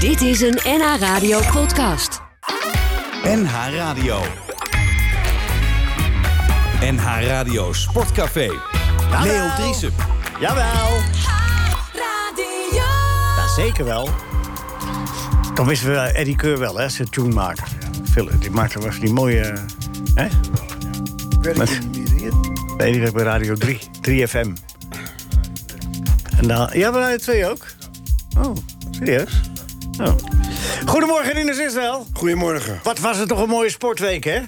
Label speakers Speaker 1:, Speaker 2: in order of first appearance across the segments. Speaker 1: Dit is een NH Radio podcast.
Speaker 2: NH Radio. NH Radio Sportcafé. Leo Driesen.
Speaker 3: Jawel,
Speaker 1: Radio.
Speaker 3: ja, zeker wel. Dan wisten we Eddie Keur wel, hè, zijn tunemaker. Phil, Die maakte was die mooie... Hè? Met- Nee, die werd bij Radio 3, 3FM. En dan, ja, bij Radio 2 ook? Oh, serieus? Oh. Goedemorgen, Rinus Israël.
Speaker 4: Goedemorgen.
Speaker 3: Wat was het toch een mooie sportweek, hè?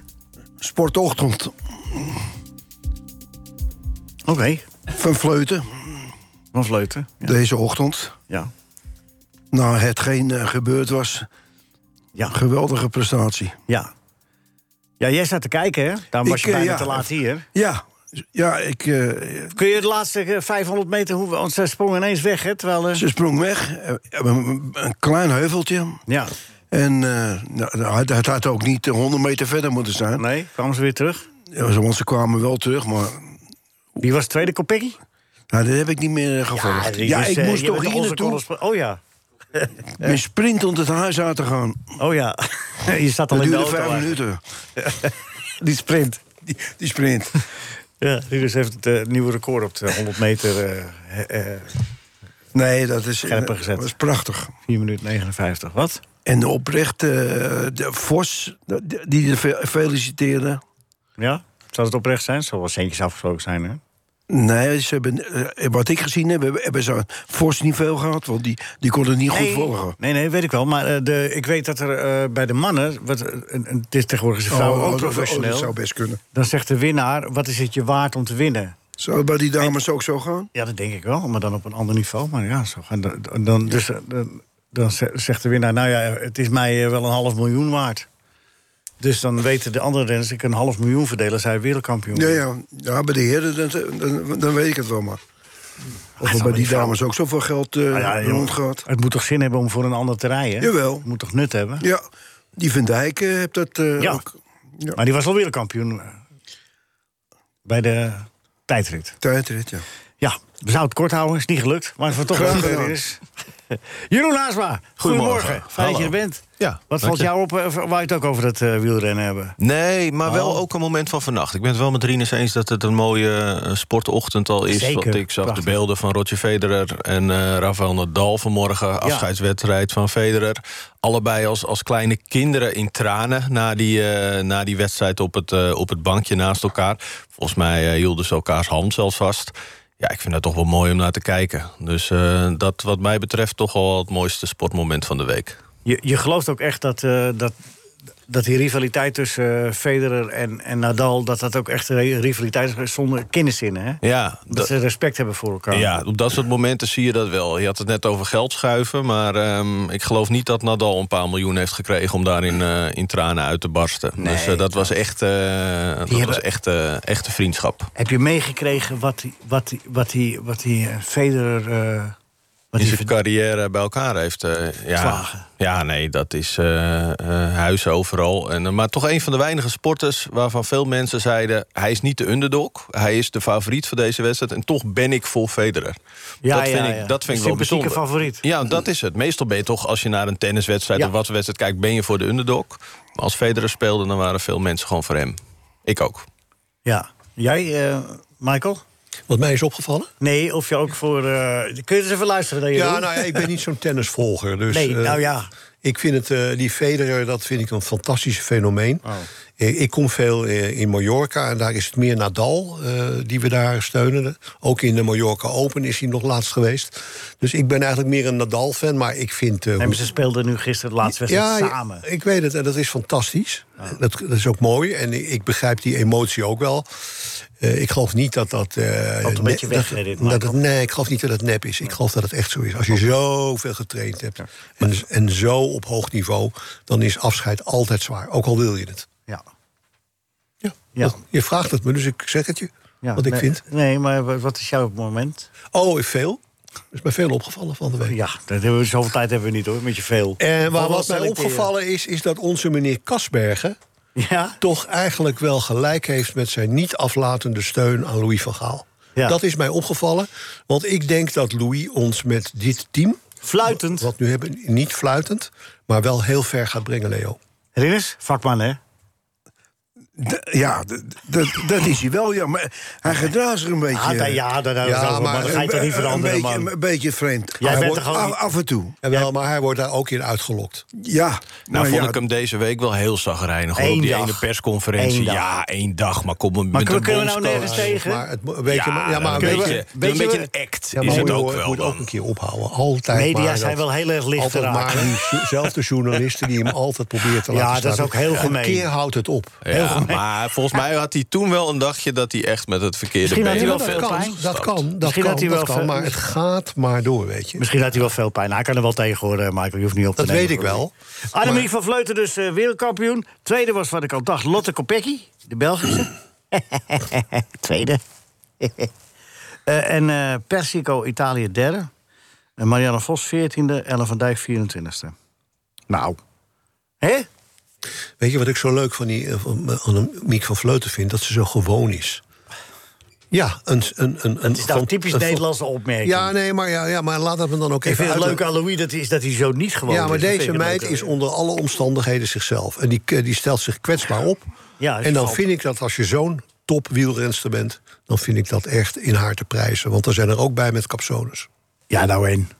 Speaker 4: Sportochtend
Speaker 3: Oké,
Speaker 4: van Vleuten.
Speaker 3: van Vleuten.
Speaker 4: Deze ochtend.
Speaker 3: Ja.
Speaker 4: Na hetgeen eh, gebeurd was.
Speaker 3: Ja.
Speaker 4: Geweldige prestatie.
Speaker 3: ja. Ja, jij staat te kijken, hè? Dan was
Speaker 4: Ik,
Speaker 3: je
Speaker 4: eh,
Speaker 3: bijna
Speaker 4: ja.
Speaker 3: te laat hier.
Speaker 4: Ja. Ja, ik, eh,
Speaker 3: Kun je de laatste eh, 500 meter, hoe, want ze sprong ineens weg, hè? Terwijl, eh,
Speaker 4: ze sprong weg. eh, Een, een klein heuveltje.
Speaker 3: Ja,
Speaker 4: En eh, nou, het, het had ook niet eh, 100 meter verder moeten zijn.
Speaker 3: nee, kwamen ze weer terug.
Speaker 4: Ja, ze- Want ze kwamen wel terug, maar
Speaker 3: Wie was de tweede Kopecky?
Speaker 4: nou, dat heb ik niet meer eh, gevolgd. Ja, ik moest toch hier naartoe.
Speaker 3: Oh ja,
Speaker 4: Mijn sprint om het huis uit te gaan.
Speaker 3: oh ja. je staat al
Speaker 4: Dat
Speaker 3: in de
Speaker 4: duurde
Speaker 3: auto.
Speaker 4: vijf
Speaker 3: eigenlijk.
Speaker 4: minuten.
Speaker 3: Die sprint.
Speaker 4: Die, die sprint.
Speaker 3: Ja, Rinus heeft het eh, nieuwe record op de 100 meter. eh eh
Speaker 4: Nee, dat is,
Speaker 3: Scherper gezet.
Speaker 4: dat is prachtig.
Speaker 3: 4 minuten 59. Wat?
Speaker 4: En oprecht, eh, de Vos, de- die de fe- feliciteerde.
Speaker 3: Ja? Zou het oprecht zijn? Zou wel centjes afgesproken zijn, hè?
Speaker 4: Nee, ze hebben, eh, wat ik gezien heb, hebben- hebben ze aan Vos niet veel gehad. Want die, die kon het niet goed volgen.
Speaker 3: nee, nee, weet ik wel. Maar eh, de, ik weet dat er eh, bij de mannen... Wat, eh, een- een- het is tegenwoordig zijn vrouwen
Speaker 4: Oh,
Speaker 3: ook
Speaker 4: oh, dat- oh,
Speaker 3: professioneel.
Speaker 4: dat zou best kunnen.
Speaker 3: Dan zegt de winnaar, wat is het je waard om te winnen?
Speaker 4: Zou het bij die dames ook zo gaan?
Speaker 3: Ja, dat denk ik wel, maar dan op een ander niveau. Maar ja, zo gaan dan, dan, dus, eh, dan, dan ze- zegt de winnaar, nou ja, het is mij eh, wel een half miljoen waard. Dus dan weten de andere renners, ik kan een half miljoen verdelen, zij wereldkampioen.
Speaker 4: Ja, ja. ja bij de heren, dan, dan, dan weet ik het wel maar. Of
Speaker 3: zal
Speaker 4: er bij die
Speaker 3: niet gaan.
Speaker 4: dames ook zoveel geld eh
Speaker 3: Nou ja, joh,
Speaker 4: rondgaat.
Speaker 3: Het moet toch zin hebben om voor een ander te rijden?
Speaker 4: Jawel.
Speaker 3: Het moet toch nut hebben?
Speaker 4: Ja, die Van Dijk eh, heeft dat eh,
Speaker 3: Ja.
Speaker 4: ook. Ja.
Speaker 3: Maar die was al wereldkampioen eh, bij de tijdrit.
Speaker 4: Tijdrit, ja.
Speaker 3: Ja, we zouden het kort houden, is niet gelukt, maar het was toch wel
Speaker 4: Graag
Speaker 3: gebeurd
Speaker 4: gedaan.
Speaker 3: is. Jeroen Haasma, goedemorgen.
Speaker 5: Goedemorgen.
Speaker 3: Fijn dat je er
Speaker 5: Hallo.
Speaker 3: bent.
Speaker 5: Ja,
Speaker 3: Wat
Speaker 5: dank
Speaker 3: valt
Speaker 5: je.
Speaker 3: jou op, eh, waar we het ook over dat eh, wielrennen hebben?
Speaker 5: Nee, maar wel
Speaker 3: Oh.
Speaker 5: ook een moment van vannacht. Ik ben het wel met Rinus eens dat het een mooie eh, sportochtend al is.
Speaker 3: Zeker,
Speaker 5: Want ik zag
Speaker 3: prachtig.
Speaker 5: de beelden van Roger Federer en eh Rafael Nadal vanmorgen. Afscheidswedstrijd van Federer. Allebei als, als kleine kinderen in tranen na die, eh, na die wedstrijd op het, eh, op het bankje naast elkaar. Volgens mij eh, hielden ze elkaars hand zelfs vast. Ja, ik vind dat toch wel mooi om naar te kijken. Dus eh, dat wat mij betreft toch wel het mooiste sportmoment van de week.
Speaker 3: Je, je gelooft ook echt dat, eh, dat, dat die rivaliteit tussen eh, Federer en, en Nadal... dat dat ook echt een re- rivaliteit is zonder kenniszinnen, hè?
Speaker 5: Ja,
Speaker 3: Dat, ze respect hebben voor elkaar.
Speaker 5: Ja, op dat soort momenten zie je dat wel. Je had het net over geld schuiven, maar ehm, ik geloof niet dat Nadal een paar miljoen heeft gekregen om daarin eh, in tranen uit te barsten. dus eh, dat was echt, eh, dat was
Speaker 3: hebben-
Speaker 5: echt, eh, echte vriendschap.
Speaker 3: Heb je meegekregen wat die, wat die, wat die, wat die eh, Federer... eh, wat
Speaker 5: Die
Speaker 3: die
Speaker 5: zijn
Speaker 3: verd-
Speaker 5: carrière bij elkaar heeft. eh, ja,
Speaker 3: Slagen.
Speaker 5: ja, nee, dat is eh eh, huis overal. En, eh, maar toch een van de weinige sporters waarvan veel mensen zeiden... hij is niet de underdog, hij is de favoriet voor deze wedstrijd... en toch ben ik vol Federer.
Speaker 3: Ja,
Speaker 5: dat vind
Speaker 3: ja,
Speaker 5: ik,
Speaker 3: ja.
Speaker 5: Dat vind ik
Speaker 3: Sympathieke
Speaker 5: wel bijzonder.
Speaker 3: favoriet.
Speaker 5: Ja, dat is het. Meestal ben je toch, als je naar een tenniswedstrijd
Speaker 3: Ja.
Speaker 5: of wat voor wedstrijd kijkt, ben je voor de underdog. Maar als Federer speelde, dan waren veel mensen gewoon voor hem. Ik ook.
Speaker 3: Ja. Jij, eh, Michael?
Speaker 6: Wat mij is opgevallen?
Speaker 3: Nee, of je ook voor... eh, kun je eens even luisteren naar Jeroen?
Speaker 6: Ja, nou ja, ik ben niet zo'n tennisvolger. Dus,
Speaker 3: Nee,
Speaker 6: eh,
Speaker 3: nou ja.
Speaker 6: Ik vind het, eh, die Federer, dat vind ik een fantastisch fenomeen. Eh, ik kom veel eh, in Mallorca en daar is het meer Nadal eh, die we daar steunen. Ook in de Mallorca Open is hij nog laatst geweest. Dus ik ben eigenlijk meer een Nadal-fan, maar ik vind... eh,
Speaker 3: Nee, maar
Speaker 6: hoe-
Speaker 3: ze speelden nu gisteren de laatste wedstrijd samen.
Speaker 6: ik weet het en dat is fantastisch. Dat, dat is ook mooi en ik, ik begrijp die emotie ook wel. Eh, ik geloof niet dat dat. eh,
Speaker 3: een
Speaker 6: ne-
Speaker 3: beetje weg, hè,
Speaker 6: dat,
Speaker 3: dit,
Speaker 6: dat
Speaker 3: Michael?
Speaker 6: het, Nee, ik geloof niet dat het nep is. Ik geloof dat het echt zo is. Als je zoveel getraind hebt en, en zo op hoog niveau, dan is afscheid altijd zwaar. Ook al wil je het.
Speaker 3: Ja.
Speaker 6: Ja.
Speaker 3: Ja.
Speaker 6: Dat- je vraagt het me, dus ik zeg het je.
Speaker 3: Ja,
Speaker 6: wat ik
Speaker 3: nee,
Speaker 6: vind.
Speaker 3: Nee, maar wa- wat is jouw moment?
Speaker 6: Oh, veel. is mij veel opgevallen van de week.
Speaker 3: Ja, dat hebben we, zoveel tijd hebben we niet hoor, met je veel.
Speaker 6: En
Speaker 3: Wat
Speaker 6: waar Eh,
Speaker 3: wel
Speaker 6: wat mij
Speaker 3: selecteren.
Speaker 6: opgevallen is, is dat onze meneer Kasbergen.
Speaker 3: Ja?
Speaker 6: toch eigenlijk wel gelijk heeft met zijn niet aflatende steun aan Louis van Gaal.
Speaker 3: Ja.
Speaker 6: Dat is mij opgevallen, want ik denk dat Louis ons met dit team
Speaker 7: Fluitend.
Speaker 6: Wat nu hebben, niet fluitend, maar wel heel ver gaat brengen, Leo.
Speaker 3: Rinus, vakman, hè?
Speaker 4: D- ja, d- d- dat is hij wel, ja. Maar hij gedraagt zich een beetje... eh.
Speaker 3: Ah, da- ja, dat dat- dat- maar dat ga je toch niet
Speaker 4: een-
Speaker 3: veranderen,
Speaker 4: een beetje,
Speaker 3: man.
Speaker 4: Een beetje vreemd.
Speaker 3: Jij
Speaker 4: Hij
Speaker 3: bent
Speaker 4: wordt
Speaker 3: er gewoon
Speaker 4: af,
Speaker 3: niet-
Speaker 4: af en toe.
Speaker 6: En wel, maar hij wordt daar ook in uitgelokt.
Speaker 4: Ja.
Speaker 5: Nou,
Speaker 4: maar
Speaker 5: vond
Speaker 4: ja,
Speaker 5: ik hem deze week wel heel zagrijnig. hoor.
Speaker 3: Eén
Speaker 5: Op die
Speaker 3: dag.
Speaker 5: ene persconferentie.
Speaker 3: Eén dag.
Speaker 5: Ja, één dag. Maar kom
Speaker 3: Maar
Speaker 5: met
Speaker 3: kunnen
Speaker 5: de
Speaker 3: we nou
Speaker 5: bondscoach.
Speaker 3: nergens tegen?
Speaker 6: Maar het, mo- weet je,
Speaker 5: Ja,
Speaker 6: maar- ja, maar
Speaker 5: een
Speaker 6: weet
Speaker 5: beetje,
Speaker 6: je,
Speaker 5: doe een
Speaker 3: weet je-
Speaker 5: beetje een act
Speaker 6: Ja, maar
Speaker 5: is het
Speaker 6: moet je-
Speaker 5: ook wel.
Speaker 6: moet ook een
Speaker 5: dan.
Speaker 6: keer ophouden. Altijd
Speaker 3: Media
Speaker 6: maar
Speaker 3: zijn wel heel erg licht
Speaker 6: altijd
Speaker 3: te
Speaker 6: maar
Speaker 3: raken.
Speaker 6: diezelfde journalisten die hem altijd proberen te
Speaker 3: Ja,
Speaker 6: laten
Speaker 3: dat is
Speaker 6: staan.
Speaker 3: ook heel
Speaker 6: Een
Speaker 3: gemeen.
Speaker 6: keer houdt het op.
Speaker 5: Ja, maar volgens mij had hij toen wel een dagje dat hij echt met het verkeerde
Speaker 3: Misschien had
Speaker 5: been
Speaker 3: hij wel
Speaker 5: op
Speaker 3: veel
Speaker 5: het veld
Speaker 3: pijn.
Speaker 5: was
Speaker 6: Dat
Speaker 5: gestapt.
Speaker 6: kan, dat
Speaker 3: Misschien
Speaker 6: kan,
Speaker 3: had hij wel
Speaker 6: dat kan
Speaker 3: ver-
Speaker 6: maar het gaat maar door, weet je.
Speaker 3: Misschien had hij wel veel pijn. Hij kan er wel tegen horen, Michael. Je hoeft niet op te
Speaker 6: Dat
Speaker 3: nemen.
Speaker 6: weet ik wel.
Speaker 3: Annemie
Speaker 6: Maar-
Speaker 3: van Vleuten dus eh, wereldkampioen. Tweede was wat ik al dacht, Lotte Kopecky, de Belgische. Tweede. Eh, en eh, Persico, Italië, derde. En Marianne Vos, veertiende. Ellen van Dijk, 24ste. Nou. Hé?
Speaker 6: Weet je wat ik zo leuk van, die, eh, van, van Miek van Vleuten vind? Dat ze zo gewoon is. Ja, een... een, een, een
Speaker 3: Het is nou
Speaker 6: van-
Speaker 3: typisch
Speaker 6: een van-
Speaker 3: Nederlandse opmerking.
Speaker 6: Ja, nee, maar, ja, ja, maar laat dat me dan ook
Speaker 3: ik
Speaker 6: even
Speaker 3: vind het leuk
Speaker 6: uitleggen.
Speaker 3: aan Louis dat hij, is dat hij zo niet gewoon
Speaker 6: Ja, maar
Speaker 3: is. Dat
Speaker 6: deze
Speaker 3: vind ik leuk
Speaker 6: meid
Speaker 3: aan
Speaker 6: is
Speaker 3: Louis.
Speaker 6: onder alle omstandigheden zichzelf. En die, eh, die stelt zich kwetsbaar op.
Speaker 3: Ja, is
Speaker 6: en dan
Speaker 3: valt.
Speaker 6: vind ik dat als je zo'n topwielrenster bent... dan vind ik dat echt in haar te prijzen. Want er zijn er ook bij met capsones.
Speaker 3: Ja, nou één.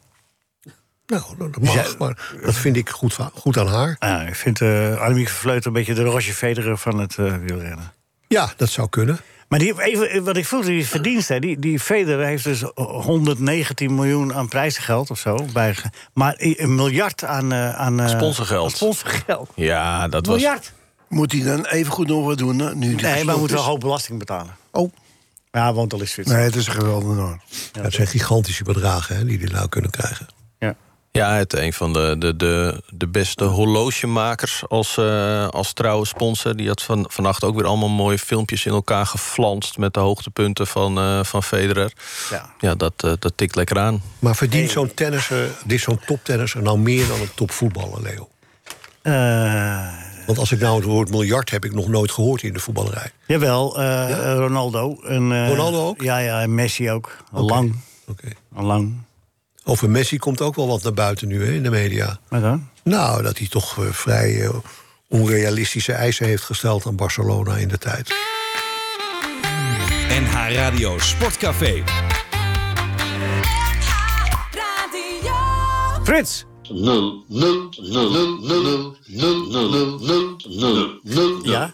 Speaker 6: Nou, dat mag, maar dat vind ik goed, va- goed aan haar.
Speaker 3: Ah, ik vind eh Annemiek van Vleuten een beetje de Roger Federer van het eh, wielrennen.
Speaker 6: Ja, dat zou kunnen.
Speaker 3: Maar die, even, eh, wat ik vroeg, die verdiensten. Die, die Federer heeft dus 119 miljoen aan prijzengeld of zo. Bij, maar een miljard aan... eh, aan eh,
Speaker 5: Sponsorgeld.
Speaker 3: aan Sponsorgeld.
Speaker 5: Ja, dat was...
Speaker 3: miljard.
Speaker 4: Moet hij dan even goed nog wat doen? hè, Nu dit
Speaker 3: Nee, maar
Speaker 4: gestopt
Speaker 3: we moeten
Speaker 4: is?
Speaker 3: wel een hoop belasting betalen.
Speaker 4: Oh.
Speaker 3: Ja, want al is Zwitserland.
Speaker 4: Nee, het is een geweldige norm.
Speaker 6: Ja, het zijn gigantische bedragen hè, die die nou kunnen krijgen.
Speaker 3: Ja.
Speaker 5: Ja, het een van de, de, de, de beste horlogemakers als, eh, als trouwe sponsor. Die had van, vannacht ook weer allemaal mooie filmpjes in elkaar geflanst... met de hoogtepunten van, eh, van Federer.
Speaker 3: Ja.
Speaker 5: Ja, dat, eh, dat tikt lekker aan.
Speaker 6: Maar verdient zo'n tennisser, dit zo'n toptennisser... nou meer dan een topvoetballer, Leo?
Speaker 3: Eh,
Speaker 6: Want als ik nou het woord miljard heb ik nog nooit gehoord in de voetballerij.
Speaker 3: jawel, eh, eh, Ronaldo. En, eh,
Speaker 6: Ronaldo ook?
Speaker 3: Ja, ja, en Messi ook. Al lang.
Speaker 6: Oké.
Speaker 3: Al lang.
Speaker 6: Over Messi komt ook wel wat naar buiten nu hè, in de media.
Speaker 3: Maar dan?
Speaker 6: Nou, dat hij toch eh, vrij eh, onrealistische eisen heeft gesteld aan Barcelona in de tijd.
Speaker 2: NH Radio Sportcafé.
Speaker 1: Radio.
Speaker 3: Frits! Ja?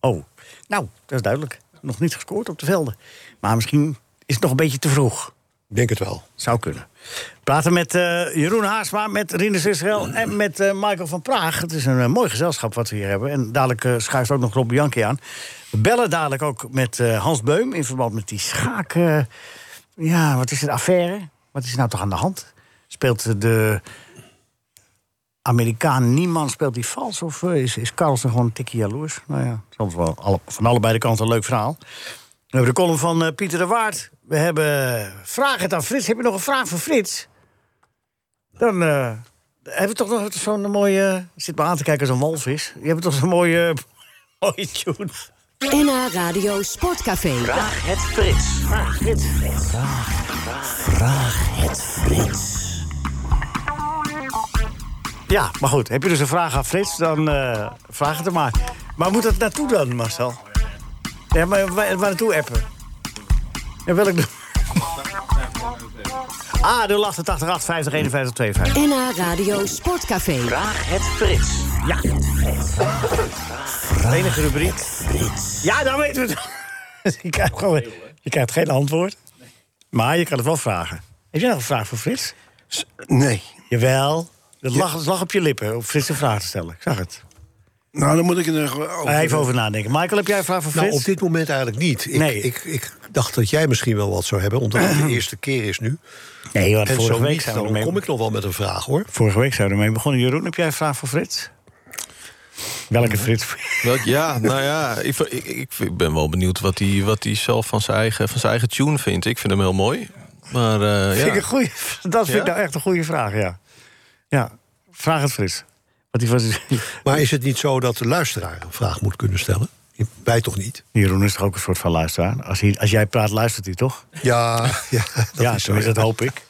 Speaker 3: Oh, nou, dat is duidelijk. Nog niet gescoord op de velden. Maar misschien is het nog een beetje te vroeg.
Speaker 6: Ik denk het wel.
Speaker 3: Zou kunnen. We praten met eh, Jeroen Haasma, met Rinus Israël en met eh, Michael van Praag. Het is een eh, mooi gezelschap wat we hier hebben. En dadelijk eh, schuift ook nog Rob Bianchi aan. We bellen dadelijk ook met eh, Hans Beum in verband met die schaak... eh, ja, wat is het, affaire? Wat is er nou toch aan de hand? Speelt de Amerikaan niemand speelt die vals? Of eh, is, is Carlsen gewoon een tikje jaloers? Nou ja, soms wel alle- van allebei de kanten een leuk verhaal. We hebben de column van eh, Pieter de Waard. We hebben vraag het aan Frits. Heb je nog een vraag voor Frits? Dan eh, hebben we toch nog zo'n mooie... Zit me aan te kijken als een walvis. Je hebt toch zo'n mooie, mooie tune.
Speaker 1: NH Radio Sportcafé.
Speaker 3: Vraag het Frits. Ja, maar goed. Heb je dus een vraag aan Frits, dan eh, vraag het hem maar. Maar moet dat naartoe dan, Marcel? Ja, maar waar, waar naartoe appen? Ja, welk nummer? Ah, 088 850 51 52.
Speaker 1: NH Radio Sportcafé.
Speaker 3: Ja. De enige rubriek. Ja, dan weten we het. Je krijgt, gewoon, je krijgt geen antwoord. Maar je kan het wel vragen. Heb jij nog een vraag voor Frits?
Speaker 4: Nee.
Speaker 3: Jawel. Dat lag, het lag op je lippen om Frits een vraag te stellen. Ik zag het.
Speaker 4: Nou, dan moet ik er nog over-
Speaker 3: Even over nadenken. Michael, heb jij een vraag voor Frits?
Speaker 6: Nou, op dit moment eigenlijk niet. Ik,
Speaker 3: Nee.
Speaker 6: ik, ik dacht dat jij misschien wel wat zou hebben, omdat het de eerste keer is nu.
Speaker 3: nee, want
Speaker 6: En zo
Speaker 3: vorige week,
Speaker 6: niet,
Speaker 3: zijn we
Speaker 6: dan
Speaker 3: ermee,
Speaker 6: kom ik nog wel met een vraag, hoor.
Speaker 3: vorige week zijn we ermee begonnen. Jeroen, heb jij een vraag voor Frits? Welke Frits?
Speaker 5: Welk- ja, nou ja, ik, ik, ik ben wel benieuwd wat hij wat hij zelf van zijn, eigen, van zijn eigen tune vindt. Ik vind hem heel mooi. Maar eh,
Speaker 3: Vind ik
Speaker 5: ja.
Speaker 3: een goeie, dat vind ik
Speaker 5: Ja?
Speaker 3: nou echt een goede vraag, ja. Ja, vraag het Frits. Wat die was...
Speaker 6: Maar is het niet zo dat de luisteraar een vraag moet kunnen stellen? Je- Wij toch niet?
Speaker 3: Jeroen is toch ook een soort van luisteraar? Als, hij, als jij praat, luistert hij toch?
Speaker 6: Ja, ja, dat
Speaker 3: ja,
Speaker 6: is zo.
Speaker 3: tenminste, dat hoop ik.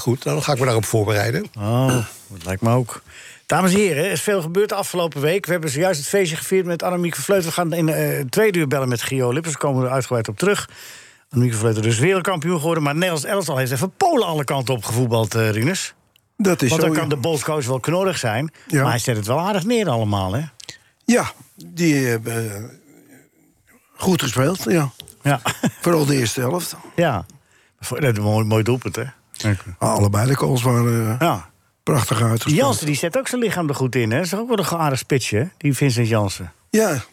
Speaker 6: goed. Nou, dan ga ik me daarop voorbereiden.
Speaker 3: Oh, dat lijkt me ook. Dames en heren, er is veel gebeurd de afgelopen week. We hebben zojuist het feestje gevierd met Annemiek van Vleuten. We gaan in eh tweede uur bellen met Gio Lippers. Daar komen we er uitgebreid op terug. Annemiek van Vleuten dus wereldkampioen geworden. Maar Nederlands elftal heeft even Polen alle kanten op gevoetbald, eh Rinus.
Speaker 4: Dat is
Speaker 3: Want
Speaker 4: zo,
Speaker 3: dan kan
Speaker 4: ja.
Speaker 3: de bondscoach wel knorrig zijn.
Speaker 4: Ja.
Speaker 3: Maar hij zet het wel aardig neer allemaal, hè?
Speaker 4: Ja, die hebben eh, goed gespeeld, ja.
Speaker 3: Ja.
Speaker 4: Vooral de eerste helft.
Speaker 3: ja. Dat is een mooi, mooi doelpunt, hè?
Speaker 4: Ah, Allebei de goals waren eh,
Speaker 3: Ja.
Speaker 4: prachtig
Speaker 3: Die
Speaker 4: uitgespeeld.
Speaker 3: Jansen die zet ook zijn lichaam er goed in, hè? Dat is ook wel een aardig spitsje, hè? die Vincent Jansen.
Speaker 4: Ja.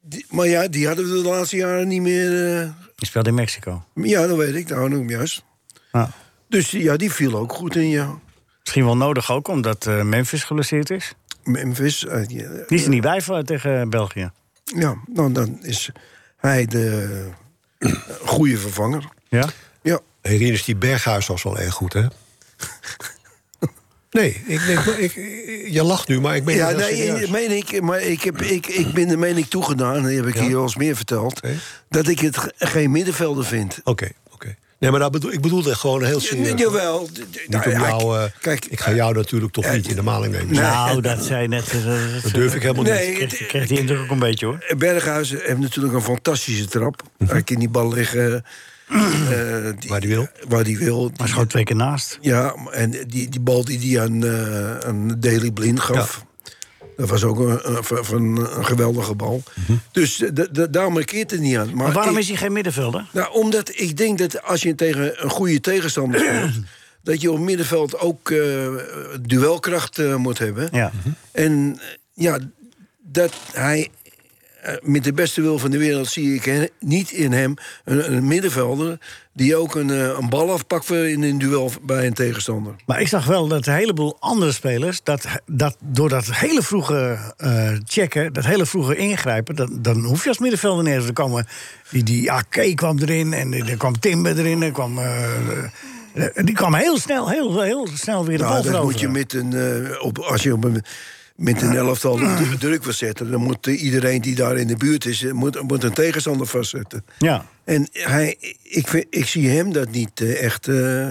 Speaker 4: Die- maar ja, die hadden we de laatste jaren niet meer... eh,
Speaker 3: Die speelt in Mexico.
Speaker 4: ja, dat weet ik. Nou, noem juist.
Speaker 3: Ja.
Speaker 4: Dus die- ja, die viel ook goed in, ja.
Speaker 3: Misschien wel nodig ook, omdat eh, Memphis gelanceerd is.
Speaker 4: Memphis. eh, die- eh,
Speaker 3: Die is er niet bij voor, tegen België.
Speaker 4: ja, nou, dan is hij de eh, goede vervanger.
Speaker 3: Ja?
Speaker 4: Ja.
Speaker 6: Hey, Rinus, die Berghuis was wel erg goed, hè? Nee, ik denk, maar ik, je lacht nu, maar ik ben
Speaker 4: Ja,
Speaker 6: heel
Speaker 4: nee,
Speaker 6: serieus.
Speaker 4: eh, meen ik, maar ik, heb, ik, ik ben de mening toegedaan, en die heb ik hier al eens meer verteld,
Speaker 6: Oké.
Speaker 4: dat ik het ge- geen middenvelder vind.
Speaker 6: Oké, oké. Nee, maar dat bedoel, ik bedoelde gewoon heel serieus.
Speaker 4: Ja, jawel. d- d-
Speaker 6: Niet
Speaker 4: nou,
Speaker 6: om
Speaker 4: ja,
Speaker 6: jou,
Speaker 4: ik- eh,
Speaker 6: eh, ik ga jou natuurlijk toch niet in de maling nemen.
Speaker 3: Nou, dat zei net. Dat, dat-
Speaker 6: dat durf ik helemaal niet.
Speaker 4: Nee,
Speaker 3: kreeg,
Speaker 4: het-
Speaker 3: kreeg die indruk ook een beetje hoor. Mhm.
Speaker 4: Berghuis heeft natuurlijk een fantastische trap. Hij kan die bal liggen eh, die-
Speaker 6: Waar die wil.
Speaker 4: Waar die wil. Die-
Speaker 3: Maar schoot twee keer naast.
Speaker 4: ja, en die, die bal die hij aan, eh aan Daily Blind gaf. Dat was ook een, een- van- van een geweldige bal. Dus eh, d- d- daar markeert het niet aan. Maar,
Speaker 3: Mhm. Maar waarom
Speaker 4: ik-
Speaker 3: is hij geen middenvelder?
Speaker 4: Nou, omdat ik denk dat als je tegen een goede tegenstander speelt... dat je op middenveld ook eh, duelkracht eh, moet hebben.
Speaker 3: Ja.
Speaker 4: En eh, ja, dat hij eh, met de beste wil van de wereld zie ik he- niet in hem een, een middenvelder... die ook een, eh, een bal afpakt voor in een duel bij een tegenstander.
Speaker 3: Maar ik zag wel dat een heleboel andere spelers... dat, dat door dat hele vroege eh, checken, dat hele vroege ingrijpen... Dat, dan hoef je als middenvelder nergens te komen. Die, die AK kwam erin en er kwam Timber erin. Er kwam, eh, eh, die kwam heel snel, heel, heel snel weer de
Speaker 4: Nou,
Speaker 3: bal
Speaker 4: dat moet je
Speaker 3: veroveren.
Speaker 4: met een, eh, op, als je op een, met een elftal de druk wil zetten... dan moet eh, iedereen die daar in de buurt is, eh, moet, moet een tegenstander vastzetten.
Speaker 3: Ja.
Speaker 4: En hij, ik, vind- ik zie hem dat niet eh, echt... eh,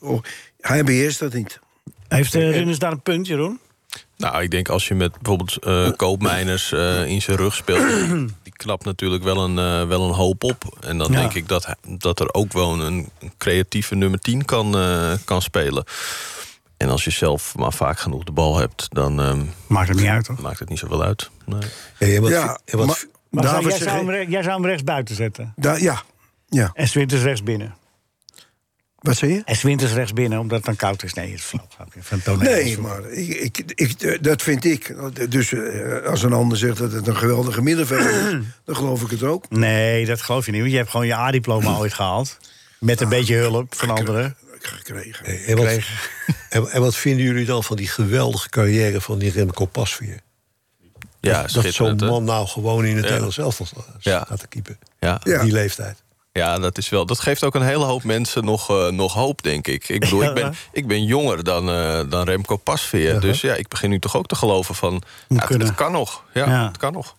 Speaker 4: oh, hij beheerst dat niet.
Speaker 3: Heeft eh Rinus daar een punt, Jeroen?
Speaker 5: Nou, ik denk als je met bijvoorbeeld eh koopmijners eh, in zijn rug speelt, die knapt natuurlijk wel een, eh, wel een hoop op. En dan
Speaker 3: Ja.
Speaker 5: denk ik dat, hij- dat er ook wel een, een creatieve nummer 10 kan, eh, kan spelen. En als je zelf maar vaak genoeg de bal hebt, dan ehm,
Speaker 3: Maakt het niet uit, hoor.
Speaker 5: maakt het niet zoveel uit. Nee.
Speaker 6: Hey, en wat,
Speaker 4: Ja,
Speaker 6: en wat,
Speaker 4: maar-
Speaker 3: Maar
Speaker 4: David
Speaker 3: zou- jij,
Speaker 4: zegt-
Speaker 3: zou hem, re- jij zou hem rechts buiten zetten.
Speaker 4: Da- ja. ja,
Speaker 3: En Swinters rechts binnen.
Speaker 4: wat zei je?
Speaker 3: En Swinters rechts binnen, omdat het dan koud is. Nee, het is flauw. grapje Van Toon
Speaker 4: Nee,
Speaker 3: Engels.
Speaker 4: maar ik, ik, ik, eh, dat vind ik. Dus eh, als een ander zegt dat het een geweldige middenvelder is... dan geloof ik het ook.
Speaker 3: Nee, dat geloof je niet. Want je hebt gewoon je A-diploma ooit gehaald. Met een beetje hulp van anderen.
Speaker 4: Gekregen.
Speaker 6: Eh, en, wat, en, en wat vinden jullie dan van die geweldige carrière van die Remco Pasveer?
Speaker 5: Ja,
Speaker 6: dat zo'n
Speaker 5: schitterend. hè?
Speaker 6: man nou gewoon in het Nederlands elftal staat
Speaker 5: Ja.
Speaker 6: staat te keeper.
Speaker 5: Ja.
Speaker 4: Ja.
Speaker 6: eh, Die leeftijd.
Speaker 5: Ja, dat, is wel, dat geeft ook een hele hoop mensen nog, eh, nog hoop, denk ik. Ik bedoel, ik ben, ik ben jonger dan, eh, dan Remco Pasveer. Dus ja, ik begin nu toch ook te geloven van... ja, het,
Speaker 3: kunnen.
Speaker 5: het kan nog. Ja,
Speaker 3: Ja.
Speaker 5: het kan nog.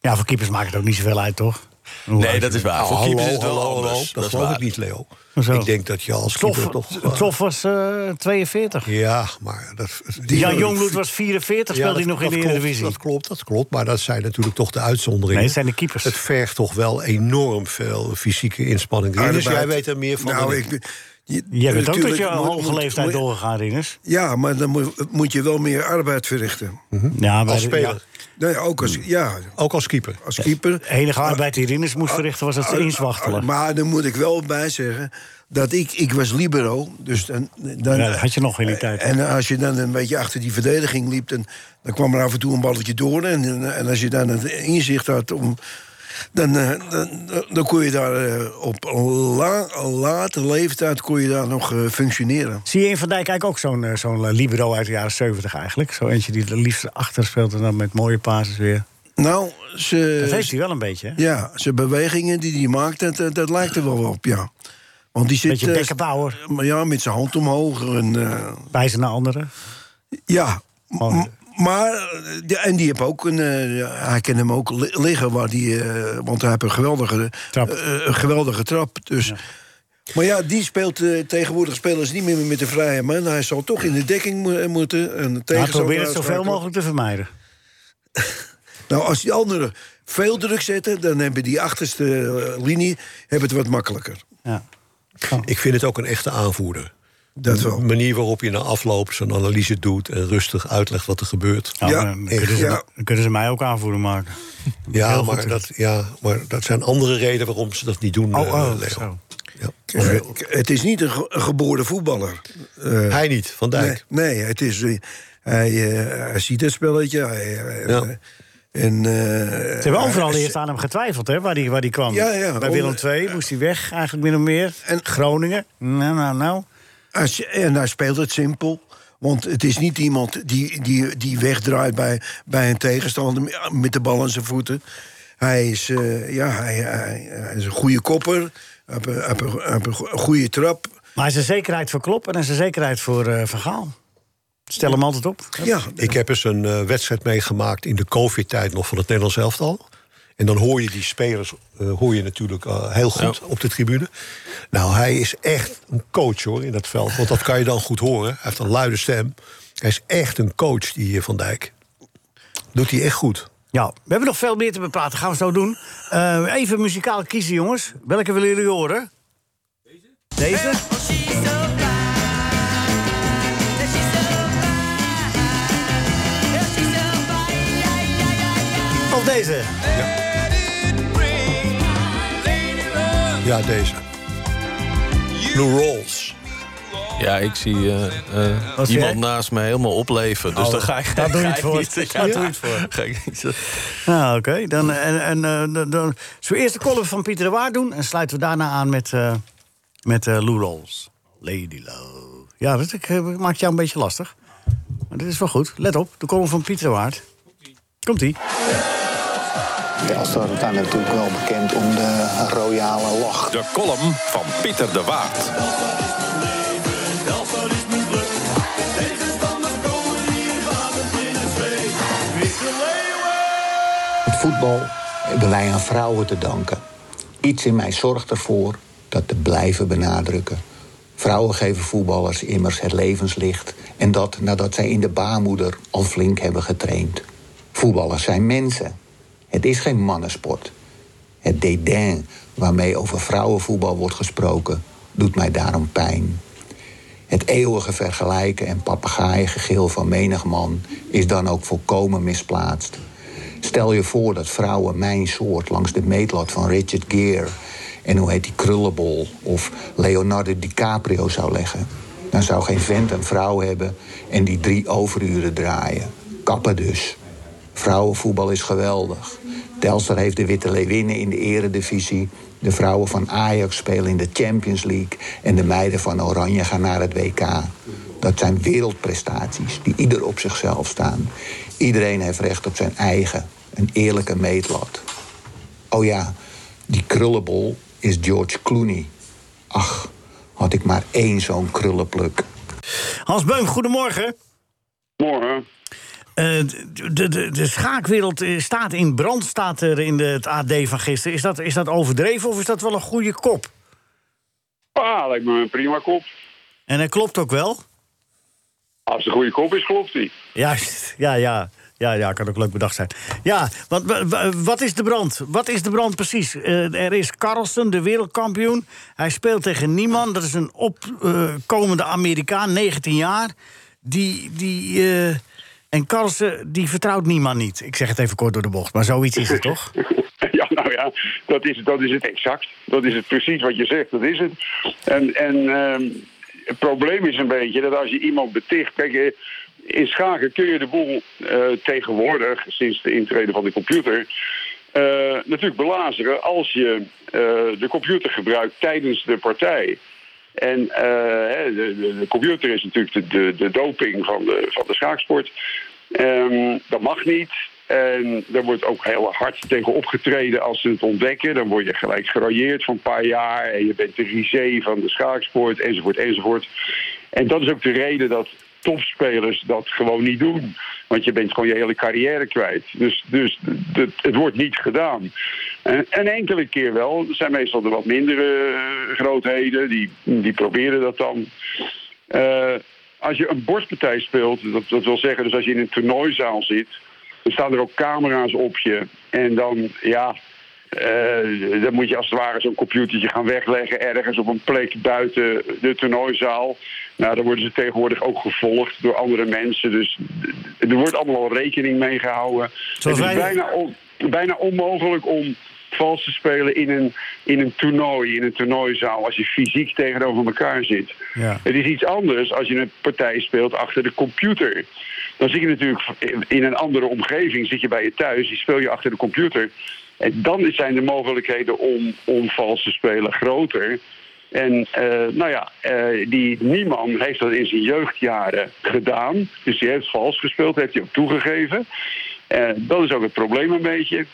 Speaker 3: Ja, voor keepers maakt het ook niet zoveel uit, toch? Hoe
Speaker 5: Nee,
Speaker 3: oud
Speaker 5: dat
Speaker 3: je
Speaker 5: is
Speaker 3: bent.
Speaker 5: waar. Voor
Speaker 6: Hallo,
Speaker 5: keepers is het wel
Speaker 6: hallo, hallo.
Speaker 5: anders.
Speaker 6: Dat,
Speaker 5: is
Speaker 6: geloof
Speaker 5: waar.
Speaker 6: ik niet, Leo.
Speaker 3: Hoezo?
Speaker 6: Ik denk dat je als keeper
Speaker 3: Tof,
Speaker 6: toch... eh,
Speaker 3: Tof was eh, 42.
Speaker 6: Ja, maar... Dat, die
Speaker 3: Jan Jongbloed was 44, speelde hij
Speaker 6: dat-
Speaker 3: nog in de
Speaker 6: dat klopt,
Speaker 3: Eredivisie.
Speaker 6: Dat klopt, dat klopt. Maar dat zijn natuurlijk toch de uitzonderingen.
Speaker 3: Nee, het zijn de keepers.
Speaker 6: Het vergt toch wel enorm veel fysieke inspanning.
Speaker 4: Arbeid.
Speaker 6: dus jij weet er meer van dan
Speaker 4: Nou,
Speaker 6: ik.
Speaker 4: ik, ben- je,
Speaker 3: Jij bent ook tot
Speaker 4: natuurlijk
Speaker 3: je
Speaker 4: moet-
Speaker 3: hoge
Speaker 4: moet-
Speaker 3: leeftijd
Speaker 4: moet-
Speaker 3: doorgegaan, Rinus.
Speaker 4: Ja, maar dan moet, moet je wel meer arbeid verrichten.
Speaker 3: Mhm. Ja, Hmm. maar
Speaker 6: Als speler.
Speaker 4: Nee, ook als, ja,
Speaker 6: Ook als keeper.
Speaker 4: als keeper. Ah,
Speaker 3: De enige arbeid die Rinus moest verrichten was het inswachtelen.
Speaker 4: Maar dan moet ik wel bij zeggen dat ik, ik was libero. Dus dan, dan,
Speaker 3: Ja, dat had je nog in die tijd. hè?
Speaker 4: En als je dan een beetje achter die verdediging liep, dan, dan kwam er af en toe een balletje door. En, en, en als je dan het inzicht had om. Dan, eh, dan, dan- dan kon je daar eh, op la, late leeftijd kon je daar nog eh, functioneren.
Speaker 3: Zie je in Van Dijk eigenlijk ook zo'n eh, zo'n eh, libero uit de jaren 70 eigenlijk? Zo eentje die het liefst achter speelt en dan met mooie pases weer.
Speaker 4: Nou,
Speaker 6: eh,
Speaker 3: Dat
Speaker 4: ze,
Speaker 3: heeft hij wel een beetje, hè? Nou,
Speaker 4: ja, zijn bewegingen die hij maakt, dat, eh, dat, dat lijkt er wel op, ja. Want die zit
Speaker 3: Beetje
Speaker 4: eh,
Speaker 3: bekkenbouwer,
Speaker 4: maar ja, met zijn hand omhoog. En, eh,
Speaker 3: wijzen naar anderen.
Speaker 4: ja,
Speaker 3: Mooi.
Speaker 4: M- maar, eh, ja, en die heb ook een, eh, hij kan hem ook li- liggen waar die, eh, want hij heeft een geweldige
Speaker 3: Trap.
Speaker 4: eh, een geweldige trap. Dus Maar ja, die speelt eh, tegenwoordig spelers niet meer met de vrije man. Hij zal toch in de dekking mo- moeten. En tegen
Speaker 3: Maar probeer het
Speaker 6: eh,
Speaker 4: zal
Speaker 3: zoveel
Speaker 4: uitschakelen.
Speaker 3: mogelijk te vermijden.
Speaker 4: Nou, als die anderen veel druk zetten, dan hebben die achterste eh, linie hebben het wat makkelijker.
Speaker 3: Ja.
Speaker 6: Ik vind het ook een echte aanvoerder.
Speaker 4: Oh. Dat wel.
Speaker 6: De manier waarop je na afloop zo'n analyse doet en rustig uitlegt wat er gebeurt.
Speaker 3: Nou,
Speaker 4: Ja,
Speaker 3: dan, kunnen ze,
Speaker 4: ja.
Speaker 3: dan kunnen ze mij ook aanvoeren maken.
Speaker 6: Ja,
Speaker 3: Heel goed.
Speaker 6: maar dat, ja, maar dat zijn andere redenen waarom ze dat niet doen. eh, Leo.
Speaker 3: Oh, zo.
Speaker 6: Ja.
Speaker 4: Eh, Het is niet een ge- een geboren voetballer. Eh,
Speaker 6: Hij niet, Van
Speaker 4: nee,
Speaker 6: Dijk.
Speaker 4: nee, het is, eh, hij, eh, hij ziet het spelletje. Hij, eh,
Speaker 6: Ja.
Speaker 4: en, eh,
Speaker 3: Ze hebben overal
Speaker 4: hij-
Speaker 3: eerst aan hem getwijfeld, hè, waar hij waar die kwam.
Speaker 4: Ja, ja.
Speaker 3: Bij Willem II moest hij weg, eigenlijk min of meer. En
Speaker 4: En-
Speaker 3: Groningen, nou, nou, nou.
Speaker 4: Als je- En hij speelt het simpel. Want het is niet iemand die, die, die wegdraait bij, bij een tegenstander met de bal aan zijn voeten. Hij is, eh, ja, hij, hij, hij is een goede kopper. Hij heeft een- hij heeft een- hij heeft een go- goede trap.
Speaker 3: Maar zijn zekerheid voor Klopp en hij is een zekerheid voor eh Van Gaal. Stel hem altijd op.
Speaker 4: Ja,
Speaker 6: Ik heb eens een eh, wedstrijd meegemaakt in de COVID-tijd nog van het Nederlands elftal. En dan hoor je die spelers eh, hoor je natuurlijk eh, heel goed op de tribune. Nou, hij is echt een coach hoor in dat veld. Want dat kan je dan goed horen. Hij heeft een luide stem. Hij is echt een coach, die eh, Van Dijk. Doet hij echt goed.
Speaker 3: Ja, we hebben nog veel meer te bepraten. Gaan we zo doen. Eh, even muzikaal kiezen, jongens. Welke willen jullie horen? Deze? Deze? Of deze?
Speaker 6: Ja, deze. Blue Rolls.
Speaker 5: Ja, ik zie eh, eh,
Speaker 3: Wat zeg
Speaker 5: iemand
Speaker 3: jij?
Speaker 5: naast me helemaal opleven. Dus
Speaker 3: Oh,
Speaker 5: dan ga ik
Speaker 3: daar doe je
Speaker 5: ga
Speaker 3: het
Speaker 5: ik
Speaker 3: voor.
Speaker 5: niet-
Speaker 3: Daar
Speaker 5: ja,
Speaker 3: doe je het voor.
Speaker 5: Ga ik niet zeggen.
Speaker 3: Nou, oké. Dan, en, en, eh, dan, dan zullen we eerst de column van Pieter de Waard doen... en sluiten we daarna aan met, eh met eh, Lou Rolls. Lady Lou. Ja, dat ik, eh, maakt jou een beetje lastig. Maar dit is wel goed. Let op, de column van Pieter de Waard. Komt-ie.
Speaker 7: Telstar zijn natuurlijk wel bekend om de royale lach.
Speaker 2: De column van Pieter de Waard.
Speaker 7: Het voetbal hebben wij aan vrouwen te danken. Iets in mij zorgt ervoor dat te blijven benadrukken. Vrouwen geven voetballers immers het levenslicht. En dat nadat zij in de baarmoeder al flink hebben getraind. Voetballers zijn mensen. Het is geen mannensport. Het dédain waarmee over vrouwenvoetbal wordt gesproken, doet mij daarom pijn. Het eeuwige vergelijken en papegaaiengegil van menig man is dan ook volkomen misplaatst. Stel je voor dat vrouwen mijn soort langs de meetlat van Richard Gere en hoe heet die krullenbol of Leonardo DiCaprio zou leggen. Dan zou geen vent een vrouw hebben en die drie overuren draaien. Kappen dus. Vrouwenvoetbal is geweldig. Telstar heeft de Witte Leeuwinnen in de eredivisie. De vrouwen van Ajax spelen in de Champions League. En de meiden van Oranje gaan naar het WK. Dat zijn wereldprestaties die ieder op zichzelf staan. Iedereen heeft recht op zijn eigen, een eerlijke meetlat. Oh ja, die krullenbol is George Clooney. Ach, had ik maar één zo'n krullenpluk.
Speaker 3: Hans Beum, goedemorgen.
Speaker 8: Morgen.
Speaker 3: Eh, de, de, de- de schaakwereld eh, staat in brand, staat er in de, het AD van gisteren. Is dat, is dat overdreven of is dat wel een goede kop?
Speaker 8: Ah, lijkt me een prima kop.
Speaker 3: En dat klopt ook wel.
Speaker 8: Als het een goede kop is, klopt die.
Speaker 3: Juist, ja, ja. Ja, ja, kan ook leuk bedacht zijn. Ja, wat, wa- wa- wat is de brand? Wat is de brand precies? Eh, er is Carlsen, de wereldkampioen. Hij speelt tegen Nieman. Dat is een opkomende Amerikaan, 19 jaar. Die, die, eh, en Carlsen, die vertrouwt Nieman niet. Ik zeg het even kort door de bocht, maar zoiets is het toch?
Speaker 8: ja, nou ja, dat is, dat is het exact. Dat is het precies wat je zegt, dat is het. En, en ehm, het probleem is een beetje dat als je iemand beticht... Kijk, eh, in schaken kun je de boel eh, tegenwoordig, sinds de intrede van de computer... eh, natuurlijk belazeren als je eh, de computer gebruikt tijdens de partij. En eh, hè, de, de, de computer is natuurlijk de, de, de doping van de, van de schaaksport. Ehm, dat mag niet. En daar wordt ook heel hard tegen opgetreden als ze het ontdekken. Dan word je gelijk geraaieerd van een paar jaar. En je bent de risé van de schaaksport, enzovoort, enzovoort. En dat is ook de reden dat topspelers dat gewoon niet doen. Want je bent gewoon je hele carrière kwijt. Dus, dus het, het wordt niet gedaan. En, en enkele keer wel. Er zijn meestal de wat mindere eh, grootheden. Die, die proberen dat dan. Eh, als je een borstpartij speelt, dat, dat wil zeggen, dus als je in een toernooizaal zit, dan staan er ook camera's op je. En dan, ja, eh, dan moet je als het ware zo'n computertje gaan wegleggen ergens op een plek buiten de toernooizaal. Nou, dan worden ze tegenwoordig ook gevolgd door andere mensen. Dus d- er wordt allemaal al rekening mee gehouden.
Speaker 3: Zoals
Speaker 8: het is
Speaker 3: wij-
Speaker 8: bijna, on- bijna onmogelijk om vals te spelen in een, in een toernooi, in een toernooizaal, als je fysiek tegenover elkaar zit.
Speaker 3: Ja.
Speaker 8: Het is iets anders als je een partij speelt achter de computer. Dan zit je natuurlijk in een andere omgeving, zit je bij je thuis, die speel je achter de computer. En dan zijn de mogelijkheden om, om vals te spelen groter. En eh, nou ja, eh, die Nieman heeft dat in zijn jeugdjaren gedaan. Dus die heeft vals gespeeld, heeft hij ook toegegeven. Eh, dat is ook het probleem een beetje.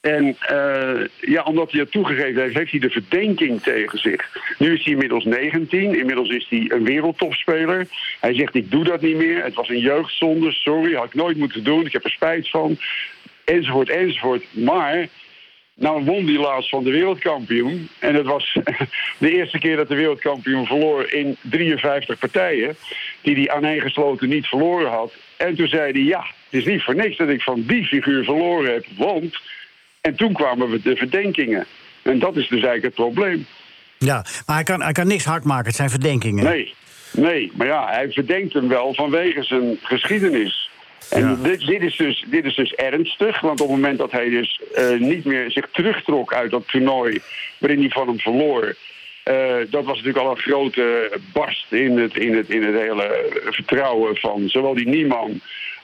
Speaker 8: En eh, ja, omdat hij het toegegeven heeft, heeft hij de verdenking tegen zich. Nu is hij inmiddels 19, inmiddels is hij een wereldtopspeler. Hij zegt, ik doe dat niet meer, het was een jeugdzonde, sorry, had ik nooit moeten doen, ik heb er spijt van. Enzovoort, enzovoort. Maar, nou won hij laatst van de wereldkampioen. En dat was de eerste keer dat de wereldkampioen verloor in 53 partijen... die hij aaneengesloten niet verloren had. En toen zei hij, ja, het is niet voor niks dat ik van die figuur verloren heb, want... En toen kwamen we de verdenkingen. En dat is dus eigenlijk het probleem.
Speaker 3: Ja, maar hij kan, hij kan niks hard maken. Het zijn verdenkingen.
Speaker 8: Nee, nee, maar ja, hij verdenkt hem wel vanwege zijn geschiedenis. En dit, dit, is dus, dit is dus ernstig, want op het moment dat hij dus eh, niet meer zich terugtrok uit dat toernooi waarin hij van hem verloor. eh, dat was natuurlijk al een grote barst in het, in het, in het hele vertrouwen van zowel die Nieman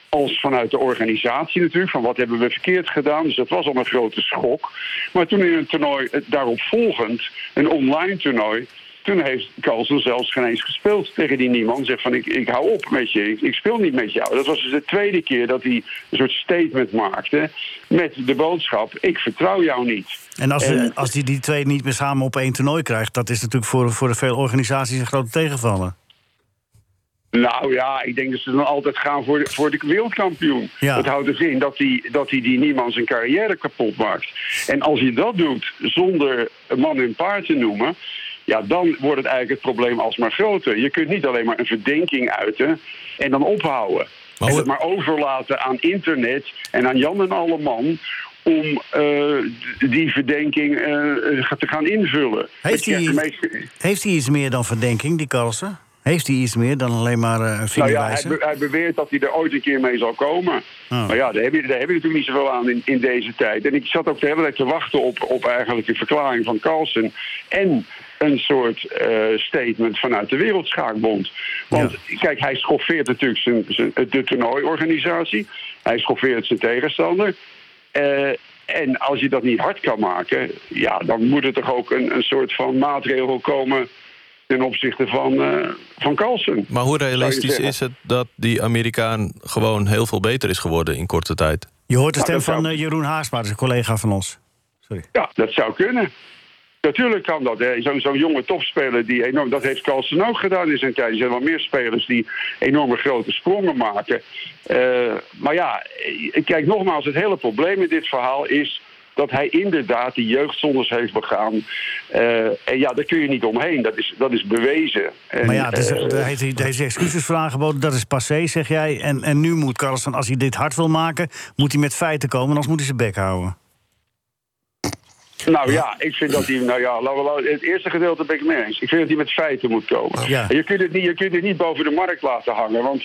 Speaker 8: als vanuit de organisatie natuurlijk. Van wat hebben we verkeerd gedaan? Dus dat was al een grote schok. Maar toen in een toernooi eh, daarop volgend, een online toernooi. Toen heeft Carlsen zelfs geen eens gespeeld tegen die Nieman. Zegt van ik, ik hou op met je, ik, ik speel niet met jou. Dat was dus de tweede keer dat hij een soort statement maakte. Met de boodschap: ik vertrouw jou niet.
Speaker 3: En als, eh,
Speaker 8: En-
Speaker 3: als die, die twee niet meer samen op één toernooi krijgt... dat is natuurlijk voor, voor veel organisaties een grote tegenvaller.
Speaker 8: Nou ja, ik denk dat ze dan altijd gaan voor de, voor de wereldkampioen.
Speaker 3: Ja.
Speaker 8: Dat houdt dus in dat hij die, dat die, die niemand zijn carrière kapot maakt. En als je dat doet zonder een man en paard te noemen... Ja, dan wordt het eigenlijk het probleem alsmaar groter. Je kunt niet alleen maar een verdenking uiten en dan ophouden.
Speaker 5: Maar
Speaker 8: en
Speaker 5: hoe-
Speaker 8: het maar overlaten aan internet en aan Jan en alle man... om eh, d- die verdenking eh, te gaan invullen.
Speaker 3: Heeft
Speaker 8: Dat je
Speaker 3: hij,
Speaker 8: echt de meest-
Speaker 3: heeft hij iets meer dan verdenking, die Carlsen? Heeft hij iets meer dan alleen maar eh, een
Speaker 8: Nou ja, hij,
Speaker 3: vingerwijzen?
Speaker 8: be- hij beweert dat hij er ooit een keer mee zal komen.
Speaker 3: Ah.
Speaker 8: Maar ja, daar heb, je, daar heb je natuurlijk niet zoveel aan in, in deze tijd. En ik zat ook de hele tijd te wachten op, op eigenlijk een verklaring van Carlsen. En een soort eh, statement vanuit de Wereldschaakbond. Want kijk, hij schoffeert natuurlijk zijn, zijn, de toernooiorganisatie. Hij schoffeert zijn tegenstander. Eh, en als je dat niet hard kan maken, ja, dan moet er toch ook een, een soort van maatregel komen ten opzichte van, eh van Carlsen.
Speaker 5: Maar hoe realistisch
Speaker 8: zeggen.
Speaker 5: is het dat die Amerikaan gewoon heel veel beter is geworden in korte tijd?
Speaker 3: Je hoort de
Speaker 8: Nou,
Speaker 3: stem
Speaker 8: dat zou-
Speaker 3: van eh, Jeroen Haasma, dat is een collega van ons. Sorry.
Speaker 8: Ja, dat zou kunnen. Natuurlijk kan dat. hè. Zo'n zo'n jonge topspeler die enorm. Dat heeft Carlsen ook gedaan in zijn tijd. Er zijn wel meer spelers die enorme grote sprongen maken. Eh, maar ja, eh, kijk nogmaals, het hele probleem in dit verhaal is dat hij inderdaad die jeugdzondes heeft begaan. Eh, en ja, daar kun je niet omheen. Dat is, dat is bewezen. En,
Speaker 3: Maar ja, dus,
Speaker 8: eh,
Speaker 3: daar heeft hij deze excuses voor aangeboden. Dat is passé, zeg jij. En, en nu moet Carlsen, als hij dit hard wil maken... moet hij met feiten komen, anders moet hij zijn bek houden.
Speaker 8: Nou ja, ik vind dat hij. Nou ja, laten we- laten we- het eerste gedeelte ben ik mee eens. Ik vind dat hij met feiten moet komen.
Speaker 3: Ja.
Speaker 8: En Je, kunt het niet, je kunt het niet boven de markt laten hangen, want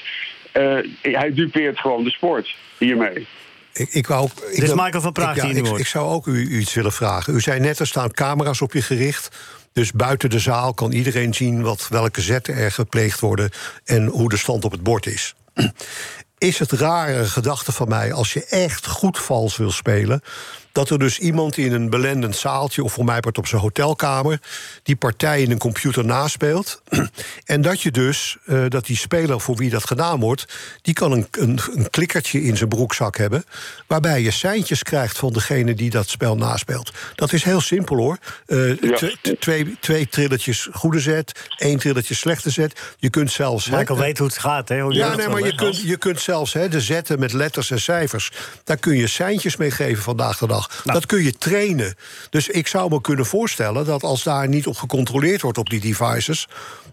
Speaker 8: eh, hij dupeert gewoon de sport hiermee.
Speaker 6: Ik, ik wou, ook- ik
Speaker 3: is
Speaker 6: wil-
Speaker 3: Michael van Praag
Speaker 6: ik,
Speaker 3: die hier nu
Speaker 6: ik,
Speaker 3: wordt.
Speaker 6: ik zou ook u, u iets willen vragen. U zei net, er staan camera's op je gericht. Dus buiten de zaal kan iedereen zien wat, welke zetten er gepleegd worden... en hoe de stand op het bord is. Is het rare gedachte van mij, als je echt goed vals wil spelen... Dat er dus iemand in een belendend zaaltje, of voor mij part op zijn hotelkamer, die partij in een computer naspeelt. en dat je dus, eh, dat die speler voor wie dat gedaan wordt, die kan een, een, een klikkertje in zijn broekzak hebben. Waarbij je seintjes krijgt van degene die dat spel naspeelt. Dat is heel simpel hoor. Eh,
Speaker 8: Ja.
Speaker 6: t- t- twee, twee trilletjes goede zet, één trilletje slechte zet. Je kunt zelfs. hè,
Speaker 3: Michael weet hoe het gaat, hè? hoe je
Speaker 6: ja,
Speaker 3: dat
Speaker 6: nee,
Speaker 3: wil,
Speaker 6: maar
Speaker 3: hè?
Speaker 6: je kunt, je kunt zelfs hè, de zetten met letters en cijfers. Daar kun je seintjes mee geven vandaag de dag.
Speaker 3: Nou.
Speaker 6: Dat kun je trainen. Dus ik zou me kunnen voorstellen dat als daar niet op gecontroleerd wordt op die devices,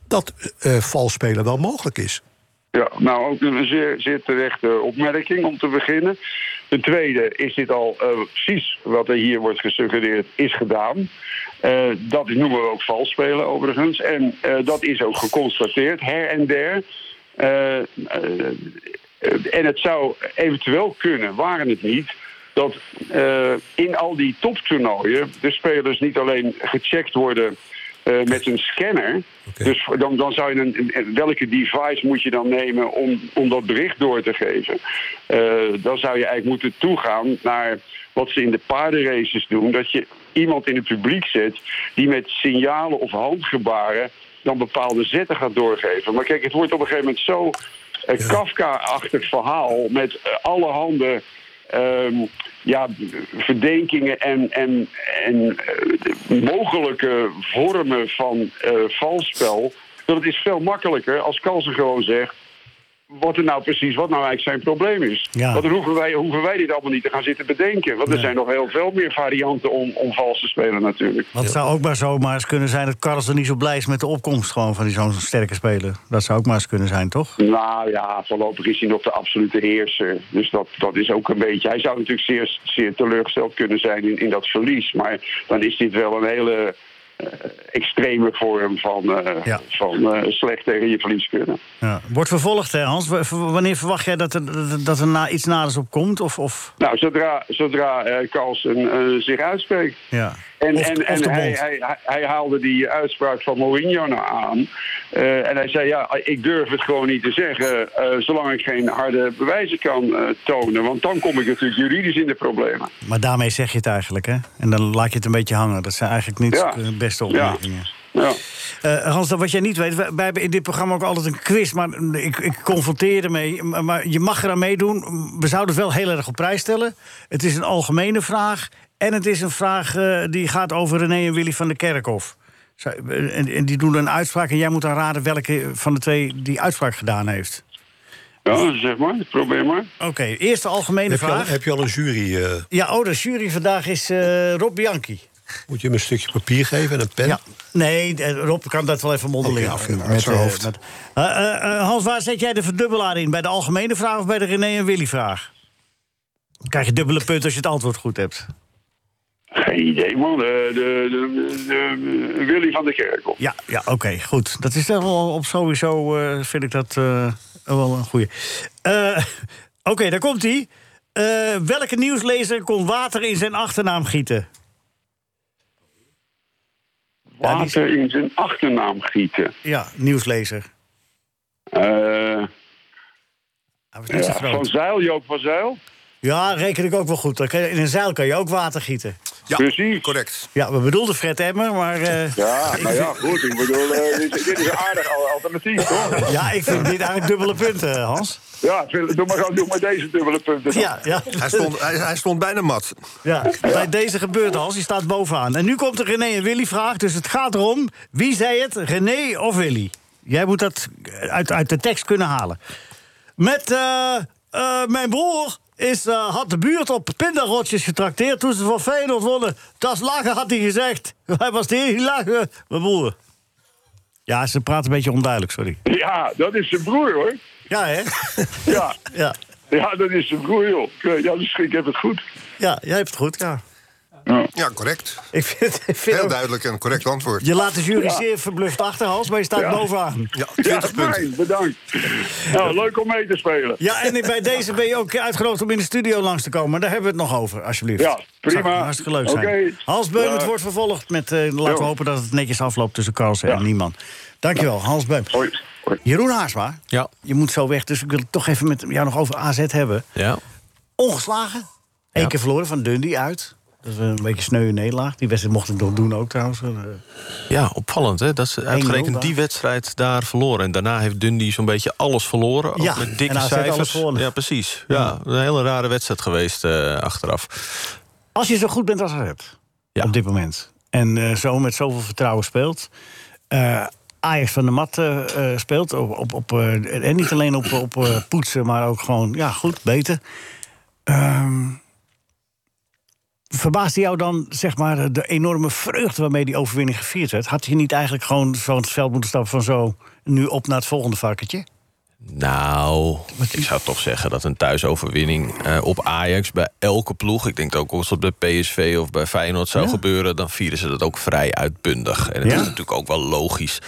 Speaker 6: dat eh vals spelen wel mogelijk is.
Speaker 8: Ja, nou ook een zeer, zeer terechte opmerking om te beginnen. Ten tweede is dit al eh, precies wat er hier wordt gesuggereerd is gedaan. Eh, dat noemen we ook vals spelen overigens. En eh, dat is ook geconstateerd her en der. Eh, eh, en het zou eventueel kunnen, waren het niet, dat eh, in al die toptoernooien de spelers niet alleen gecheckt worden eh, met een scanner. Dus voor- dan, dan zou je een, een- welke device moet je dan nemen om, om dat bericht door te geven? Eh, dan zou je eigenlijk moeten toegaan naar wat ze in de paardenraces doen. Dat je iemand in het publiek zet die met signalen of handgebaren dan bepaalde zetten gaat doorgeven. Maar kijk, het wordt op een gegeven moment zo een Kafka-achtig verhaal met eh, allerhande ehm, ja, verdenkingen en, en, en eh, mogelijke vormen van eh valspel. Dat het is veel makkelijker als Kalsen gewoon zegt wat er nou precies, wat nou eigenlijk zijn probleem is.
Speaker 3: Ja.
Speaker 8: Want dan hoeven wij, hoeven wij dit allemaal niet te gaan zitten bedenken. Want er zijn nog heel veel meer varianten om, om vals te spelen natuurlijk.
Speaker 3: Want het zou ook maar zomaar eens kunnen zijn dat Carlsen niet zo blij is met de opkomst gewoon van die zo'n sterke speler. Dat zou ook maar eens kunnen zijn, toch?
Speaker 8: Nou ja, voorlopig is hij nog de absolute heerser. Dus dat, dat is ook een beetje. Hij zou natuurlijk zeer, zeer teleurgesteld kunnen zijn in, in dat verlies. Maar dan is dit wel een hele eh, extreme vorm van, eh,
Speaker 3: Ja.
Speaker 8: van eh, slecht tegen je verlies kunnen.
Speaker 3: Ja. Wordt vervolgd, hè, Hans? W- v- Wanneer verwacht jij dat er, dat er na, iets naders op komt? Of, of,
Speaker 8: Nou, zodra, zodra eh Carlsen eh, zich uitspreekt.
Speaker 3: ja.
Speaker 8: En,
Speaker 3: of,
Speaker 8: en,
Speaker 3: of de
Speaker 8: en hij,
Speaker 3: bond.
Speaker 8: hij, hij- hij haalde die uitspraak van Mourinho nou aan. Eh, en hij zei, ja, ik durf het gewoon niet te zeggen... eh, zolang ik geen harde bewijzen kan eh, tonen. Want dan kom ik natuurlijk juridisch in de problemen.
Speaker 3: Maar daarmee zeg je het eigenlijk, hè? En dan laat je het een beetje hangen. Dat zijn eigenlijk niet
Speaker 8: Ja.
Speaker 3: de beste
Speaker 8: Ja.
Speaker 3: opmerkingen.
Speaker 8: Ja.
Speaker 3: Eh, Hans, dat wat jij niet weet, wij, wij hebben in dit programma ook altijd een quiz, maar ik, ik confronteer ermee. Maar maar je mag eraan meedoen. We zouden het wel heel erg op prijs stellen. Het is een algemene vraag en het is een vraag eh, die gaat over René en Willy van der Kerkhof. Zij- eh, En, en die doen een uitspraak en jij moet dan raden welke van de twee die uitspraak gedaan heeft.
Speaker 8: Ja, zeg maar. Probeer maar.
Speaker 3: Oké, eerst de algemene
Speaker 6: Heb je, al,
Speaker 3: vraag.
Speaker 6: heb je al een jury? eh,
Speaker 3: Ja, oh, de jury vandaag is eh, Rob Bianchi.
Speaker 6: moet je hem een stukje papier geven en een pen?
Speaker 3: Ja. Nee, eh, Rob kan dat wel even mondeling
Speaker 6: Oké,
Speaker 3: af.
Speaker 6: uit zijn
Speaker 3: eh,
Speaker 6: hoofd.
Speaker 3: met- Eh, eh, eh, Hans, waar zet jij de verdubbelaar in? Bij de algemene vraag of bij de René en Willy vraag? Dan krijg je dubbele punten als je het antwoord goed hebt.
Speaker 8: Geen idee, man. De, de, de- de- Willy van der Kerkhoff.
Speaker 3: Ja, ja oké, goed. Dat is toch wel op sowieso, eh, vind ik dat eh, wel een goeie. Eh, oké, daar komt hij. Eh, welke nieuwslezer kon water in zijn achternaam gieten?
Speaker 8: Water in zijn achternaam gieten.
Speaker 3: Ja, nieuwslezer.
Speaker 8: Eh,
Speaker 3: Hij was niet
Speaker 8: ja,
Speaker 3: zo groot.
Speaker 8: van Zeil, Joop van Zeil.
Speaker 3: Ja, reken ik ook wel goed. Dan kan je- In een zeil kan je ook water gieten.
Speaker 6: Ja,
Speaker 8: Precies.
Speaker 6: correct.
Speaker 3: Ja, we bedoelden Fred Emmer, maar... eh,
Speaker 8: Ja, nou ja, goed. Ik bedoel, eh, dit, is- dit is een aardig al- alternatief, toch?
Speaker 3: Ja, ik vind dit eigenlijk dubbele punten, eh, Hans.
Speaker 8: Ja, Phil, doe maar, gewoon- doe maar deze dubbele punten. dan.
Speaker 3: Ja, ja.
Speaker 9: Hij stond, hij, hij stond bijna mat.
Speaker 3: ja. Bij deze gebeurt Hans, die staat bovenaan. En nu komt de René en Willy vraag, dus het gaat erom... wie zei het, René of Willy? Jij moet dat uit, uit de tekst kunnen halen. Met eh, eh, mijn broer is, eh, had de buurt op pindarotjes getrakteerd... toen ze van Feyenoord wonnen. Dat is lachen, had hij gezegd. Hij was de enige lachen, mijn broer. Ja, ze praat een beetje onduidelijk, sorry.
Speaker 8: ja, dat is zijn broer, hoor.
Speaker 3: Ja, hè?
Speaker 8: Ja,
Speaker 3: Ja,
Speaker 8: ja dat is zijn broer, joh. Ik- Ja, dus ik heb het goed.
Speaker 3: ja jij hebt het goed, ja.
Speaker 9: Ja, correct.
Speaker 3: Ik vind, ik vind
Speaker 9: Heel
Speaker 3: ook-
Speaker 9: duidelijk en correct antwoord.
Speaker 3: Je laat de jury
Speaker 8: Ja.
Speaker 3: zeer verbluft achter, Hans, maar je staat
Speaker 8: Ja.
Speaker 3: bovenaan.
Speaker 9: Ja,
Speaker 8: Ja,
Speaker 9: 20 punten.
Speaker 8: fijn, bedankt. Nou, leuk om mee te spelen.
Speaker 3: Ja, en bij deze ben je ook uitgenodigd om in de studio langs te komen. Maar daar hebben we het nog over, alsjeblieft.
Speaker 8: Ja, prima.
Speaker 3: Zou hartstikke leuk zijn.
Speaker 8: Oké.
Speaker 3: Hans Beum, het
Speaker 8: Ja.
Speaker 3: wordt vervolgd met... eh, laten we
Speaker 8: Jo.
Speaker 3: hopen dat het netjes afloopt tussen Carlsen
Speaker 8: Ja.
Speaker 3: en Nieman. Dankjewel, Hans Beum.
Speaker 8: Hoi. Hoi.
Speaker 3: Jeroen Haarsma,
Speaker 5: Ja.
Speaker 3: je moet zo weg, dus ik wil het toch even met jou nog over AZ hebben.
Speaker 5: Ja.
Speaker 3: Ongeslagen, Eén
Speaker 5: Ja.
Speaker 3: keer verloren van Dundee uit. Dat is een beetje sneu nederlaag. Die wedstrijd mocht het nog doen ook trouwens. Eh,
Speaker 5: Ja, opvallend hè. Dat ze uitgerekend
Speaker 3: daar.
Speaker 5: die wedstrijd daar verloren. En daarna heeft Dundee zo'n beetje alles verloren. Ook
Speaker 3: Ja,
Speaker 5: met dikke
Speaker 3: en AZ alles
Speaker 5: cijfers.
Speaker 3: gewonnen.
Speaker 5: ja, precies. Ja, een hele rare wedstrijd geweest eh, achteraf.
Speaker 3: Als je zo goed bent als je hebt
Speaker 5: Ja.
Speaker 3: op dit moment. En eh, zo met zoveel vertrouwen speelt. eh, Ajax van de mat eh, eh, speelt. Op, op, op, eh, en niet alleen op, op eh, poetsen, maar ook gewoon ja, goed, beter. Ehm verbaasde jou dan zeg maar, de enorme vreugde waarmee die overwinning gevierd werd? Had je niet eigenlijk gewoon zo'n veld moeten stappen van zo... nu op naar het volgende vakketje?
Speaker 5: Nou, ik zou toch zeggen dat een thuisoverwinning eh, op Ajax bij elke ploeg, ik denk dat ook als dat bij PSV of bij Feyenoord zou gebeuren, dan vieren ze dat ook vrij uitbundig. En het
Speaker 3: Ja.
Speaker 5: is natuurlijk ook wel logisch.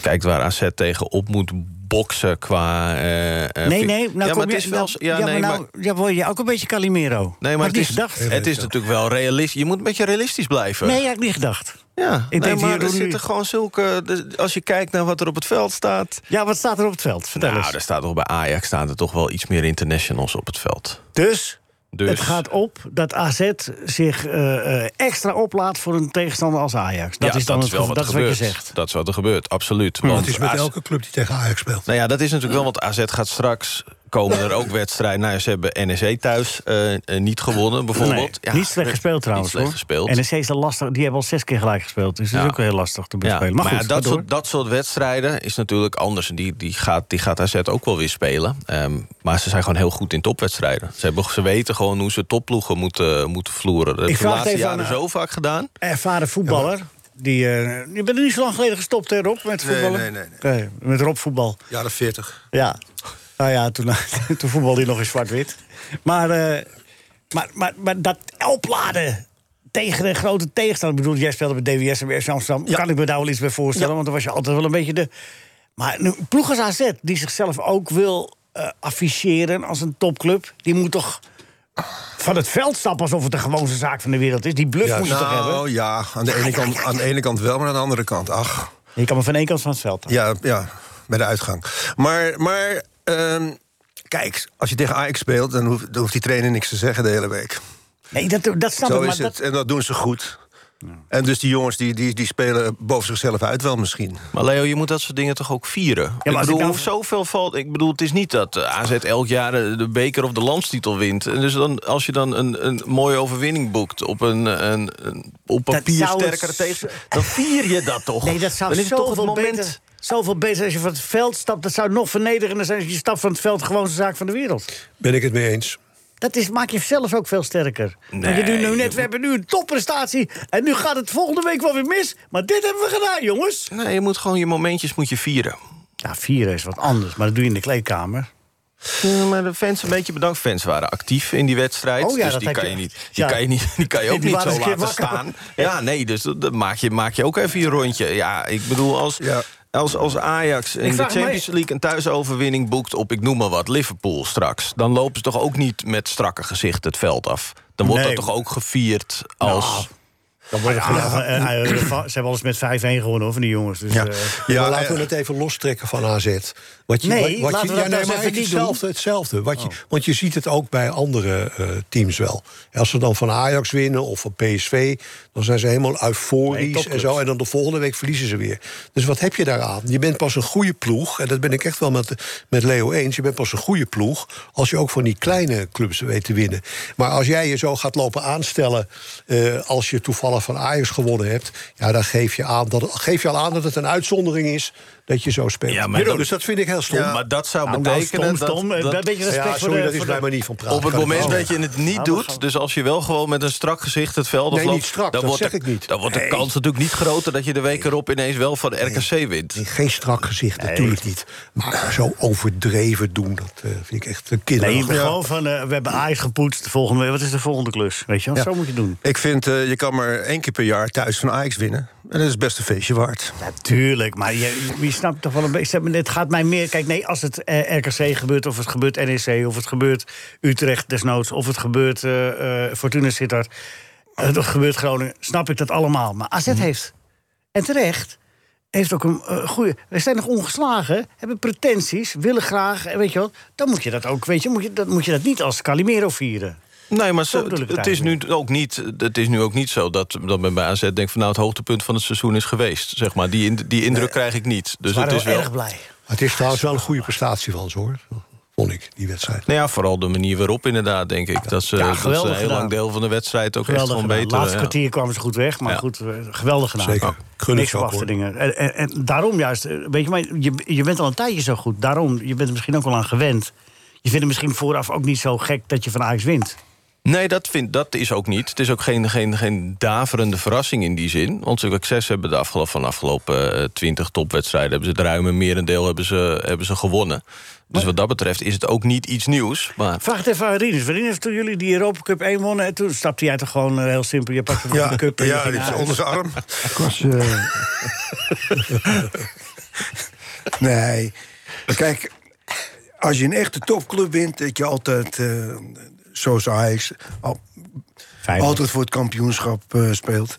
Speaker 5: Kijk waar AZ tegen op moet boksen qua. eh, eh,
Speaker 3: nee,
Speaker 5: fi-
Speaker 3: nee, nou
Speaker 5: ja, maar
Speaker 3: kom
Speaker 5: het
Speaker 3: je-
Speaker 5: is wel.
Speaker 3: nou,
Speaker 5: Ja, nee,
Speaker 3: maar
Speaker 5: maar.
Speaker 3: nou ja, word je ook een beetje Calimero.
Speaker 5: Nee, maar
Speaker 3: Had
Speaker 5: het
Speaker 3: niet
Speaker 5: is,
Speaker 3: gedacht.
Speaker 5: het is natuurlijk wel realistisch. Je moet een beetje realistisch blijven.
Speaker 3: Nee, had ik niet gedacht.
Speaker 5: ja, nee,
Speaker 3: denk,
Speaker 5: maar
Speaker 3: hier
Speaker 5: er
Speaker 3: doen
Speaker 5: zitten
Speaker 3: nu-
Speaker 5: gewoon zulke. de- Als je kijkt naar wat er op het veld staat.
Speaker 3: Ja, wat staat er op het veld? Vertel
Speaker 5: Nou,
Speaker 3: eens.
Speaker 5: er staat toch bij Ajax staan er toch wel iets meer internationals op het veld.
Speaker 3: Dus,
Speaker 5: Dus
Speaker 3: het gaat op dat AZ zich eh, eh, extra oplaat voor een tegenstander als Ajax. Dat
Speaker 5: Ja,
Speaker 3: is dan het
Speaker 5: wel
Speaker 3: geval- dat is wat
Speaker 5: gebeurt.
Speaker 3: je zegt.
Speaker 5: Dat is wat er gebeurt, absoluut.
Speaker 6: Dat
Speaker 5: Want
Speaker 6: is met
Speaker 5: AZ
Speaker 6: elke club die tegen Ajax speelt.
Speaker 5: Nou ja, dat is natuurlijk wel, want AZ gaat straks... komen er ook wedstrijden. Nou, ja, ze hebben NEC thuis eh, eh, niet gewonnen, bijvoorbeeld.
Speaker 3: Nee,
Speaker 5: ja,
Speaker 3: niet slecht
Speaker 5: eh,
Speaker 3: gespeeld trouwens.
Speaker 5: Niet slecht
Speaker 3: hoor.
Speaker 5: gespeeld.
Speaker 3: NEC is dan lastig, die hebben al zes keer gelijk gespeeld. Dus dat
Speaker 5: Ja.
Speaker 3: is ook heel lastig te
Speaker 5: Ja,
Speaker 3: bespelen. maar goed,
Speaker 5: ja, dat,
Speaker 3: ga door.
Speaker 5: soort, dat soort wedstrijden is natuurlijk anders. En die, die, gaat, die gaat AZ ook wel weer spelen. Ehm, maar ze zijn gewoon heel goed in topwedstrijden. Ze, hebben, ze weten gewoon hoe ze topploegen moeten, moeten vloeren. Dat hebben ze de
Speaker 3: vraag het
Speaker 5: laatste
Speaker 3: even
Speaker 5: jaren
Speaker 3: aan, eh,
Speaker 5: zo vaak gedaan.
Speaker 3: ervaren voetballer. Die, eh, je bent er niet zo lang geleden gestopt, hè, Rob, met
Speaker 9: Nee,
Speaker 3: voetballen?
Speaker 9: nee, nee, nee.
Speaker 3: Oké, met Rob voetbal.
Speaker 9: Jaren 40.
Speaker 3: Ja. Nou ja, toen, toen voetbalde hij nog in zwart-wit. Maar, eh, maar, maar, maar dat opladen tegen een grote tegenstander. Ik bedoel, jij speelde bij DWS en bij FC Amsterdam. Kan ik me daar wel iets bij voorstellen, want dan was je altijd wel een beetje de... Maar nu, een ploeg als AZ, die zichzelf ook wil eh, afficheren als een topclub... die moet toch van het veld stappen alsof het de gewoonste zaak van de wereld is. Die bluff moet je toch hebben?
Speaker 9: Nou ja, aan de, ene kant, aan de ene kant wel, maar aan de andere kant, ach.
Speaker 3: Je kan maar van één kant van het veld. af.
Speaker 9: Ja, ja bij de uitgang. Maar, maar ehm, kijk, als je tegen Ajax speelt... Dan hoeft, dan hoeft die trainer niks te zeggen de hele week.
Speaker 3: Nee, dat, dat snap
Speaker 9: Zo
Speaker 3: ik, maar
Speaker 9: is
Speaker 3: dat,
Speaker 9: het. En dat doen ze goed. En dus die jongens die, die, die spelen boven zichzelf uit wel misschien.
Speaker 5: Maar Leo, je moet dat soort dingen toch ook vieren?
Speaker 3: als
Speaker 5: ik
Speaker 3: ik
Speaker 5: bedoel,
Speaker 3: nou-
Speaker 5: hoef zoveel valt. Ik bedoel, het is niet dat eh, AZ elk jaar eh, de beker of de landstitel wint. En dus dan, als je dan een, een mooie overwinning boekt op een, een, een op papier
Speaker 3: zou het
Speaker 5: sterkere
Speaker 3: z-
Speaker 5: tegen, dan vier je dat toch?
Speaker 3: Nee, dat zou
Speaker 5: dan is het toch het
Speaker 3: zoveel
Speaker 5: moment.
Speaker 3: beter... Zoveel beter als je van het veld stapt. Dat zou nog vernederender zijn als je stapt van het veld. Gewoon de zaak van de wereld.
Speaker 6: Ben ik het mee eens?
Speaker 3: Dat is, maak je zelf ook veel sterker. Want je doet nu
Speaker 5: Nee,
Speaker 3: net, we hebben nu een topprestatie. En nu gaat het volgende week wel weer mis. Maar dit hebben we gedaan, jongens.
Speaker 5: Nee, je moet gewoon je momentjes moet je vieren.
Speaker 3: Ja, vieren is wat anders. Maar dat doe je in de kleedkamer.
Speaker 5: Ja, maar de fans een beetje bedankt. Fans waren actief in die wedstrijd.
Speaker 3: Oh ja,
Speaker 5: dus
Speaker 3: dat
Speaker 5: die
Speaker 3: heb
Speaker 5: kan
Speaker 3: je-
Speaker 5: je niet. Die
Speaker 3: ja.
Speaker 5: kan je niet. Die kan je ook
Speaker 3: Die
Speaker 5: niet
Speaker 3: waren
Speaker 5: zo
Speaker 3: een keer
Speaker 5: laten
Speaker 3: wakker.
Speaker 5: staan. Ja, nee. Dus dat, dat maak, je, maak je ook even je rondje. Ja, ik bedoel als.
Speaker 9: Ja.
Speaker 5: Als, als Ajax in de
Speaker 3: vraag me-
Speaker 5: Champions League een thuisoverwinning boekt op, ik noem maar wat, Liverpool straks. Dan lopen ze toch ook niet met strakke gezichten het veld af. Dan wordt
Speaker 3: Nee. Nou,
Speaker 5: dat toch ook gevierd als.
Speaker 3: Dan wordt het gewoon- eh, eh, ze hebben alles met 5-1 gewonnen hoor, van die jongens. Dus, eh,
Speaker 6: Ja,
Speaker 9: Ja,
Speaker 6: Nou, laten we
Speaker 9: eh,
Speaker 6: het even lostrekken van AZ. Wat je,
Speaker 3: Nee,
Speaker 6: wat- wat
Speaker 3: laten
Speaker 6: je,
Speaker 3: we
Speaker 6: ja,
Speaker 3: dat nou
Speaker 6: nee,
Speaker 3: eens
Speaker 6: maar
Speaker 3: even
Speaker 6: het
Speaker 3: niet
Speaker 6: hetzelfde. hetzelfde. Wat je,
Speaker 5: Oh.
Speaker 6: want je ziet het ook bij andere eh, teams wel. Als ze dan van Ajax winnen of van PSV... dan zijn ze helemaal
Speaker 3: Nee,
Speaker 6: euforisch en
Speaker 3: topclubs.
Speaker 6: zo. En dan de volgende week verliezen ze weer. Dus wat heb je daaraan? Je bent pas een goede ploeg. En dat ben ik echt wel met, met Leo eens. Je bent pas een goede ploeg als je ook van die kleine clubs weet te winnen. Maar als jij je zo gaat lopen aanstellen... eh, als je toevallig van Ajax gewonnen hebt... ja, dan geef je, aan dat, geef je al aan dat het een uitzondering is... dat je zo speelt.
Speaker 5: Ja, maar dat-
Speaker 6: dus dat vind ik heel stom.
Speaker 5: Maar dat zou
Speaker 3: nou, nou,
Speaker 5: betekenen
Speaker 3: stom,
Speaker 5: dat-
Speaker 3: stom. eh,
Speaker 5: dat,
Speaker 3: een beetje respect
Speaker 6: Ja,
Speaker 3: voor de...
Speaker 6: sorry, dat is
Speaker 3: voor
Speaker 6: bij
Speaker 3: de- Nou,
Speaker 6: manier niet van praten.
Speaker 5: Op het
Speaker 6: Kan ik
Speaker 5: moment
Speaker 6: wel.
Speaker 5: dat je het niet doet, dus als je wel gewoon met een strak gezicht het veld
Speaker 6: Nee,
Speaker 5: afloopt...
Speaker 6: niet strak,
Speaker 5: dan
Speaker 6: dat
Speaker 5: wordt
Speaker 6: zeg
Speaker 5: de,
Speaker 6: ik niet.
Speaker 5: Dan wordt de kans natuurlijk niet groter dat je de week erop ineens wel van RKC wint.
Speaker 6: Nee, Geen strak gezicht, natuurlijk niet. Maar zo overdreven doen, dat eh, vind ik echt een
Speaker 3: Nee, je
Speaker 6: kinderachtig.
Speaker 3: bent gewoon van, eh, we hebben Ajax gepoetst. de Volgende, week- wat is de volgende klus? Weet je wel, zo moet je doen.
Speaker 9: Ik vind, eh, je kan maar één keer per jaar thuis van Ajax winnen. En dat is best een feestje waard.
Speaker 3: Natuurlijk, maar je, je snapt toch wel een beetje. Het gaat mij meer. Kijk, nee, als het eh, RKC gebeurt, of het gebeurt NEC, of het gebeurt Utrecht desnoods, of het gebeurt eh, eh, Fortuna Sittard, eh, dat gebeurt Groningen, snap ik dat allemaal. Maar AZ heeft, en terecht, heeft ook een eh, goede. We zijn nog ongeslagen, hebben pretenties, willen graag, eh, weet je wel. Dan moet je dat ook, weet je, moet je, dat, moet je dat niet als Calimero vieren.
Speaker 5: Nee, maar ze-
Speaker 3: Zo bedoel ik
Speaker 5: het,
Speaker 3: het
Speaker 5: is nu
Speaker 3: eigenlijk.
Speaker 5: ook niet, het is nu ook niet zo dat, dat men bij AZ denkt... van nou, het hoogtepunt van het seizoen is geweest. Zeg maar. die, in- die indruk krijg ik niet. Dus
Speaker 3: Maar
Speaker 5: het
Speaker 3: wel
Speaker 5: is wel...
Speaker 3: erg blij.
Speaker 6: Het is trouwens wel een goede prestatie van ze, hoor. Vond ik, die wedstrijd.
Speaker 5: Nou ja, vooral de manier waarop inderdaad, denk ik. Dat ze,
Speaker 3: Ja,
Speaker 5: dat ze
Speaker 3: geweldig
Speaker 5: een heel
Speaker 3: gedaan.
Speaker 5: lang deel van de wedstrijd ook
Speaker 3: Geweldig
Speaker 5: echt
Speaker 3: gedaan.
Speaker 5: gewoon beter...
Speaker 3: Laatste
Speaker 5: ja.
Speaker 3: kwartier kwamen ze goed weg, maar
Speaker 5: Ja.
Speaker 3: goed, eh, geweldig gedaan.
Speaker 6: Zeker.
Speaker 3: Ja.
Speaker 6: Gun het
Speaker 3: Niks
Speaker 6: ze ook,
Speaker 3: verwachte
Speaker 6: hoor.
Speaker 3: dingen. En, en, en daarom juist, eh, weet je, maar je, je bent al een tijdje zo goed. Daarom, je bent er misschien ook wel aan gewend. Je vindt het misschien vooraf ook niet zo gek dat je van Ajax wint.
Speaker 5: Nee, dat, vind, dat is ook niet. Het is ook geen, geen, geen daverende verrassing in die zin. Want succes hebben de afgelopen, van de afgelopen eh, twintig topwedstrijden... hebben ze het ruime merendeel hebben ze, hebben ze gewonnen. Dus wat dat betreft is het ook niet iets nieuws. Maar
Speaker 3: Vraag het even aan Rinus. Want Rinus, toen jullie die Europa Cup 1 wonnen... en toen stapte hij er gewoon eh, heel simpel. Je pakte gewoon
Speaker 9: Ja,
Speaker 3: de cup en je
Speaker 9: ja
Speaker 3: ging
Speaker 9: die is
Speaker 3: naar
Speaker 9: onder
Speaker 3: huis.
Speaker 9: zijn arm.
Speaker 4: Ik was... eh, nee. Kijk, als je een echte topclub wint... dat je altijd, eh, zoals Ajax... al-
Speaker 3: Fijn.
Speaker 4: altijd voor het kampioenschap eh, speelt.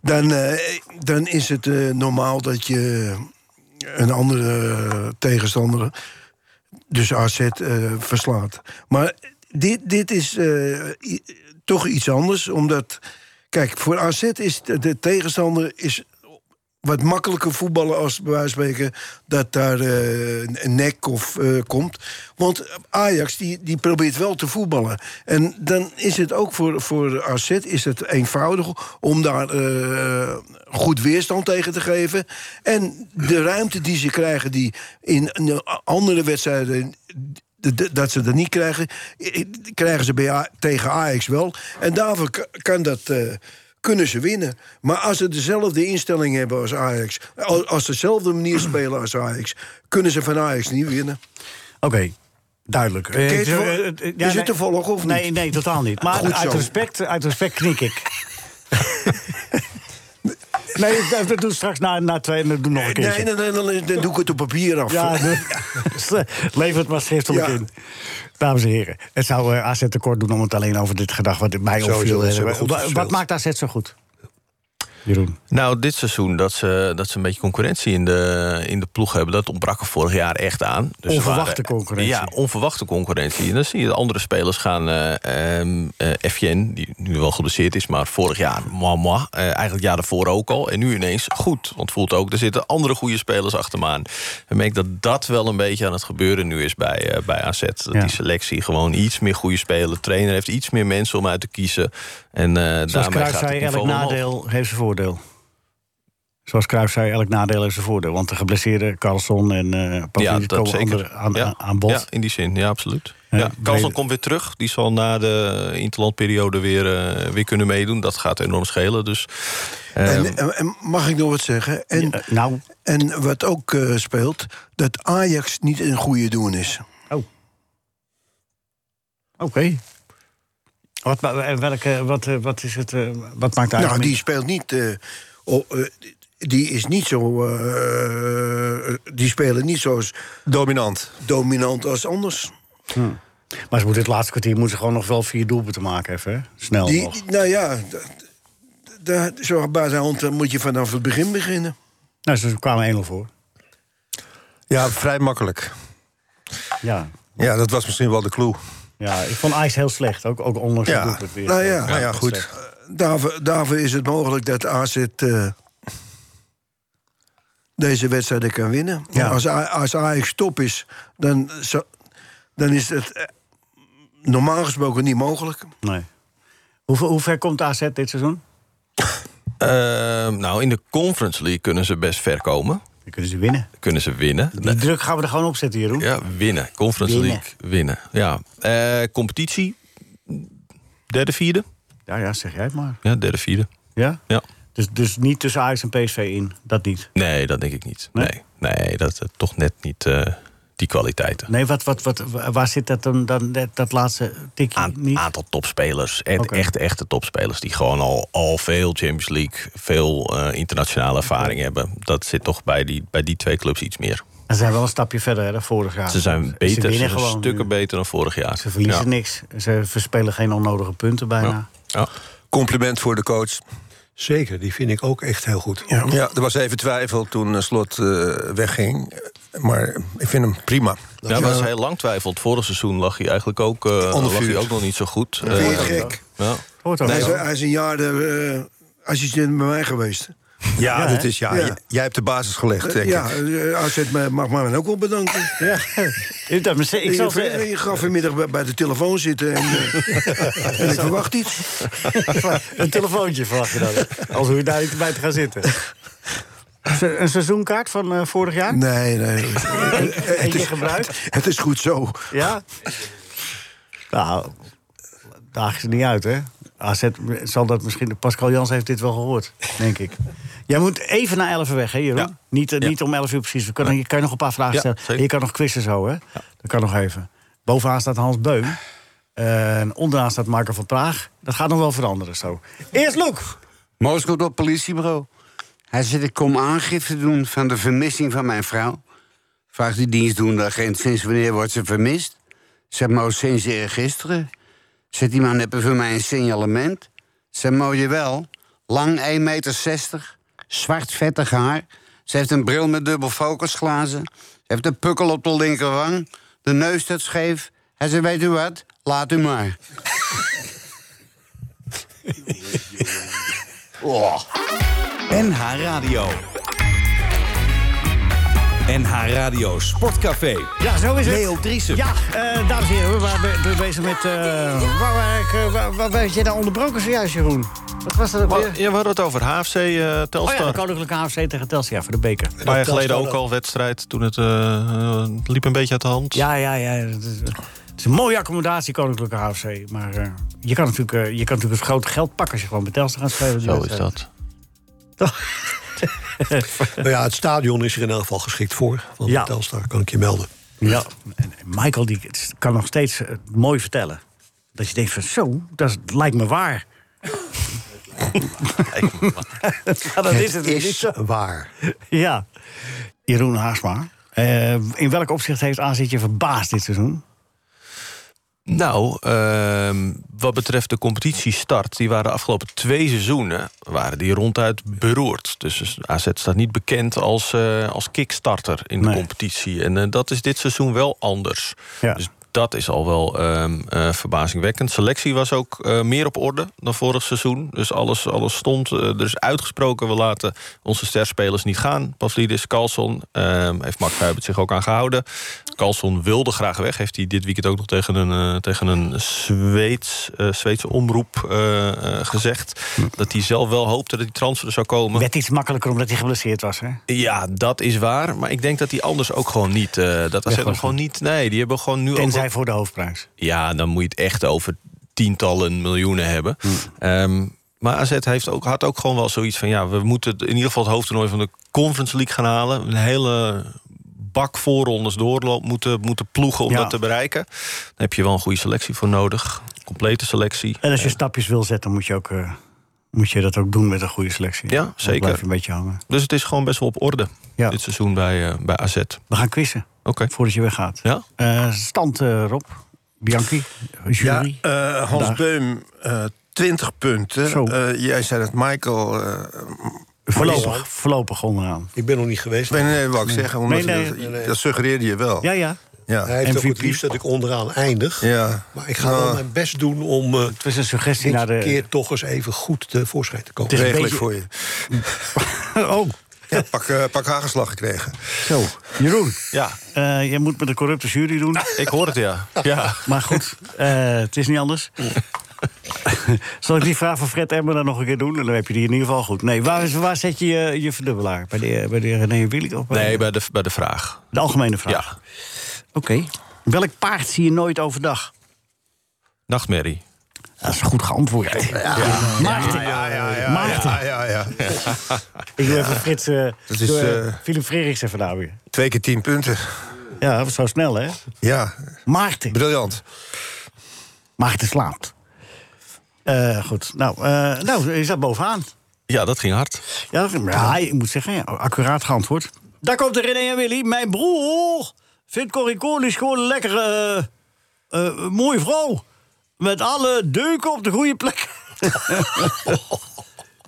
Speaker 4: Dan, eh, dan is het eh, normaal dat je een andere eh, tegenstander, dus AZ, eh, verslaat. Maar dit, dit is eh, i- toch iets anders, omdat... Kijk, voor AZ is de, de tegenstander is wat makkelijker voetballen als bij wijze van spreken dat daar eh, een nek of eh, komt. Want Ajax die, die probeert wel te voetballen. En dan is het ook voor, voor AZ is het eenvoudig om daar eh, goed weerstand tegen te geven. En de ruimte die ze krijgen die in in andere wedstrijden d- d- dat ze dat niet krijgen, i- i- krijgen ze bij A- tegen Ajax wel. En daarvoor k- kan dat, eh, kunnen ze winnen. Maar als ze dezelfde instelling hebben als Ajax, al- als ze dezelfde manier spelen als Ajax, kunnen ze van Ajax niet winnen.
Speaker 3: Oké, duidelijk. Eh,
Speaker 4: je het
Speaker 3: zo,
Speaker 4: vol-
Speaker 3: eh, eh,
Speaker 4: is het te volgen of niet?
Speaker 3: Nee, nee, totaal niet. Maar
Speaker 4: Goed
Speaker 3: uit
Speaker 4: zo.
Speaker 3: respect, uit respect knik ik. nee, ik- dat doe ik straks na, na twee en doe nog een keer.
Speaker 4: Nee, nee, nee, dan, dan doe ik het op papier af.
Speaker 3: Ja, de- lever het maar schriftelijk
Speaker 4: Ja.
Speaker 3: in. Dames en heren, het zou eh, AZ tekort doen om het alleen over dit gedrag wat mij
Speaker 6: Sowieso,
Speaker 3: opviel.
Speaker 6: ze
Speaker 3: eh,
Speaker 6: hebben
Speaker 3: wa-
Speaker 6: goed
Speaker 3: wa-
Speaker 6: gespeeld.
Speaker 3: wat maakt AZ zo goed? Jeroen.
Speaker 5: Nou, dit seizoen dat ze, dat ze een beetje concurrentie in de, in de ploeg hebben... dat ontbrak er vorig jaar echt aan. Dus er
Speaker 3: Onverwachte concurrentie.
Speaker 5: Ja, onverwachte concurrentie. En dan zie je de andere spelers gaan... eh ehm, eh, FN, die nu wel geblesseerd is, maar vorig jaar... moi, moi, eh, eigenlijk het jaar daarvoor ook al. En nu ineens goed. Want voelt ook, er zitten andere goede spelers achter me aan. Ik merk dat dat wel een beetje aan het gebeuren nu is bij, eh, bij AZ. Dat
Speaker 3: Ja.
Speaker 5: die selectie gewoon iets meer goede spelers. trainer heeft iets meer mensen om uit te kiezen. En eh
Speaker 3: Zoals
Speaker 5: daarmee
Speaker 3: Cruijff
Speaker 5: gaat het
Speaker 3: zei,
Speaker 5: niveau
Speaker 3: elk
Speaker 5: omhoog.
Speaker 3: nadeel heeft zijn voordeel. Zoals Cruijff zei, elk nadeel heeft zijn voordeel. Want de geblesseerden, Carlson en eh
Speaker 5: Ja,
Speaker 3: Pavlidis
Speaker 5: dat
Speaker 3: komen
Speaker 5: zeker.
Speaker 3: anderen aan,
Speaker 5: ja.
Speaker 3: aan- aan bod.
Speaker 5: Ja, in die zin, ja, absoluut.
Speaker 3: Ja,
Speaker 5: Ja,
Speaker 3: brede-
Speaker 5: Carlsen komt weer terug. Die zal na de interlandperiode weer, eh, weer kunnen meedoen. Dat gaat enorm schelen. Dus, eh,
Speaker 4: En, en- en mag ik nog wat zeggen? En,
Speaker 3: Ehm. Eh, nou,
Speaker 4: en wat ook eh, speelt, dat Ajax niet een goede doen is.
Speaker 3: oh. Oké. Wat, ma- eh, welke, wat, eh, wat, is het, eh, wat maakt
Speaker 4: Nou,
Speaker 3: eigenlijk...
Speaker 4: die speelt niet. eh, o- eh, die is niet zo. eh, die spelen niet zo
Speaker 9: Dominant.
Speaker 4: dominant als anders.
Speaker 3: Hm. Maar ze moeten het laatste kwartier moeten ze gewoon nog wel vier doelpunten maken even. hè? Snel
Speaker 4: Die,
Speaker 3: nog.
Speaker 4: nou ja, daar, zo bij de hand eh, moet je vanaf het begin beginnen.
Speaker 3: Nou, ze kwamen 1-0 voor.
Speaker 9: Ja, vrij makkelijk.
Speaker 3: Ja.
Speaker 9: Ja, dat was misschien wel de clue.
Speaker 3: ja, ik vond IJs heel slecht. Ook, ook ondanks
Speaker 9: Ja.
Speaker 3: het doelpunt weer. eh,
Speaker 4: Nou ja,
Speaker 9: Maar ja, goed.
Speaker 3: slecht.
Speaker 4: Daarvoor, daarvoor is het mogelijk dat AZ eh, deze wedstrijd kan winnen.
Speaker 3: Ja.
Speaker 4: Als, A- als Ajax top is, dan, zo- dan is het eh, normaal gesproken niet mogelijk.
Speaker 3: Nee. Hoe, hoe ver komt AZ dit seizoen?
Speaker 5: eh, nou, in de Conference League kunnen ze best ver komen.
Speaker 3: Dan kunnen ze winnen.
Speaker 5: Kunnen ze winnen.
Speaker 3: Die druk gaan we er gewoon op zetten, Jeroen.
Speaker 5: Ja, winnen. Conference
Speaker 3: Winnen.
Speaker 5: League winnen. Ja. Eh, competitie. Derde, vierde.
Speaker 3: Ja, ja, zeg jij het maar.
Speaker 5: Ja, derde, vierde.
Speaker 3: Ja?
Speaker 5: Ja.
Speaker 3: Dus, dus niet tussen Ajax en PSV in. Dat niet.
Speaker 5: Nee, dat denk ik niet.
Speaker 3: Nee?
Speaker 5: Nee, nee, dat eh, toch net niet eh, die kwaliteiten.
Speaker 3: Nee, wat, wat, wat, wa- waar zit dat dan, dan dat, dat laatste tikje?
Speaker 5: Een
Speaker 3: niet?
Speaker 5: aantal topspelers. Echt,
Speaker 3: Oké.
Speaker 5: echt echte topspelers. Die gewoon al, al veel Champions League, veel eh, internationale ervaring hebben. Dat zit toch bij die, bij die twee clubs iets meer.
Speaker 3: Ze zijn wel een stapje verder hè, dan vorig jaar.
Speaker 5: Ze zijn beter, ze
Speaker 3: winnen
Speaker 5: zijn
Speaker 3: gewoon
Speaker 5: stukken
Speaker 3: nu.
Speaker 5: beter dan vorig jaar.
Speaker 3: Ze verliezen
Speaker 5: Ja.
Speaker 3: niks. Ze verspelen geen onnodige punten bijna.
Speaker 5: Ja.
Speaker 9: Compliment voor de coach.
Speaker 6: Zeker, die vind ik ook echt heel goed.
Speaker 9: Ja, er was even twijfel toen eh, Slot eh, wegging. Maar ik vind hem prima.
Speaker 5: Daar was heel lang twijfeld. Vorig seizoen lag hij eigenlijk ook, eh,
Speaker 9: Onder
Speaker 5: lag hij
Speaker 9: vuur.
Speaker 5: ook nog niet zo goed.
Speaker 4: Dat
Speaker 5: Eh,
Speaker 4: vind je gek.
Speaker 5: ja.
Speaker 3: Hoort ook
Speaker 4: Hij is,
Speaker 3: wel.
Speaker 4: hij is een jaar de, eh, assistent bij mij geweest.
Speaker 9: Ja,
Speaker 3: Ja,
Speaker 9: dat
Speaker 3: hè?
Speaker 9: is ja.
Speaker 4: Ja.
Speaker 9: J- Jij hebt de basis gelegd, denk
Speaker 4: ja,
Speaker 9: ik.
Speaker 4: eh, AZ mag mij ook wel bedanken.
Speaker 3: Ja. Ik dacht, maar ik
Speaker 4: Ik
Speaker 3: zal
Speaker 4: je, je gaat vanmiddag bij, bij de telefoon zitten en, eh, en ik verwacht iets.
Speaker 3: Een telefoontje verwacht je dan. Als hoe je daar niet bij te gaan zitten. Se- Een seizoenkaart van eh, vorig jaar?
Speaker 4: Nee, nee.
Speaker 3: Eén keer gebruikt?
Speaker 4: Het is goed zo.
Speaker 3: Ja? Nou, daag ze niet uit, hè? AZ zal dat misschien... Pascal Jans heeft dit wel gehoord, denk ik. Jij moet even na 11 uur weg, hè, Jeroen?
Speaker 5: Ja.
Speaker 3: Niet, eh,
Speaker 5: Ja.
Speaker 3: niet om 11 uur precies. We kunnen, je kan nog een paar vragen
Speaker 5: Ja,
Speaker 3: stellen.
Speaker 5: zeker.
Speaker 3: En Je kan nog quizzen zo, hè? Dat kan nog even. Bovenaan staat Hans Beum. Eh, en onderaan staat Marco van Praag. Dat gaat nog wel veranderen zo. Eerst Loek!
Speaker 10: Moos komt op politiebureau. Hij zegt, ik kom aangifte doen van de vermissing van mijn vrouw. Vraagt die dienstdoende agent, sinds wanneer wordt ze vermist? Zegt Moos, sinds eergisteren. Zegt die man, heb je voor mij een signalement? Zegt Mo, jawel. Lang 1,60 meter, zwart vettig haar. Ze heeft een bril met dubbel focusglazen. Ze heeft een pukkel op de linkerwang. De neus staat scheef. Hij zegt, weet u wat? Laat u maar. Oh.
Speaker 11: NH Radio. NH Radio Sportcafé.
Speaker 3: Ja, zo is het.
Speaker 11: Leo Driessen.
Speaker 3: Ja, eh, dames en heren, we waren be- be- bezig met... eh, waar, waar, ik, eh, waar, waar ben jij nou onderbroken zojuist, Jeroen? Wat was dat ook
Speaker 5: Maar,
Speaker 3: weer?
Speaker 5: ja, we hadden het over HFC eh
Speaker 3: Oh
Speaker 5: Telstar.
Speaker 3: ja, de Koninklijke HFC tegen Telstra voor de beker.
Speaker 5: een paar jaar geleden ook
Speaker 6: Telstar-
Speaker 5: al wedstrijd. Toen het eh, eh, het liep een beetje uit de hand.
Speaker 3: Ja, ja, ja. Het is, het is een mooie accommodatie, Koninklijke HFC. Maar eh, je, kan natuurlijk, eh, je kan natuurlijk het grote geld pakken als je gewoon met Telstra gaat spelen. die
Speaker 5: Zo is
Speaker 3: wedstrijd.
Speaker 5: dat.
Speaker 6: Nou ja, het stadion is er in elk geval geschikt voor. Van
Speaker 3: Ja.
Speaker 6: Telstar, kan ik je melden.
Speaker 3: Ja, en Michael die het kan nog steeds eh, mooi vertellen. Dat je denkt van zo, dat is- lijkt me waar. Ja, dat is het. niet
Speaker 6: Is
Speaker 3: zo.
Speaker 6: waar.
Speaker 3: Ja. Jeroen Haasma. eh, in welk opzicht heeft AZ je verbaasd dit seizoen?
Speaker 5: Nou, ehm, wat betreft de competitiestart, die waren de afgelopen twee seizoenen waren die ronduit beroerd. Dus AZ staat niet bekend als, eh, als kickstarter in de
Speaker 3: Nee.
Speaker 5: competitie. En eh, dat is dit seizoen wel anders.
Speaker 3: Ja.
Speaker 5: Dus dat is al wel ehm, eh, verbazingwekkend. Selectie was ook eh, meer op orde dan vorig seizoen. Dus alles, alles stond. eh, er is uitgesproken, we laten onze sterspelers niet gaan. Pavlidis, Carlson, ehm, heeft Mark Kuipert zich ook aan gehouden. Carlson wilde graag weg. Heeft hij dit weekend ook nog tegen een, eh, tegen een Zweeds, eh, Zweedse omroep eh, eh, gezegd. Dat hij zelf wel hoopte dat die transfer zou komen.
Speaker 3: Werd iets makkelijker omdat hij geblesseerd was, hè?
Speaker 5: Ja, dat is waar. Maar ik denk dat die anders ook gewoon niet... eh dat was
Speaker 3: was
Speaker 5: gewoon niet... Nee, die hebben gewoon nu ook... wel-
Speaker 3: Tenzij voor de hoofdprijs.
Speaker 5: ja, dan moet je het echt over tientallen miljoenen hebben.
Speaker 3: Hm.
Speaker 5: Ehm, maar AZ heeft ook, had ook gewoon wel zoiets van... ja, we moeten het- in ieder geval het hoofdtoernooi van de Conference League gaan halen. Een hele bak voorrondes doorloop moeten, moeten ploegen om
Speaker 3: Ja.
Speaker 5: dat te bereiken. Daar heb je wel een goede selectie voor nodig. Complete selectie.
Speaker 3: En als je stapjes wil zetten, moet je, ook, eh, moet je dat ook doen met een goede selectie.
Speaker 5: Ja,
Speaker 3: Dan
Speaker 5: zeker.
Speaker 3: blijf je een beetje hangen.
Speaker 5: Dus het is gewoon best wel op orde
Speaker 3: Ja.
Speaker 5: dit seizoen bij, eh, bij AZ. Oké.
Speaker 3: We gaan quizzen, voordat je weggaat.
Speaker 5: Ja.
Speaker 3: Eh, stand, eh, Rob. Bianchi,
Speaker 9: Ja,
Speaker 3: jury.
Speaker 9: eh, Hans
Speaker 3: Daar.
Speaker 9: Beum, eh 20
Speaker 3: Zo.
Speaker 9: punten. Eh, jij zei dat Michael... eh,
Speaker 3: voorlopig, voorlopig onderaan.
Speaker 6: Ik ben nog niet geweest.
Speaker 9: nee, nee, wou ik zeggen. Omdat
Speaker 3: Nee,
Speaker 9: je
Speaker 3: nee.
Speaker 9: dat, dat suggereerde je wel.
Speaker 3: Ja, ja.
Speaker 9: Ja.
Speaker 6: Hij heeft ook het
Speaker 3: MVP.
Speaker 6: liefst dat ik onderaan eindig.
Speaker 9: Ja.
Speaker 6: Maar ik ga
Speaker 9: Nou,
Speaker 6: wel mijn best doen om eh
Speaker 3: Het was een suggestie
Speaker 6: dit
Speaker 3: naar de...
Speaker 6: keer toch eens even goed tevoorschijn te komen.
Speaker 3: Het is een
Speaker 9: regel ik
Speaker 3: beetje-
Speaker 9: voor je.
Speaker 3: Oh,
Speaker 9: Ja, pak, eh, pak hagelslag gekregen.
Speaker 3: zo. Jeroen,
Speaker 5: Ja,
Speaker 3: eh, jij moet met een corrupte jury doen.
Speaker 5: ik hoor het, ja. ja.
Speaker 3: Maar goed, eh, het is niet anders. Zal ik die vraag van Fred Emmer dan nog een keer doen? Dan heb je die in ieder geval goed. Nee, waar, waar zet je eh, je, je verdubbelaar? Bij de, bij de René Willy? Of bij
Speaker 5: Nee, bij de, bij de vraag.
Speaker 3: de algemene vraag?
Speaker 5: Ja,
Speaker 3: Oké. Welk paard zie je nooit overdag?
Speaker 5: nachtmerrie.
Speaker 3: Dat is goed geantwoord. Maarten. Maarten.
Speaker 9: Ah, ja, ja.
Speaker 3: Ik doe even Frits... eh
Speaker 9: Dat is,
Speaker 3: doe, eh,
Speaker 9: eh,
Speaker 3: Philip Frerichs even nou weer.
Speaker 9: Twee keer 10 punten.
Speaker 3: Ja, dat was zo snel, hè?
Speaker 9: Ja,
Speaker 3: Maarten.
Speaker 9: briljant.
Speaker 3: Maarten slaapt. Eh, goed. Nou, eh, nou, is dat bovenaan?
Speaker 5: Ja, dat ging hard.
Speaker 3: Ja, ja, ik moet zeggen, ja, accuraat geantwoord. Daar komt de René en Willy. Mijn broer vindt Corrie Cornish gewoon een lekkere, eh, eh, mooie vrouw. Met alle deuken op de goede plek. nou,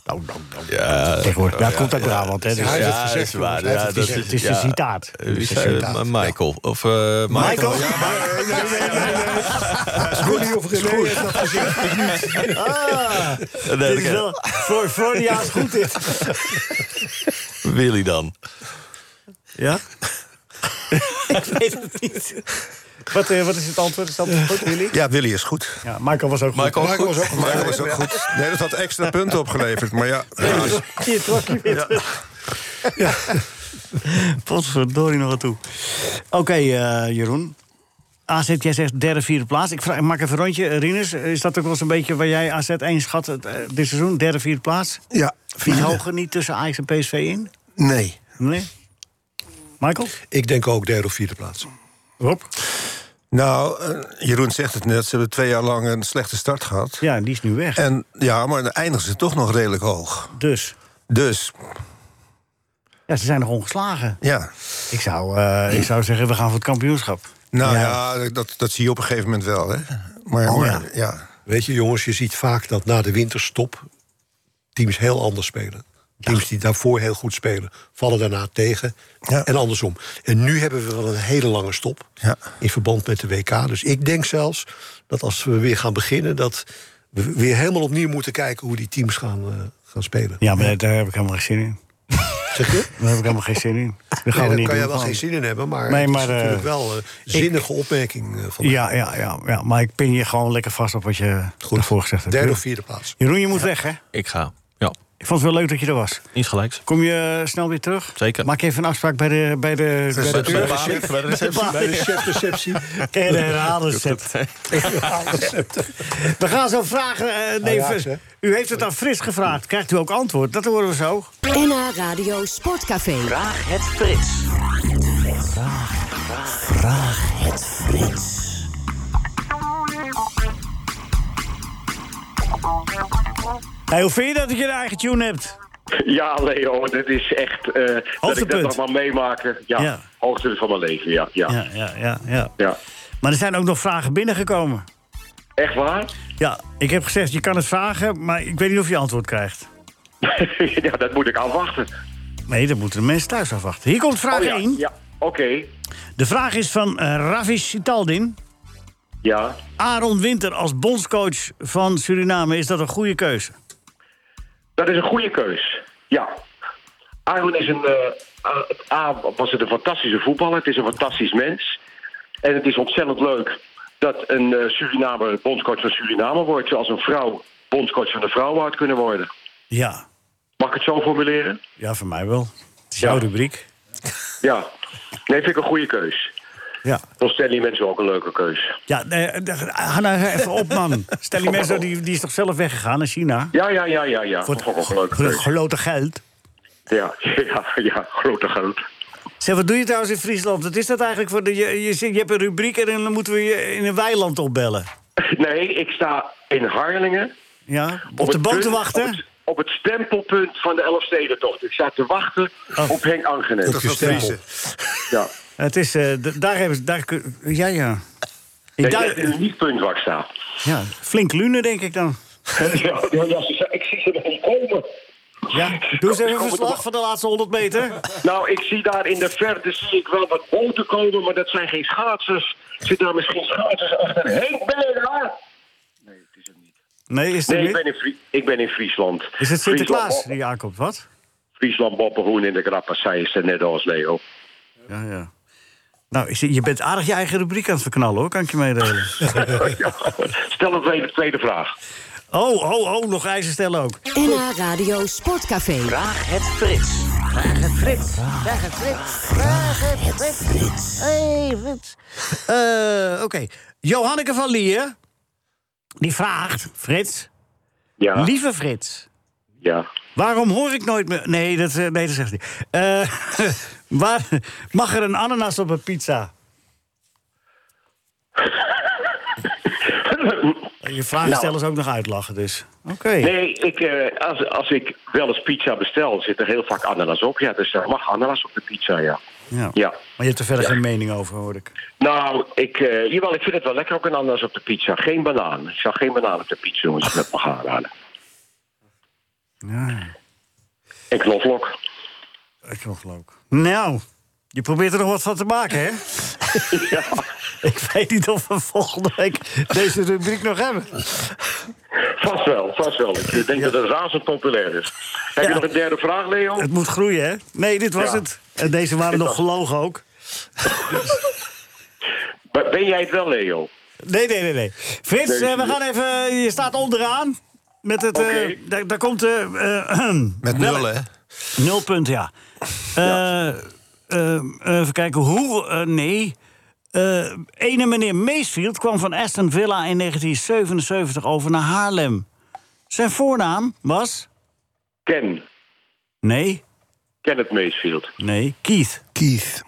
Speaker 3: nou, nou.
Speaker 5: Ja,
Speaker 3: Tegenwoordig. Ja, het komt uit Brabant, hè?
Speaker 5: Ja,
Speaker 3: dus-
Speaker 5: dat is gezegd,
Speaker 3: waar.
Speaker 5: ja,
Speaker 3: Het is- het is een
Speaker 5: ja.
Speaker 3: citaat. Het
Speaker 5: Wie
Speaker 3: is een
Speaker 5: zei
Speaker 3: citaat.
Speaker 5: het? Michael. Of, eh,
Speaker 3: Michael?
Speaker 5: Michael?
Speaker 4: Schoenie of René heeft dat gezegd.
Speaker 3: Ah,
Speaker 5: Nee,
Speaker 3: dit
Speaker 5: dat
Speaker 3: is
Speaker 5: ken-
Speaker 3: wel voor Freudiaans goed dit.
Speaker 5: Willy dan.
Speaker 3: Ja? Ik weet het niet. Wat, eh, wat is het antwoord? Is dat goed, Willy?
Speaker 9: Ja, Willy is goed.
Speaker 3: Ja, Michael was ook goed.
Speaker 9: Michael, was ook goed. Michael was ook goed. Nee, dat had extra punten opgeleverd. Maar ja, helaas.
Speaker 3: Hier trok je weer terug. Ja. Potverdorie nog aan toe. Oké, eh, Jeroen. AZ, jij zegt derde, vierde plaats. Ik, vraag, ik maak even een rondje. Eh, Rinus, is dat ook wel eens een beetje waar jij AZ 1 schat het, eh, dit seizoen? Derde, vierde plaats?
Speaker 4: Ja,
Speaker 3: Niet hoger, niet tussen Ajax en PSV in?
Speaker 4: Nee.
Speaker 3: Nee? Michael?
Speaker 6: Ik denk ook derde of vierde plaats.
Speaker 3: Rob?
Speaker 9: Nou, eh, Jeroen zegt het net, ze hebben twee jaar lang een slechte start gehad.
Speaker 3: Ja, die is nu weg.
Speaker 9: En ja, maar dan eindigen ze toch nog redelijk hoog.
Speaker 3: Dus?
Speaker 9: Dus,
Speaker 3: Ja, ze zijn nog ongeslagen.
Speaker 9: ja.
Speaker 3: Ik zou, eh, ik zou zeggen, we gaan voor het kampioenschap.
Speaker 9: Nou
Speaker 3: Ja.
Speaker 9: ja, dat, dat zie je op een gegeven moment wel, hè. Maar,
Speaker 3: Oh,
Speaker 9: maar,
Speaker 3: ja.
Speaker 9: ja.
Speaker 6: Weet je, jongens, je ziet vaak dat na de winterstop teams heel anders spelen. Teams die daarvoor heel goed spelen, vallen daarna tegen.
Speaker 9: Ja.
Speaker 6: En andersom. En nu hebben we wel een hele lange stop
Speaker 9: Ja.
Speaker 6: in verband met de WK. Dus ik denk zelfs dat als we weer gaan beginnen, dat we weer helemaal opnieuw moeten kijken hoe die teams gaan, eh, gaan spelen.
Speaker 3: Ja, maar daar heb ik helemaal geen zin in.
Speaker 6: Zeg je?
Speaker 3: Daar heb ik helemaal geen zin in. Dat gaan
Speaker 6: Nee,
Speaker 3: we
Speaker 6: daar
Speaker 3: niet
Speaker 6: kan
Speaker 3: doen.
Speaker 6: je wel
Speaker 3: Gewoon-
Speaker 6: geen zin in hebben, maar,
Speaker 3: Nee,
Speaker 6: het
Speaker 3: maar,
Speaker 6: is natuurlijk
Speaker 3: eh,
Speaker 6: wel een zinnige opmerking eh, van
Speaker 3: Ja, ja, ja, ja, maar ik pin je gewoon lekker vast op wat je Goed. daarvoor gezegd hebt.
Speaker 6: derde of vierde plaats.
Speaker 3: Jeroen, je moet weg, hè?
Speaker 5: Ik ga. Ja,
Speaker 3: Ik vond het wel leuk dat je er was.
Speaker 5: iets gelijks.
Speaker 3: Kom je eh, snel weer terug?
Speaker 5: Zeker.
Speaker 3: Maak even een afspraak bij de, bij de, bij de,
Speaker 5: Bij
Speaker 3: deur.
Speaker 5: de paling, bij de receptie.
Speaker 3: Bij de
Speaker 6: chefreceptie.
Speaker 3: Ken je de herhalencep? We gaan zo vragen, eh nee,
Speaker 6: Ajax, hè?
Speaker 3: u heeft het aan Frits gevraagd. Krijgt u ook antwoord? Dat horen we zo.
Speaker 1: NH Radio Sportcafé.
Speaker 12: Vraag het Frits.
Speaker 3: Hey, hoe vind je dat dat je een eigen tune hebt?
Speaker 13: Ja, Leo, dit is echt. eh, dat ik
Speaker 3: Hoogtepunt.
Speaker 13: dat nog maar meemaken. Ja,
Speaker 3: Ja.
Speaker 13: hoogte van mijn leven, ja, ja.
Speaker 3: Ja,
Speaker 13: ja.
Speaker 3: ja, ja, ja. Maar er zijn ook nog vragen binnengekomen.
Speaker 13: Echt waar?
Speaker 3: Ja, ik heb gezegd, je kan het vragen, maar ik weet niet of je antwoord krijgt.
Speaker 13: ja, dat moet ik afwachten.
Speaker 3: Nee, dat moeten de mensen thuis afwachten. Hier komt vraag
Speaker 13: Oh, ja,
Speaker 3: 1.
Speaker 13: Ja, oké.
Speaker 3: De vraag is van eh, Ravi Sitaldin.
Speaker 13: Ja.
Speaker 3: Aaron Winter als bondscoach van Suriname, is dat een goede keuze?
Speaker 13: Dat is een goede keus. Ja. Aaron is een. eh, A, A, was het een fantastische voetballer. Het is een fantastisch mens. En het is ontzettend leuk dat een eh Surinamer bondscoach van Suriname wordt. Zoals een vrouw bondscoach van de vrouwen had kunnen worden.
Speaker 3: Ja,
Speaker 13: Mag ik het zo formuleren?
Speaker 3: ja voor mij wel. Het is jouw rubriek.
Speaker 13: Ja. Nee, vind ik een goede keus.
Speaker 3: Ja.
Speaker 13: Vond Stanley mensen ook een leuke keus.
Speaker 3: Ja, eh, eh, ga nou even op, man. Stel die mensen, die, die is toch zelf weggegaan naar China?
Speaker 13: Ja, ja, ja, ja, ja. Vond ik ook een leuke
Speaker 3: Voor het
Speaker 13: keus.
Speaker 3: grote geld.
Speaker 13: Ja, ja, ja, grote groot.
Speaker 3: Zeg, wat doe je trouwens in Friesland? Wat is dat eigenlijk voor de, je, je, zit- je hebt een rubriek en dan moeten we je in een weiland opbellen.
Speaker 13: Nee, ik sta in Harlingen.
Speaker 3: Ja? Op de
Speaker 13: het
Speaker 3: boot te
Speaker 13: punt-
Speaker 3: wachten?
Speaker 13: Op het, op het stempelpunt van de Elfstedentocht. Ik sta te wachten
Speaker 3: Oh.
Speaker 13: op Henk Angenes.
Speaker 9: Dat was Friese.
Speaker 13: Ja.
Speaker 3: Het is, eh, d- daar hebben ze, daar, kun- ja, ja. Ik
Speaker 13: Nee,
Speaker 3: duik-
Speaker 13: echt een niet punt waar ik sta.
Speaker 3: ja. Flink lune, denk ik dan.
Speaker 13: ja, ja, ja, ze- ik zie ze nog niet komen.
Speaker 3: Ja, doe eens
Speaker 13: Ze
Speaker 3: even
Speaker 13: komen
Speaker 3: een
Speaker 13: er
Speaker 3: verslag
Speaker 13: nog-
Speaker 3: van de laatste 100 meter.
Speaker 13: Nou, ik zie daar in de verte zie ik wel wat boten komen, maar dat zijn geen schaatsers. Zit daar misschien schaatsers achter? Henk, ben je daar? Nee, het is hem niet.
Speaker 3: Nee, is het
Speaker 13: Nee, ik
Speaker 3: niet?
Speaker 13: ben in, Fri- ik ben in Friesland.
Speaker 3: Is het Sinterklaas
Speaker 13: Friesland,
Speaker 3: die aankomt? Wat?
Speaker 13: Friesland Boppenhoen in de Grappas, zij is er net als Leo.
Speaker 3: Ja, ja. Nou, ik zie- je bent aardig je eigen rubriek aan het verknallen, hoor. Kan ik je meedelen?
Speaker 13: Stel een tweede, tweede vraag.
Speaker 3: Oh, oh, oh, nog eisen stellen ook.
Speaker 1: NH Radio Sportcafé.
Speaker 12: Vraag het Frits. Vraag het Frits. Vraag het Frits. Vraag het Frits. Hey, Frits.
Speaker 3: Eh, Oké. Johanneke van Lier, die vraagt, Frits,
Speaker 13: Ja,
Speaker 3: lieve Frits,
Speaker 13: ja.
Speaker 3: waarom hoor ik nooit meer... Nee, dat, eh, nee, dat zegt hij. Eh, waar, mag er een ananas op een pizza? Je vragen
Speaker 13: Nou.
Speaker 3: stellen ze ook nog uitlachen, dus. Oké.
Speaker 13: Nee, ik, eh, als, als ik wel eens pizza bestel, zit er heel vaak ananas op. Ja, dus er mag ananas op de pizza, ja.
Speaker 3: Ja.
Speaker 13: Ja.
Speaker 3: Maar je hebt er verder geen mening over, hoor ik.
Speaker 13: Nou, ik, eh, jawel, ik vind het wel lekker ook een ananas op de pizza. Geen banaan. Ik zou geen banaan op de pizza doen als ik dat mag aanraden.
Speaker 3: Ja.
Speaker 13: En knoflook.
Speaker 3: knoflook. Nou, je probeert er nog wat van te maken, hè? ja. Ik weet niet of we volgende week deze rubriek nog hebben.
Speaker 13: Vast wel, vast wel. Ik denk dat het razend populair is. Heb je nog een derde vraag, Leo?
Speaker 3: Het moet groeien, hè? Nee, dit was
Speaker 13: Ja.
Speaker 3: het. En deze waren nog gelogen ook.
Speaker 13: Ben ben jij het wel, Leo?
Speaker 3: Nee, nee, nee, nee. Frits,
Speaker 13: Nee,
Speaker 3: eh, we
Speaker 13: nee.
Speaker 3: gaan even... Je staat onderaan. Met het... eh,
Speaker 13: Oké.
Speaker 3: daar, daar komt... eh, eh,
Speaker 9: Met
Speaker 3: welk-
Speaker 9: nul, hè?
Speaker 3: Nul punt, ja. Eh, eh, even kijken, hoe... eh, nee. Eh, ene meneer Meesfield kwam van Aston Villa in 1977 over naar Haarlem. Zijn voornaam was...
Speaker 13: Ken.
Speaker 3: Nee,
Speaker 13: Ken het Meesfield.
Speaker 3: nee, Keith. Keith.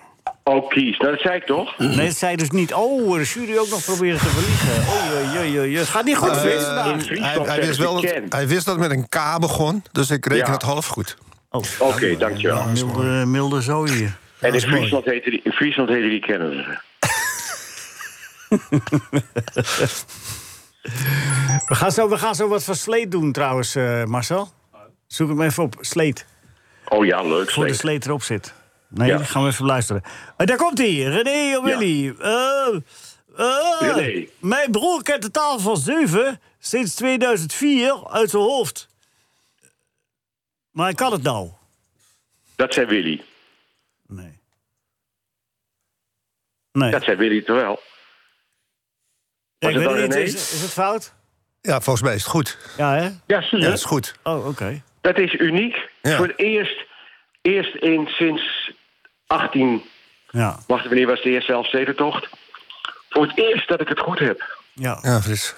Speaker 13: Oh, Kies. Nou, dat zei ik toch?
Speaker 3: Nee, dat zei dus niet. Oh, de jury ook nog proberen te verliezen. Oh, jee, jee, jee. Het gaat niet goed,
Speaker 9: Eh,
Speaker 3: Frits, vandaag.
Speaker 9: hij, hij wist wel dat, hij wist dat het met een K begon, dus ik reken
Speaker 13: Ja.
Speaker 9: het half goed.
Speaker 13: Oké, dankjewel.
Speaker 3: Milde, eh, milde zooi hier.
Speaker 13: En in Friesland heette die, in Friesland heette die kennen ze.
Speaker 3: We gaan zo, we gaan zo wat van sleet doen trouwens, eh, Marcel. Zoek hem even op, sleet.
Speaker 13: Oh ja, leuk.
Speaker 3: Voor de
Speaker 13: slecht.
Speaker 3: sleet erop zit. Nee,
Speaker 13: Ja.
Speaker 3: die gaan we even luisteren. Eh, daar komt hij, René Willy. Eh,
Speaker 13: René.
Speaker 3: Mijn broer kent de taal van 7 sinds 2004 uit zijn hoofd. Maar hij kan het nou.
Speaker 13: Dat zei Willy.
Speaker 3: Nee.
Speaker 13: Dat zei Willy toch wel? Was
Speaker 3: Ik weet
Speaker 13: het dan
Speaker 3: het niet,
Speaker 13: René?
Speaker 3: is, is het fout?
Speaker 9: Ja, volgens mij is het goed.
Speaker 3: Ja, hè?
Speaker 13: Ja, zie je.
Speaker 9: Ja, is goed.
Speaker 3: Oh, oké.
Speaker 13: Dat is uniek. Voor het eerst, eerst in sinds 18...
Speaker 3: Ja.
Speaker 13: Wacht, wanneer was de eerste zelfstedentocht? Voor het eerst dat ik het goed heb.
Speaker 3: Ja.
Speaker 9: Ja, Frits.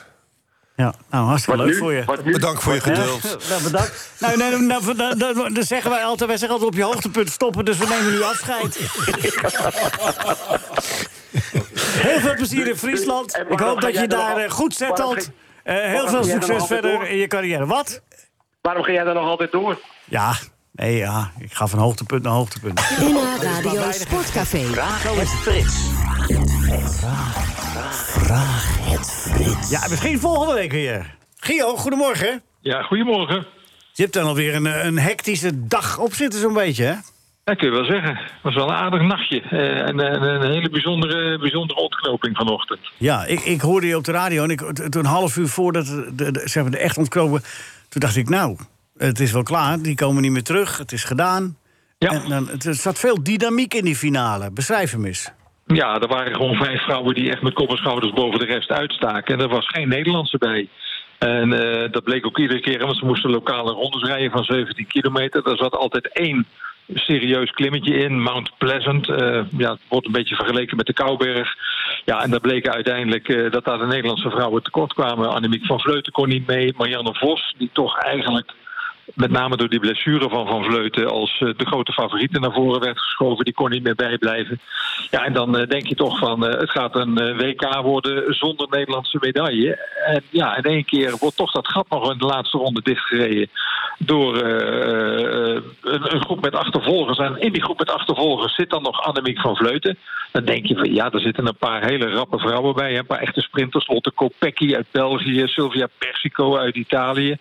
Speaker 3: Ja, nou, hartstikke
Speaker 13: Wat
Speaker 3: leuk
Speaker 13: nu?
Speaker 3: voor je.
Speaker 13: Wat nu? Bedankt voor je
Speaker 3: Ja,
Speaker 13: geduld.
Speaker 3: nou, bedankt. Nou, nee, nou, nou, nou, nou, nou, dan zeggen wij altijd, wij zeggen altijd op je hoogtepunt stoppen, dus we nemen nu afscheid. Heel veel plezier in Friesland.
Speaker 13: En
Speaker 3: Ik
Speaker 13: Eh, waarom
Speaker 3: hoop
Speaker 13: ga
Speaker 3: dat
Speaker 13: jij
Speaker 3: je
Speaker 13: dan
Speaker 3: daar
Speaker 13: al-
Speaker 3: eh, goed
Speaker 13: waarom
Speaker 3: zettelt.
Speaker 13: ga-
Speaker 3: Eh heel
Speaker 13: waarom
Speaker 3: veel
Speaker 13: ga jij dan
Speaker 3: succes
Speaker 13: altijd
Speaker 3: verder
Speaker 13: door?
Speaker 3: in je carrière. Wat?
Speaker 13: Waarom ga jij daar nog altijd door?
Speaker 3: Ja, nee, ja, ik ga van hoogtepunt naar hoogtepunt.
Speaker 1: NH Radio Sportcafé.
Speaker 3: Zo is het Frits. Vraag het Frits. Ja, misschien volgende week weer. Gio, goedemorgen.
Speaker 14: Ja, goedemorgen.
Speaker 3: Je hebt dan alweer een, eh, een hectische dag op zitten, zo'n beetje, hè?
Speaker 14: Dat kun je wel zeggen. Het was wel een aardig nachtje. Eh, en, eh, en een hele bijzondere, bijzondere ontknoping vanochtend.
Speaker 3: Ja, ik, ik hoorde je op de radio en ik, t- toen een half uur voordat de, de, de- zeg maar, de echt ontkomen... toen dacht ik, nou, het is wel klaar, die komen niet meer terug, het is gedaan. Ja. En dan, het- er zat veel dynamiek in die finale. Beschrijf hem eens.
Speaker 14: Ja, er waren gewoon vijf vrouwen die echt met kop en schouders boven de rest uitstaken. En er was geen Nederlandse bij. En eh, dat bleek ook iedere keer, want ze moesten lokale rondes rijden van 17 kilometer. Daar zat altijd één serieus klimmetje in, Mount Pleasant. Eh, ja, het wordt een beetje vergeleken met de Kouberg. Ja, en daar bleken uiteindelijk eh, dat daar de Nederlandse vrouwen tekort kwamen. Annemiek van Vleuten kon niet mee. Marianne Vos, die toch eigenlijk met name door die blessure van Van Vleuten als eh, de grote favoriete naar voren werd geschoven. Die kon niet meer bijblijven. Ja, en dan eh, denk je toch van eh, het gaat een eh, WK worden zonder Nederlandse medaille. En ja, in één keer wordt toch dat gat nog in de laatste ronde dichtgereden door eh, eh, een, een groep met achtervolgers. En in die groep met achtervolgers zit dan nog Annemiek van Vleuten. Dan denk je van ja, er zitten een paar hele rappe vrouwen bij. hè. Een paar echte sprinters. Lotte Kopecky uit België, Sylvia Persico uit Italië.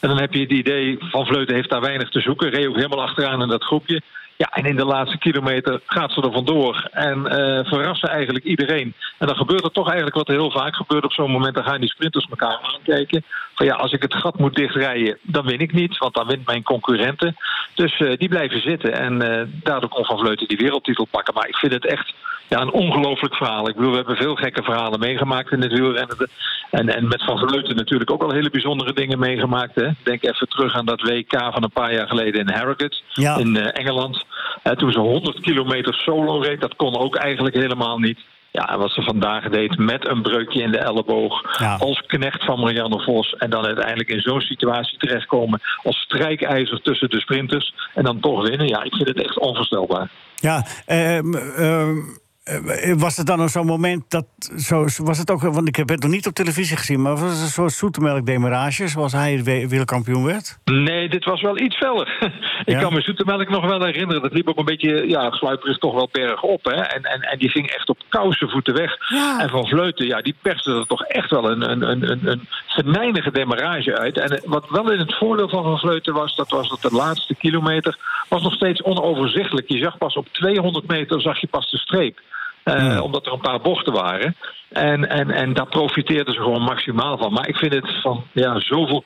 Speaker 14: En dan heb je het idee van Vleuten heeft daar weinig te zoeken. Reed ook helemaal achteraan in dat groepje. Ja, en in de laatste kilometer gaat ze er vandoor. En eh, verrassen eigenlijk iedereen. En dan gebeurt er toch eigenlijk wat er heel vaak gebeurt op zo'n moment. Dan gaan die sprinters elkaar aankijken. Van ja, als ik het gat moet dichtrijden, dan win ik niet. Want dan wint mijn concurrenten. Dus eh, die blijven zitten. En eh, daardoor kon Van Vleuten die wereldtitel pakken. Maar ik vind het echt ja, een ongelooflijk verhaal. Ik bedoel, we hebben veel gekke verhalen meegemaakt in het wielrennen. En, en met Van Vleuten natuurlijk ook al hele bijzondere dingen meegemaakt. Hè. Denk even terug aan dat WK van een paar jaar geleden in Harrogate
Speaker 3: Ja.
Speaker 14: in eh, Engeland. Eh, toen ze 100 kilometer solo reed, dat kon ook eigenlijk helemaal niet. Ja, en wat ze vandaag deed met een breukje in de elleboog. Als knecht van Marianne Vos. En dan uiteindelijk in zo'n situatie terechtkomen. Als strijkijzer tussen de sprinters. En dan toch winnen. Ja, ik vind het echt onvoorstelbaar.
Speaker 3: Ja, ehm, ehm, eh, was het dan ook zo'n moment dat. Zo, was het ook, want ik heb het nog niet op televisie gezien, maar was het een soort zoetemelkdemarage zoals hij we- wereldkampioen werd?
Speaker 14: Nee, dit was wel iets feller. ik kan me Zoetemelk nog wel herinneren. Dat liep ook een beetje, ja, gluiperig toch wel bergop. Hè? En, en, en die ging echt op kousenvoeten weg. En Van Vleuten, ja, die perste er toch echt wel een, een, een, een, een venijnige demarrage uit. En eh, wat wel in het voordeel van Van Vleuten was... dat was dat de laatste kilometer was nog steeds onoverzichtelijk. Je zag pas op 200 meter zag je pas de streep. Eh, Omdat er een paar bochten waren. En, en, en daar profiteerden ze gewoon maximaal van. Maar ik vind het van ja, zoveel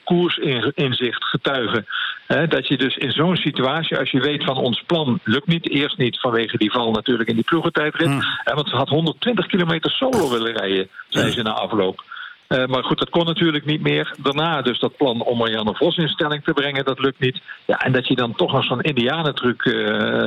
Speaker 14: koersinzicht getuigen. Hè, dat je dus in zo'n situatie, als je weet van ons plan lukt niet. Eerst niet vanwege die val natuurlijk in die ploegentijdrit. Hè, want ze had 120 kilometer solo willen rijden, zei ze na afloop. Eh, maar goed, dat kon natuurlijk niet meer. Daarna dus dat plan om Marianne Vos in stelling te brengen, dat lukt niet. Ja, en dat je dan toch nog zo'n indianentruc eh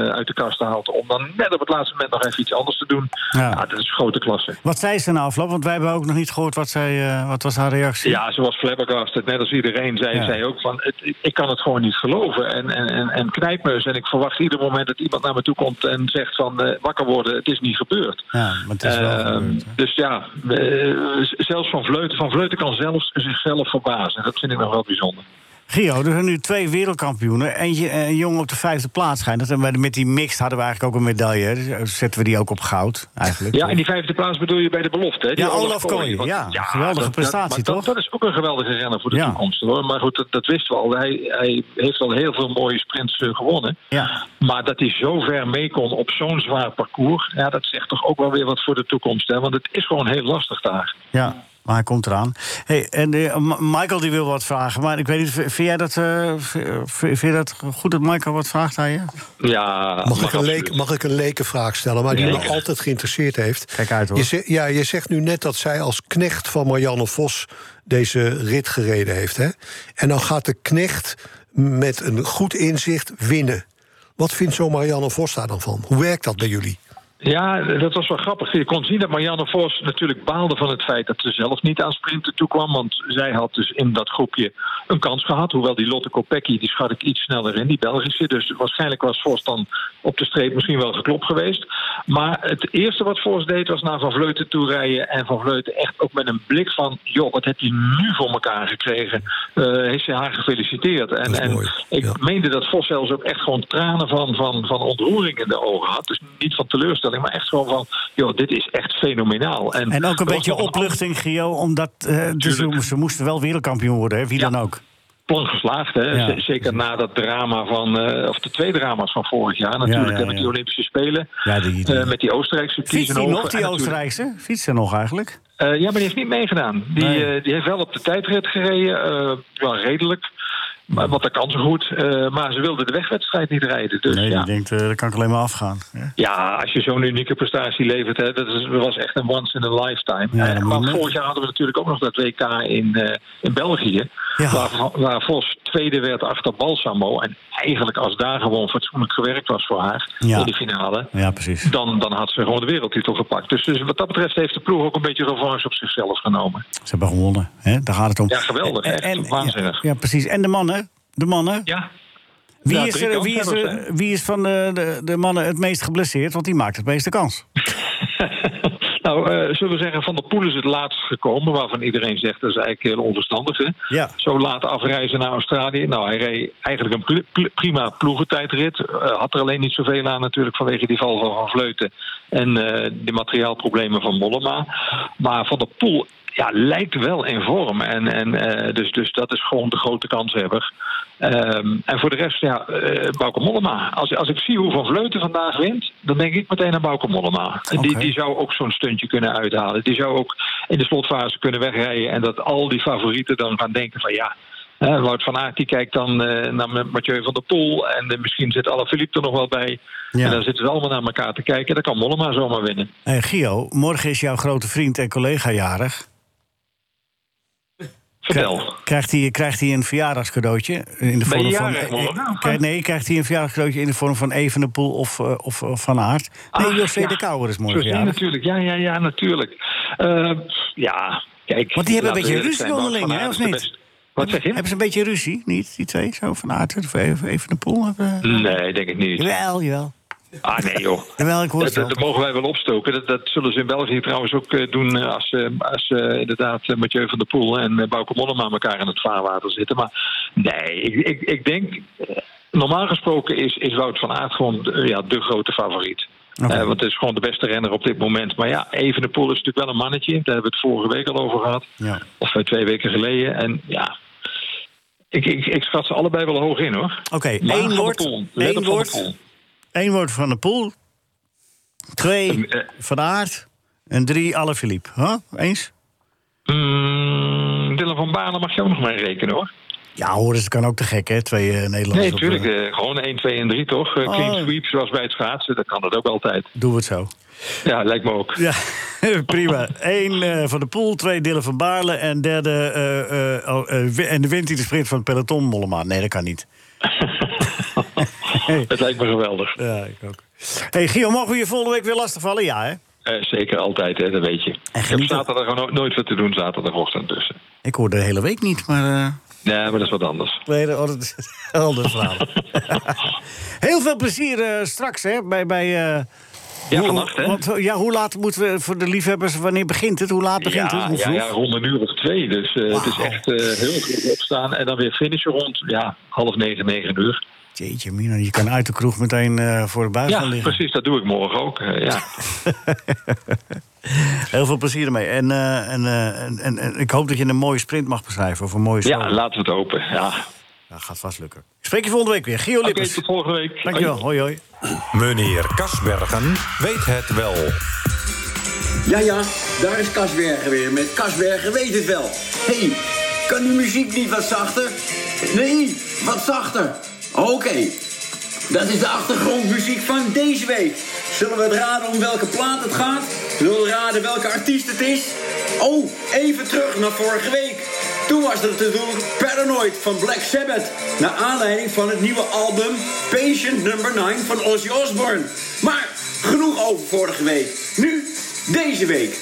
Speaker 14: uit de kast haalt... om dan net op het laatste moment nog even iets anders te doen. Ja, dat is grote klasse.
Speaker 3: Wat zei ze na afloop? Want wij hebben ook nog niet gehoord wat, zij, eh, wat was haar reactie.
Speaker 14: Ja, zoals flabbergasted, net als iedereen, zei
Speaker 3: Ja.
Speaker 14: zij ook van... Het, ik kan het gewoon niet geloven. En, en, en, en knijpmeus. En ik verwacht ieder moment dat iemand naar me toe komt en zegt van... eh, wakker worden, het is niet gebeurd.
Speaker 3: Ja, maar het is wel
Speaker 14: Ehm, dus ja, eh, z- zelfs Van Vleuten. Van Vleuten kan zelfs zichzelf verbazen. Dat vind ik nog wel bijzonder.
Speaker 3: Gio, er zijn nu twee wereldkampioenen. Eentje, eh, een jongen op de vijfde plaats schijnt. dat. En wij- met die mixed hadden we eigenlijk ook een medaille. hè. Dus zetten we die ook op goud, eigenlijk.
Speaker 14: Ja, en die vijfde plaats bedoel je bij de belofte, hè? Die
Speaker 3: Ja, Olaf
Speaker 14: Kooi.
Speaker 3: Kooi,
Speaker 14: Want-
Speaker 3: ja. Geweldige
Speaker 14: dat- dat-
Speaker 3: prestatie,
Speaker 14: maar dat-
Speaker 3: toch?
Speaker 14: Dat, is ook een geweldige renner voor de
Speaker 3: Ja.
Speaker 14: toekomst, hoor. Maar goed, dat, dat wisten we al. Hij, hij heeft al heel veel mooie sprints eh, gewonnen.
Speaker 3: Ja.
Speaker 14: Maar dat hij zo ver mee kon op zo'n zwaar parcours... Ja, dat zegt toch ook wel weer wat voor de toekomst, hè? Want het is gewoon heel lastig daar.
Speaker 3: Ja, maar hij komt eraan. Hey, en eh, Ma- Michael die wil wat vragen. Maar ik weet niet, v- vind jij dat, eh, v- v- vind je dat goed dat Michael wat vraagt aan je?
Speaker 14: Ja,
Speaker 6: Mag ik, een
Speaker 14: absoluut.
Speaker 6: leek, mag ik een leke vraag stellen, maar die
Speaker 14: Ja.
Speaker 6: me altijd geïnteresseerd heeft?
Speaker 3: Kijk uit hoor.
Speaker 6: Je zegt, ja, je zegt nu net dat zij als knecht van Marianne Vos deze rit gereden heeft. Hè? En dan gaat de knecht met een goed inzicht winnen. Wat vindt zo'n Marianne Vos daar dan van? Hoe werkt dat bij jullie?
Speaker 14: Ja, dat was wel grappig. Je kon zien dat Marianne Vos natuurlijk baalde van het feit dat ze zelf niet aan sprinten toekwam. Want zij had dus in dat groepje een kans gehad. Hoewel die Lotte Kopecky, die schat ik iets sneller in, die Belgische. Dus waarschijnlijk was Vos dan op de streep misschien wel geklopt geweest. Maar het eerste wat Vos deed was naar Van Vleuten toe rijden. En Van Vleuten echt ook met een blik van... joh, wat heb je nu voor elkaar gekregen? Eh, heeft ze haar gefeliciteerd. En, en ik meende dat Vos zelfs ook echt gewoon tranen van, van, van ontroering in de ogen had. Dus niet van teleurstelling, maar echt gewoon van... joh, dit is echt fenomenaal. En,
Speaker 3: En ook
Speaker 14: er
Speaker 3: een
Speaker 14: was
Speaker 3: beetje
Speaker 14: nog
Speaker 3: opluchting, Gio, omdat eh, dus ze, ze moesten wel wereldkampioen worden, hè, wie dan ook.
Speaker 14: plan geslaagd. Hè?
Speaker 3: Ja.
Speaker 14: Z- Zeker na dat drama van, eh, of de twee drama's van vorig jaar. Natuurlijk
Speaker 3: ja,
Speaker 14: hebben die
Speaker 3: ja.
Speaker 14: Olympische Spelen.
Speaker 3: Ja, die- die-
Speaker 14: eh, met die Oostenrijkse
Speaker 3: Fietst die
Speaker 14: Kiezenhoven
Speaker 3: nog,
Speaker 14: en
Speaker 3: die
Speaker 14: natuurlijk-
Speaker 3: Oostenrijkse? Fietst ze nog eigenlijk?
Speaker 14: Eh, ja, maar die heeft niet meegedaan. Die, eh, die heeft wel op de tijdrit gereden. eh, wel redelijk. Maar, want dat kan ze goed. Eh, maar ze wilde de wegwedstrijd niet rijden. Dus
Speaker 3: nee,
Speaker 14: ja.
Speaker 3: die denkt, eh dat kan ik alleen maar afgaan. Ja.
Speaker 14: Ja, als je zo'n unieke prestatie levert, hè, dat is, was echt een once in a lifetime. Eh, maar vorig jaar hadden we natuurlijk ook nog dat WK in, eh, in België. Waar, waar Vos tweede werd achter Balsamo. En eigenlijk als daar gewoon fatsoenlijk gewerkt was voor haar
Speaker 3: Ja.
Speaker 14: in de finale.
Speaker 3: Ja, precies.
Speaker 14: Dan, dan had ze gewoon de wereldtitel gepakt. Dus, dus wat dat betreft heeft de ploeg ook een beetje revanche op zichzelf genomen.
Speaker 3: Ze hebben gewonnen, hè? daar gaat het om.
Speaker 14: Ja, geweldig. Echt waanzinnig.
Speaker 3: Ja, precies. En de mannen? De mannen?
Speaker 14: Ja.
Speaker 3: Wie,
Speaker 14: Ja,
Speaker 3: is,
Speaker 14: drie
Speaker 3: er, wie, is,
Speaker 14: kanshebbers,
Speaker 3: er, wie is van de, de, de mannen het meest geblesseerd? Want die maakt het meeste kans.
Speaker 14: Nou, eh, zullen we zeggen, Van der Poel is het laatst gekomen... waarvan iedereen zegt, dat is eigenlijk heel onverstandig. Hè? Zo laat afreizen naar Australië. Nou, hij reed eigenlijk een pl- pl- prima ploegentijdrit. Eh, had er alleen niet zoveel aan natuurlijk vanwege die val van Van Vleuten... en eh, de materiaalproblemen van Mollema. Maar Van der Poel ja, lijkt wel in vorm. En, en, eh, dus, dus dat is gewoon de grote kanshebber. Ehm, en voor de rest, ja, eh Bauke Mollema. Als, als ik zie hoe Van Vleuten vandaag wint... dan denk ik meteen aan Bauke Mollema. En Die, die zou ook zo'n stuntje kunnen uithalen. Die zou ook in de slotfase kunnen wegrijden... en dat al die favorieten dan gaan denken van... ja, hè, Wout van Aert die kijkt dan eh, naar Mathieu van der Poel... en eh, misschien zit Alaphilippe er nog wel bij.
Speaker 3: Ja.
Speaker 14: En dan zitten we allemaal naar elkaar te kijken. Dan kan Mollema zomaar winnen.
Speaker 3: Eh Gio, morgen is jouw grote vriend en collega jarig.
Speaker 14: Vertel.
Speaker 3: Krijgt hij, krijgt hij een verjaardagscadeautje? In de
Speaker 14: Ben
Speaker 3: vorm
Speaker 14: je
Speaker 3: van, eh,
Speaker 14: jarig morgen?
Speaker 3: krijg- nee, krijgt hij een verjaardagscadeautje in de vorm van Evenepoel of, eh, of, of Van Aert? Nee, José
Speaker 14: ja.
Speaker 3: de Kouwer is morgen
Speaker 14: Sorry, Ja,
Speaker 3: jarig.
Speaker 14: natuurlijk. Ja, ja, ja, natuurlijk. Eh, ja, kijk.
Speaker 3: Want die hebben een
Speaker 14: laten we
Speaker 3: beetje
Speaker 14: eerlijk
Speaker 3: ruzie
Speaker 14: zijn, Wout
Speaker 3: onderling,
Speaker 14: van
Speaker 3: hè,
Speaker 14: Aert
Speaker 3: of
Speaker 14: is de
Speaker 3: niet?
Speaker 14: beste. Wat zeg je?
Speaker 3: Hebben ze een beetje ruzie, niet? Die twee, zo Van Aert of Evenepoel? Hebben...
Speaker 14: Nee, denk ik niet.
Speaker 3: Jawel, jawel.
Speaker 14: Ah, nee, joh.
Speaker 3: Jawel, ik hoor
Speaker 14: dat,
Speaker 3: het wel.
Speaker 14: dat mogen wij wel opstoken. Dat, dat zullen ze in België trouwens ook eh, doen eh, als, eh, als eh, inderdaad eh, Mathieu van der Poel en eh, Bauke Mollema elkaar in het vaarwater zitten. Maar nee, ik, ik, ik denk, eh, normaal gesproken is, is Wout van Aert gewoon eh, ja, de grote favoriet.
Speaker 15: Oké.
Speaker 14: Eh, want het is gewoon de beste renner op dit moment. Maar ja, Evenepoel is natuurlijk wel een mannetje. Daar hebben we het vorige week al over gehad.
Speaker 3: Ja.
Speaker 14: Of eh, twee weken geleden. En ja, ik, ik, ik schat ze allebei wel hoog in hoor.
Speaker 3: Oké,
Speaker 14: Maar Van
Speaker 3: één
Speaker 14: der
Speaker 3: woord.
Speaker 14: Poel, let
Speaker 3: Één
Speaker 14: op Van der
Speaker 3: woord.
Speaker 14: Poel.
Speaker 3: Eén woord van de pool.
Speaker 14: Ehm,
Speaker 3: Twee
Speaker 14: eh.
Speaker 3: van de aard. En drie alle Filip. Huh? Eens?
Speaker 14: Mm, Dylan van Baarle mag je ook nog mee rekenen hoor.
Speaker 3: Ja, hoor, dat kan ook te gek, hè? Twee eh, Nederlanders.
Speaker 14: Nee,
Speaker 3: op,
Speaker 14: natuurlijk.
Speaker 3: eh,
Speaker 14: eh, gewoon 1, 2 en 3 toch? Eh, Clean
Speaker 3: Oh.
Speaker 14: sweep zoals bij het schaatsen, dat kan dat ook altijd.
Speaker 3: Doen we het zo.
Speaker 14: Ja, lijkt me ook.
Speaker 3: Ja, prima. Eén eh, van de pool, twee Dillen van Baarle... en derde eh, eh, oh, eh, wi- en de wint in de sprint van het peloton, Mollema. Nee, dat kan niet.
Speaker 14: Het lijkt me geweldig.
Speaker 3: Ja, ik ook. hey, Gio, mogen we je volgende week weer lastigvallen? Ja, hè?
Speaker 14: Eh, zeker altijd, hè, dat weet je. Ik heb zaterdag gewoon no- nooit wat te doen, zaterdagochtend dus.
Speaker 3: Ik hoor de hele week niet, maar... eh
Speaker 14: Nee, maar dat is wat anders.
Speaker 3: Nee, dat- oh, dat is een ander verhaal. Heel veel plezier eh, straks, hè? Bij, bij, eh,
Speaker 14: Ja,
Speaker 3: hoe-
Speaker 14: vannacht, hè?
Speaker 3: Want, ja, hoe laat moeten we voor de liefhebbers... wanneer begint het? Hoe laat begint het?
Speaker 14: Ja,
Speaker 3: Hoe
Speaker 14: Ah, ja,
Speaker 3: vroeg?
Speaker 14: ja, rond een uur of twee. Dus eh, het is echt eh, heel goed opstaan. En dan weer finishen rond ja, half negen, negen uur.
Speaker 3: Jeetje, Mina, je kan uit de kroeg meteen eh, voor de buis gaan
Speaker 14: Ja,
Speaker 3: liggen.
Speaker 14: precies, dat doe ik morgen ook. eh, ja.
Speaker 3: Heel veel plezier ermee. En, eh, en, eh, en, en, en ik hoop dat je een mooie sprint mag beschrijven. Of een mooie
Speaker 14: ja,
Speaker 3: solo.
Speaker 14: laten we het open. Ja.
Speaker 3: Dat gaat vast lukken. Ik Spreek je volgende week weer. Gio Lippers.
Speaker 14: tot volgende week.
Speaker 3: Dankjewel. Hoi, hoi.
Speaker 2: Meneer Kasbergen weet het wel.
Speaker 16: Ja, ja, daar is Kasbergen weer. Met Kasbergen weet het wel. Hé, hey, kan die muziek niet wat zachter? Nee, wat zachter. Oké, dat is de achtergrondmuziek van deze week. Zullen we het raden om welke plaat het gaat? Zullen we raden welke artiest het is? Oh, even terug naar vorige week. Toen was het natuurlijk Paranoid van Black Sabbath. Naar aanleiding van het nieuwe album Patient Number 9 van Ozzy Osbourne. Maar genoeg over vorige week. Nu, deze week.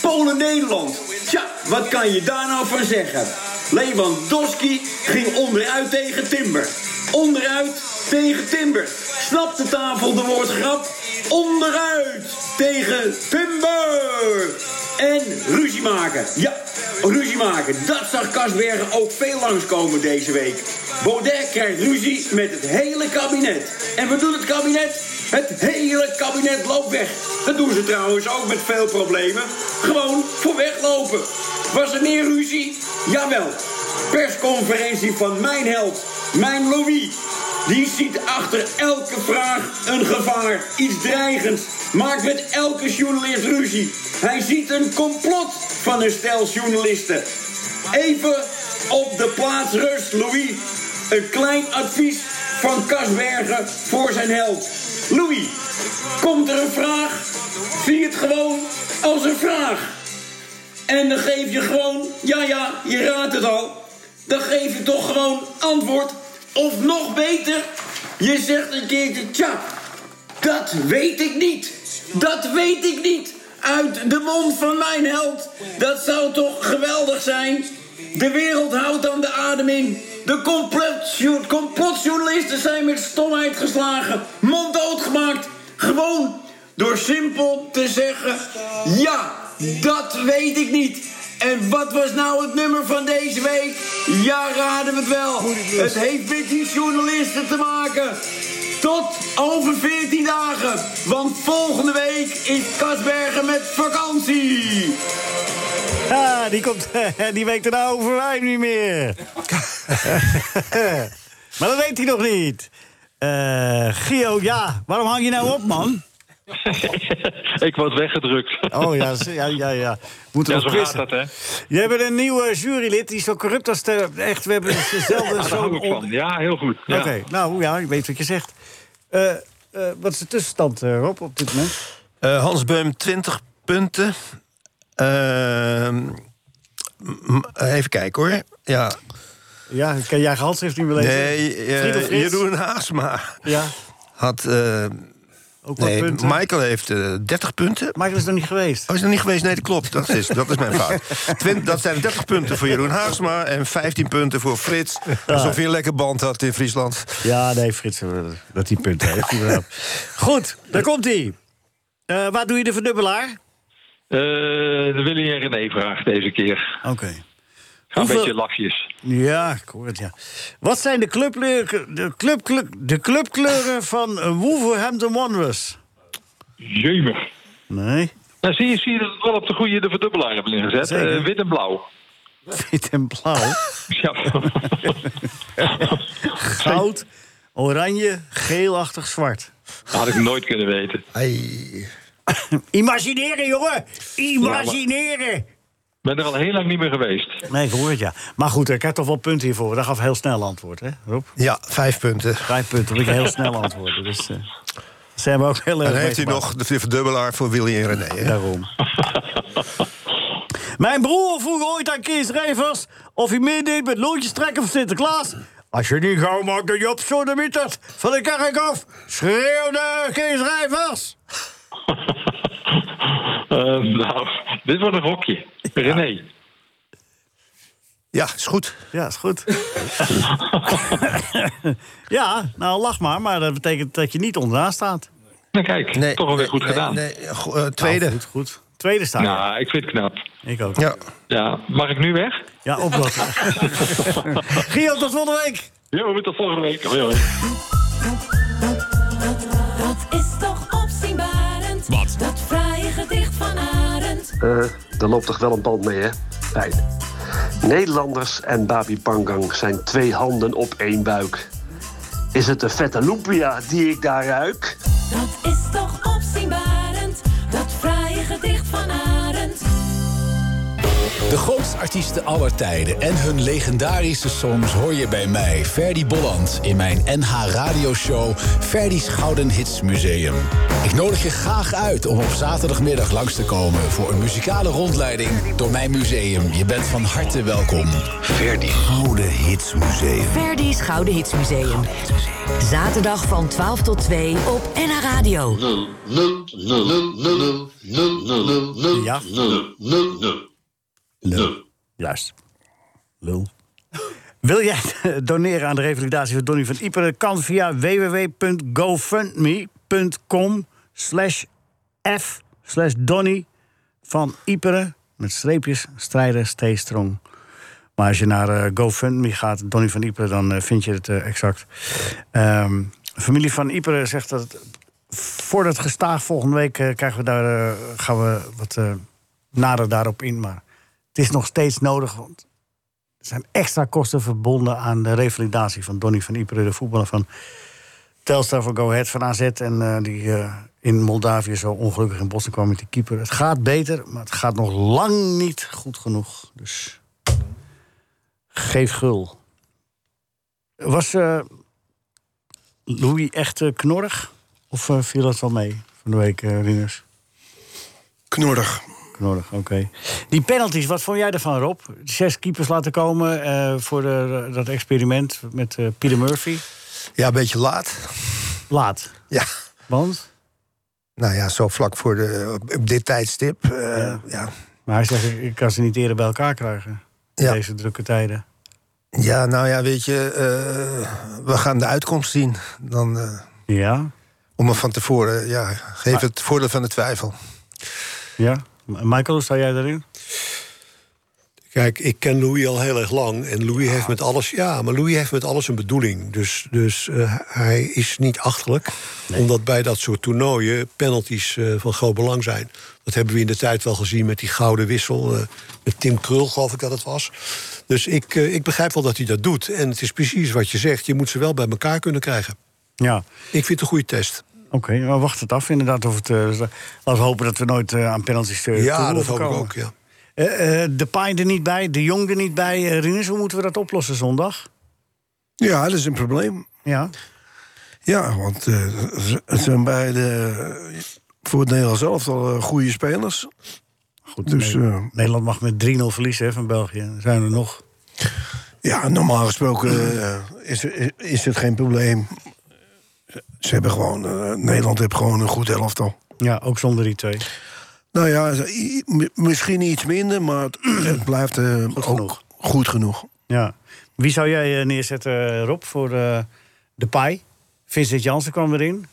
Speaker 16: Polen-Nederland. Tja, wat kan je daar nou van zeggen? Lewandowski ging onderuit tegen Timber. Onderuit tegen Timber. Snapt de tafel de woordgrap? Onderuit tegen Timber. En ruzie maken. Ja, Ruzie maken, dat zag Kasbergen ook veel langskomen deze week. Baudet krijgt ruzie met het hele kabinet. En wat doet het kabinet? Het hele kabinet loopt weg. Dat doen ze trouwens ook met veel problemen. Gewoon voor weglopen. Was er meer ruzie? Jawel. Persconferentie van mijn held, mijn Louis. Die ziet achter elke vraag een gevaar, iets dreigends. Maakt met elke journalist ruzie. Hij ziet een complot van een stel journalisten. Even op de plaats rust, Louis. Een klein advies van Kasbergen voor zijn held. Louis, komt er een vraag? Zie het gewoon als een vraag. En dan geef je gewoon, ja ja, je raadt het al. Dan geef je toch gewoon antwoord. Of nog beter, je zegt een keertje, tja, dat weet ik niet. Dat weet ik niet. Uit de mond van mijn held. Dat zou toch geweldig zijn. De wereld houdt dan de adem in. De complotjo- complotjournalisten zijn met stomheid geslagen. Mond doodgemaakt. Gewoon door simpel te zeggen... Ja, dat weet ik niet. En wat was nou het nummer van deze week? Ja, raden we het wel. Het heeft met die journalisten te maken. Tot over 14 dagen. Want volgende week is Kasbergen met vakantie.
Speaker 3: Ah, die komt die week daarna over mij niet meer. maar dat weet hij nog niet. Eh, Gio, ja, waarom hang je nou op, man?
Speaker 14: ik word weggedrukt.
Speaker 3: Oh ja, ze- ja, ja. ja. Moeten
Speaker 14: ja,
Speaker 3: we
Speaker 14: zo gaat
Speaker 3: quizzen.
Speaker 14: dat, hè?
Speaker 3: Je hebt een nieuwe jurylid, die is zo corrupt als de... Echt, we hebben
Speaker 14: Ja,
Speaker 3: dezelfde
Speaker 14: daar
Speaker 3: zo'n
Speaker 14: hou ik van. Ja, heel goed. Ja.
Speaker 3: Oké, nou ja, ik weet wat je zegt. Eh, eh, wat is de tussenstand, eh, Rob, op dit moment?
Speaker 9: Eh, Hans Beum 20 punten. Ehm, m- even kijken hoor. Ja.
Speaker 3: Ja, ik kan jij
Speaker 9: eh,
Speaker 3: handschrift niet meer lezen.
Speaker 9: Nee, eh,
Speaker 3: Friedel Frits.
Speaker 9: Jeroen Haasma
Speaker 3: Ja.
Speaker 9: had eh,
Speaker 3: Ook wat
Speaker 9: Nee,
Speaker 3: punten?
Speaker 9: Michael heeft eh, 30 punten.
Speaker 3: Michael is er niet geweest.
Speaker 9: Oh, is er niet geweest? Nee, dat klopt. Dat is, dat is mijn fout. Twin- dat zijn 30 punten voor Jeroen Haagsma en 15 punten voor Frits. Alsof je een lekker band had in Friesland.
Speaker 3: Ja, nee, Frits, eh, dat die punten heeft. hij wel. Goed, daar komt hij. Eh waar doe je de verdubbelaar?
Speaker 14: Eh de Willy en René vraag deze keer.
Speaker 3: Oké.
Speaker 14: Ga een
Speaker 3: Hoeveel-
Speaker 14: beetje lachjes.
Speaker 3: Ja, ik hoor het, ja. Wat zijn de, clubleuren- de, clubkle- de clubkleuren van eh, Wolverhampton Wanderers?
Speaker 14: Jemig.
Speaker 3: Nee.
Speaker 14: Nou, zie je, zie je dat het wel op de goede de verdubbelaar hebben neergezet.
Speaker 3: Zeker.
Speaker 14: Eh, wit en blauw.
Speaker 3: Wit en blauw.
Speaker 14: Ja.
Speaker 3: Goud, oranje, geelachtig zwart.
Speaker 14: Had ik nooit kunnen weten.
Speaker 3: Imagineren, jongen! Imagineren!
Speaker 14: Ik ben er al heel lang niet meer geweest.
Speaker 3: Nee, ik hoor het, ja. Maar goed, ik heb toch wel punten hiervoor. Dat gaf heel snel antwoord, hè, Rob?
Speaker 9: Ja, vijf punten.
Speaker 3: Vijf punten, dat ik heel snel antwoord. Dus, eh ze hebben ook heel erg
Speaker 9: En heeft hij
Speaker 3: meegemaakt.
Speaker 9: nog de verdubbelaar voor Willy en René. Hè?
Speaker 3: Daarom. Mijn broer vroeg ooit aan Kees Rijvers of hij meedeed met loontjes trekken voor Sinterklaas. Als je niet gauw maakt dat je op zo'n mieters van de kerk af, schreeuwde Kees Rijvers.
Speaker 14: Eh, nou, dit wordt een hokje. René.
Speaker 9: Ja, is goed.
Speaker 3: Ja, is goed. ja, nou lach maar, maar dat betekent dat je niet onderaan staat.
Speaker 14: Nou kijk, toch alweer goed gedaan.
Speaker 9: eh, tweede.
Speaker 3: Nou, goed, goed. Tweede staat. je.
Speaker 14: Nou, ik vind het knap.
Speaker 3: Ik ook.
Speaker 9: Ja.
Speaker 14: ja. Mag ik nu weg?
Speaker 3: Ja, oplossen. Gio, tot volgende week.
Speaker 14: Jo, we tot volgende week. Hoi, hoi.
Speaker 15: Dat is toch opzienbarend. Wat? Dat fraaie gedicht van Arend.
Speaker 17: Eh, daar loopt toch wel een band mee, hè? Fijn. Nederlanders en Babi Pangang zijn twee handen op één buik. Is het de vette lumpia die ik daar ruik?
Speaker 15: Dat is toch opzienbarend. Dat fraaie gedicht van Arend.
Speaker 11: De grootste artiesten aller tijden en hun legendarische songs hoor je bij mij, Ferdy Bolland, in mijn NH Radio Show Ferdy's Gouden Hits Museum. Ik nodig je graag uit om op zaterdagmiddag langs te komen voor een muzikale rondleiding door mijn museum. Je bent van harte welkom. Ferdy Gouden Hits Museum.
Speaker 1: Verdi's Gouden Hitsmuseum. Zaterdag van 12 tot 2 op NH Radio.
Speaker 3: Ja. Juist. Lul. Wil jij doneren aan de revalidatie van Donny van Ieper? Dat kan via www.gofundme.com slash f slash Donny van Ieperen. Met streepjes, strijders, T-strong. Maar als je naar eh, GoFundMe gaat, Donny van Ieperen, dan eh, vind je het eh, exact. Ehm, de familie van Ieperen zegt dat... het- voor dat gestaag volgende week eh, krijgen we daar, eh, gaan we wat eh, nader daarop in. Maar het is nog steeds nodig, want er zijn extra kosten verbonden aan de revalidatie van Donny van Ieperen, de voetballer van Telstar voor Go Ahead van AZ. En eh, die eh, in Moldavië zo ongelukkig in Boston kwam met die keeper. Het gaat beter, maar het gaat nog lang niet goed genoeg. Dus geef gul. Was eh, Louis echt eh, knorrig? Of eh, viel dat wel mee van de week, eh Rinus?
Speaker 4: Knorrig.
Speaker 3: Knorrig, oké. Die penalties, wat vond jij ervan, Rob? Zes keepers laten komen eh, voor de, dat experiment met eh, Peter Murphy.
Speaker 9: Ja, een beetje laat.
Speaker 3: Laat.
Speaker 9: Ja.
Speaker 3: Want?
Speaker 9: Nou ja, zo vlak voor de, op- op dit tijdstip. eh, ja.
Speaker 3: Maar hij zegt, ik- ik kan ze niet eerder bij elkaar krijgen. In
Speaker 9: Ja.
Speaker 3: deze drukke tijden.
Speaker 9: Ja, nou ja, weet je, eh, we gaan de uitkomst zien. Dan,
Speaker 3: ja.
Speaker 9: Om er van tevoren, ja, geef
Speaker 3: Maar-
Speaker 9: het voordeel van de twijfel.
Speaker 3: Ja. Michael, sta jij daarin?
Speaker 6: Kijk, ik ken Louis al heel erg lang. En Louis
Speaker 3: Ah.
Speaker 6: heeft met alles. Ja, maar Louis heeft met alles een bedoeling. Dus, dus eh, hij is niet achterlijk. Omdat bij dat soort toernooien penalties eh, van groot belang zijn. Dat hebben we in de tijd wel gezien met die gouden wissel. eh, met Tim Krul, geloof ik dat het was. Dus ik, eh, ik begrijp wel dat hij dat doet. En het is precies wat je zegt. Je moet ze wel bij elkaar kunnen krijgen.
Speaker 3: Ja.
Speaker 6: Ik vind het een goede test.
Speaker 3: Oké, maar wacht het af inderdaad. Of het, eh, laten we hopen dat we nooit eh, aan penalties eh,
Speaker 6: Ja,
Speaker 3: toe
Speaker 6: dat
Speaker 3: hoeven
Speaker 6: hoop ik
Speaker 3: komen.
Speaker 6: ook, ja.
Speaker 3: Eh, eh, de Pijn er niet bij, De Jong er niet bij. Eh, Rinus, hoe moeten we dat oplossen zondag?
Speaker 4: Ja, dat is een probleem.
Speaker 3: Ja.
Speaker 4: Ja, want eh, ze- het zijn beide eh, voor het Nederlands elftal eh, goede spelers.
Speaker 3: Goed,
Speaker 4: dus
Speaker 3: Nee,
Speaker 4: eh,
Speaker 3: Nederland mag met 3-0 verliezen hè, van België. Er Zijn er nog?
Speaker 4: eh, ja, normaal gesproken eh, is, is, is het geen probleem. Ze hebben gewoon, eh, Nederland heeft gewoon een goed elftal.
Speaker 3: Ja, ook zonder die twee.
Speaker 4: Nou ja, i- i- misschien iets minder, maar het, het blijft eh, ook goed genoeg.
Speaker 3: Ja. Wie zou jij eh, neerzetten, Rob, voor eh, de paai? Vincent Jansen kwam erin.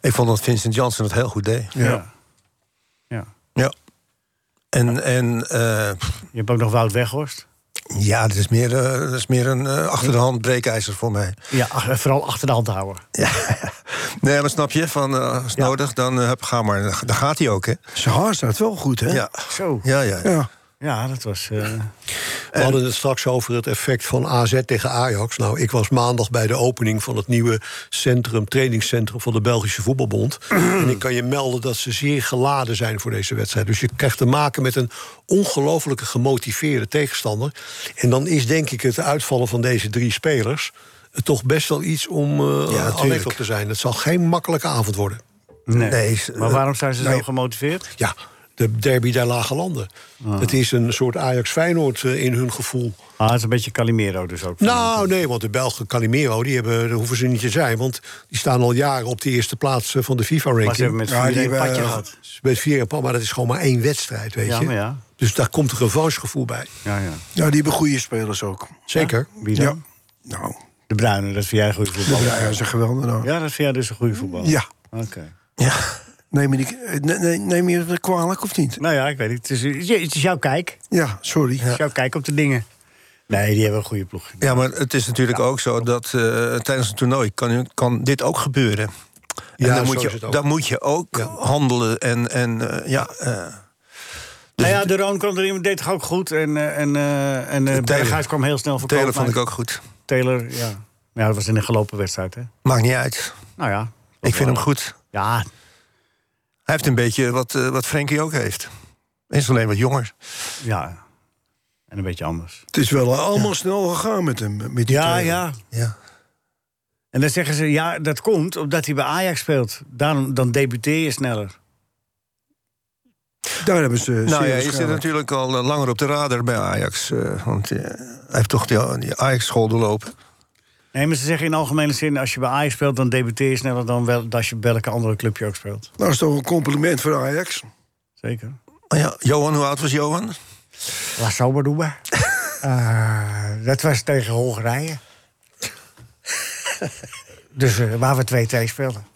Speaker 9: Ik vond dat Vincent Janssen het heel goed deed.
Speaker 3: Ja. Ja.
Speaker 9: En, en, eh,
Speaker 3: Je hebt ook nog Wout Weghorst.
Speaker 9: Ja, dat is meer, eh, dat is meer een eh, achter de hand breekijzer voor mij.
Speaker 3: Ja, ach- eh, vooral achter de hand houden.
Speaker 9: Nee, maar snap je, van, eh, als nodig, dan eh, hup, ga maar. Dan gaat hij ook, hè?
Speaker 4: Zijn haar staat wel goed, hè?
Speaker 9: Ja.
Speaker 3: Zo.
Speaker 9: Ja, ja.
Speaker 4: Ja.
Speaker 3: Ja, dat was. eh,
Speaker 6: We hadden het straks over het effect van AZ tegen Ajax. Nou, ik was maandag bij de opening van het nieuwe centrum, trainingscentrum van de Belgische Voetbalbond. en ik kan je melden dat ze zeer geladen zijn voor deze wedstrijd. Dus je krijgt te maken met een ongelofelijke gemotiveerde tegenstander. En dan is denk ik het uitvallen van deze drie spelers eh, toch best wel iets om eh alert op te zijn. Het zal geen makkelijke avond worden.
Speaker 3: Nee.
Speaker 4: eh,
Speaker 3: maar waarom zijn ze
Speaker 4: nou,
Speaker 3: zo gemotiveerd?
Speaker 6: Ja, de derby der lage landen. Het is een soort Ajax-Feyenoord eh, in hun gevoel.
Speaker 3: Ah, het is een beetje Calimero dus ook.
Speaker 6: Nou, nee, want de Belgen Calimero, die hebben, daar hoeven ze niet te zijn. Want die staan al jaren op de eerste plaats eh, van de
Speaker 3: Maar ze
Speaker 6: FIFA-ranking.
Speaker 3: hebben met Ja, die 4-1 hebben- padje gehad.
Speaker 6: Met 4 een pad, maar dat is gewoon maar één wedstrijd, weet
Speaker 3: Ja,
Speaker 6: je.
Speaker 3: maar ja.
Speaker 6: Dus daar komt een revanchegevoel bij.
Speaker 3: Ja, ja.
Speaker 4: Ja, die hebben goede spelers ook.
Speaker 6: Zeker.
Speaker 3: Wie dan?
Speaker 4: Nou.
Speaker 3: De Bruine, dat vind jij een goede voetballer.
Speaker 4: De Bruyne is een geweldenaar.
Speaker 3: Ja, dat vind jij dus een goede voetballer.
Speaker 4: Ja.
Speaker 3: Oké.
Speaker 4: Neem je, die- eh, ne- ne- neem je het kwalijk of niet?
Speaker 3: Nou ja, ik weet niet. Het is, het is jouw kijk.
Speaker 4: Ja, sorry.
Speaker 3: Het is jouw kijk op de dingen. Nee, die hebben een goede ploeg.
Speaker 9: Ja, maar het is natuurlijk ook zo dat eh, tijdens een toernooi kan, kan dit ook gebeuren. En
Speaker 6: Ja,
Speaker 9: dan,
Speaker 6: zo
Speaker 9: moet
Speaker 6: is het
Speaker 9: je,
Speaker 6: ook.
Speaker 9: dan moet je ook handelen. En, en eh, ja, eh,
Speaker 3: nou ja, de Roon kwam erin, deed toch ook goed. En, eh, en, eh en eh, Berghuis kwam heel snel voor
Speaker 9: Taylor
Speaker 3: Koopmijn.
Speaker 9: vond ik ook goed.
Speaker 3: Taylor, ja. Ja, dat was in een gelopen wedstrijd, hè?
Speaker 9: Maakt niet uit.
Speaker 3: Nou ja.
Speaker 9: Ik vind hem goed.
Speaker 3: Ja. Hij
Speaker 9: heeft een beetje wat, eh, wat Frenkie ook heeft. Hij is alleen wat jonger.
Speaker 3: Ja. En een beetje anders.
Speaker 4: Het is wel allemaal snel gegaan met hem. Met die
Speaker 3: Ja,
Speaker 4: trainer.
Speaker 3: ja.
Speaker 9: ja.
Speaker 3: En dan zeggen ze, ja, dat komt omdat hij bij Ajax speelt. Daarom, dan debuteer je sneller.
Speaker 4: Daar hebben ze...
Speaker 9: nou ja, je
Speaker 4: zeer
Speaker 9: zit
Speaker 4: waarschijnlijk.
Speaker 9: natuurlijk al eh, langer op de radar bij Ajax. eh, want eh, hij heeft toch die, die Ajax-school doorlopen.
Speaker 3: Nee, maar ze zeggen in algemene zin... als je bij Ajax speelt, dan debuteer je sneller... dan wel, als je bij welke andere club je ook speelt.
Speaker 4: Nou, is toch een compliment voor Ajax.
Speaker 3: Zeker.
Speaker 9: Oh ja, Johan, hoe oud was Johan?
Speaker 3: La Sober doen we. Eh, dat was tegen Hongarije. dus eh, waar we 2-2 speelden.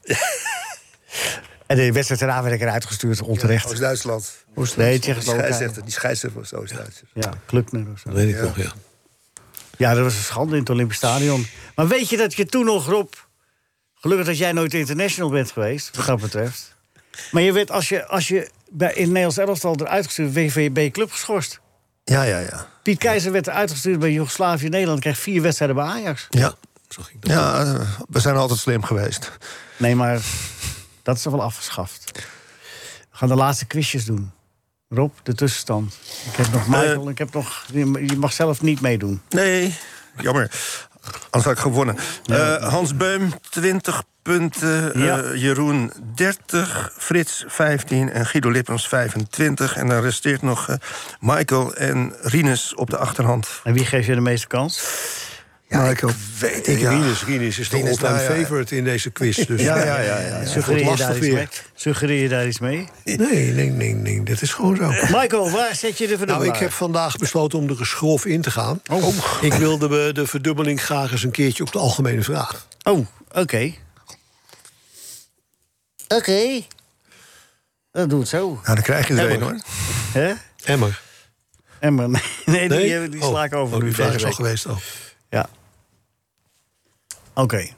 Speaker 3: en de wedstrijd daarna werd ik eruit gestuurd, onterecht.
Speaker 9: Oost-Duitsland.
Speaker 3: Nee, Tsjechoslowakije.
Speaker 9: Die scheidsrechter was Oost-Duitsers.
Speaker 3: Ja, Klukner of zo.
Speaker 6: weet ik
Speaker 9: nog, ja.
Speaker 3: Ja, dat was een schande in het Olympisch Stadion. Maar weet je dat je toen nog, Rob... Gelukkig dat jij nooit international bent geweest, wat dat betreft. Maar je werd, als je, als je bij, in het Nederlands elftal eruit gestuurd... werd, ben je bij je club geschorst.
Speaker 9: Ja, ja, ja.
Speaker 3: Piet Keizer werd eruit gestuurd bij Joegoslavië Nederland... kreeg vier wedstrijden bij Ajax.
Speaker 9: Ja. Ja, eh, we zijn altijd slim geweest.
Speaker 3: Nee, maar dat is toch wel afgeschaft. We gaan de laatste quizjes doen. Rob, de tussenstand. Ik heb
Speaker 6: Eh.
Speaker 3: nog Michael, ik heb nog... je- Je mag zelf niet meedoen.
Speaker 9: Nee, jammer. Anders had ik gewonnen. Eh, Hans Beum, 20 punten. eh,
Speaker 3: Ja.
Speaker 9: Jeroen, 30. Frits, 15. En Guido Lippens, 25. En dan resteert nog eh, Michael en Rinus op de achterhand.
Speaker 3: En wie geeft je de meeste kans?
Speaker 9: Michael. Weet
Speaker 6: Ik,
Speaker 9: ja.
Speaker 6: Rinus, Rinus is de
Speaker 9: Rinus,
Speaker 6: all-time
Speaker 9: nou ja.
Speaker 6: favorite in deze quiz. Dus
Speaker 9: Ja, ja, ja, ja.
Speaker 6: Het wordt
Speaker 3: Suggereer je, daar
Speaker 6: lastig
Speaker 3: iets mee?
Speaker 6: weer.
Speaker 3: Suggereer je daar iets mee?
Speaker 6: Nee, nee, nee, nee. Dat is gewoon zo.
Speaker 3: Michael, waar zet je de
Speaker 6: Nou,
Speaker 3: Oh. verdubbeling?
Speaker 6: ik heb vandaag besloten om er geschrof in te gaan. Oh. Ik wilde we de verdubbeling graag eens een keertje op de algemene vraag.
Speaker 3: Oh, oké. Oké. Dat doet zo. Nou,
Speaker 9: dan krijg je er
Speaker 3: Emmer.
Speaker 9: een, hoor.
Speaker 3: Hè?
Speaker 6: Emmer.
Speaker 3: Emmer, nee, nee, die, eh, die sla ik
Speaker 6: Oh,
Speaker 3: over.
Speaker 6: oh,
Speaker 3: nu
Speaker 6: die vraag is
Speaker 3: deze
Speaker 6: al
Speaker 3: week.
Speaker 6: geweest. Oh.
Speaker 3: Ja. Oké.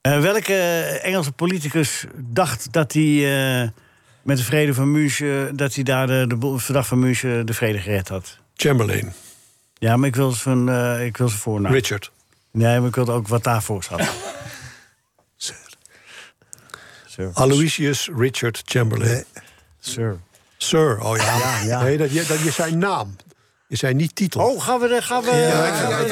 Speaker 3: Eh, welke Engelse politicus dacht dat hij eh, met de vrede van München... dat hij daar de, de bo- verdrag van München de vrede gered had?
Speaker 6: Chamberlain.
Speaker 3: Ja, maar ik wil zijn, eh, ik wil zijn voornaam.
Speaker 6: Richard.
Speaker 3: Nee, maar ik wilde ook wat daarvoor zat. Sir.
Speaker 6: Aloysius Richard Chamberlain.
Speaker 3: Sir.
Speaker 6: Sir, oh ja.
Speaker 3: Ja, ja.
Speaker 6: Nee, dat, je, dat je zijn naam. Je zijn niet titel.
Speaker 3: Oh, gaan we... de- Gaan we
Speaker 9: Michael heeft,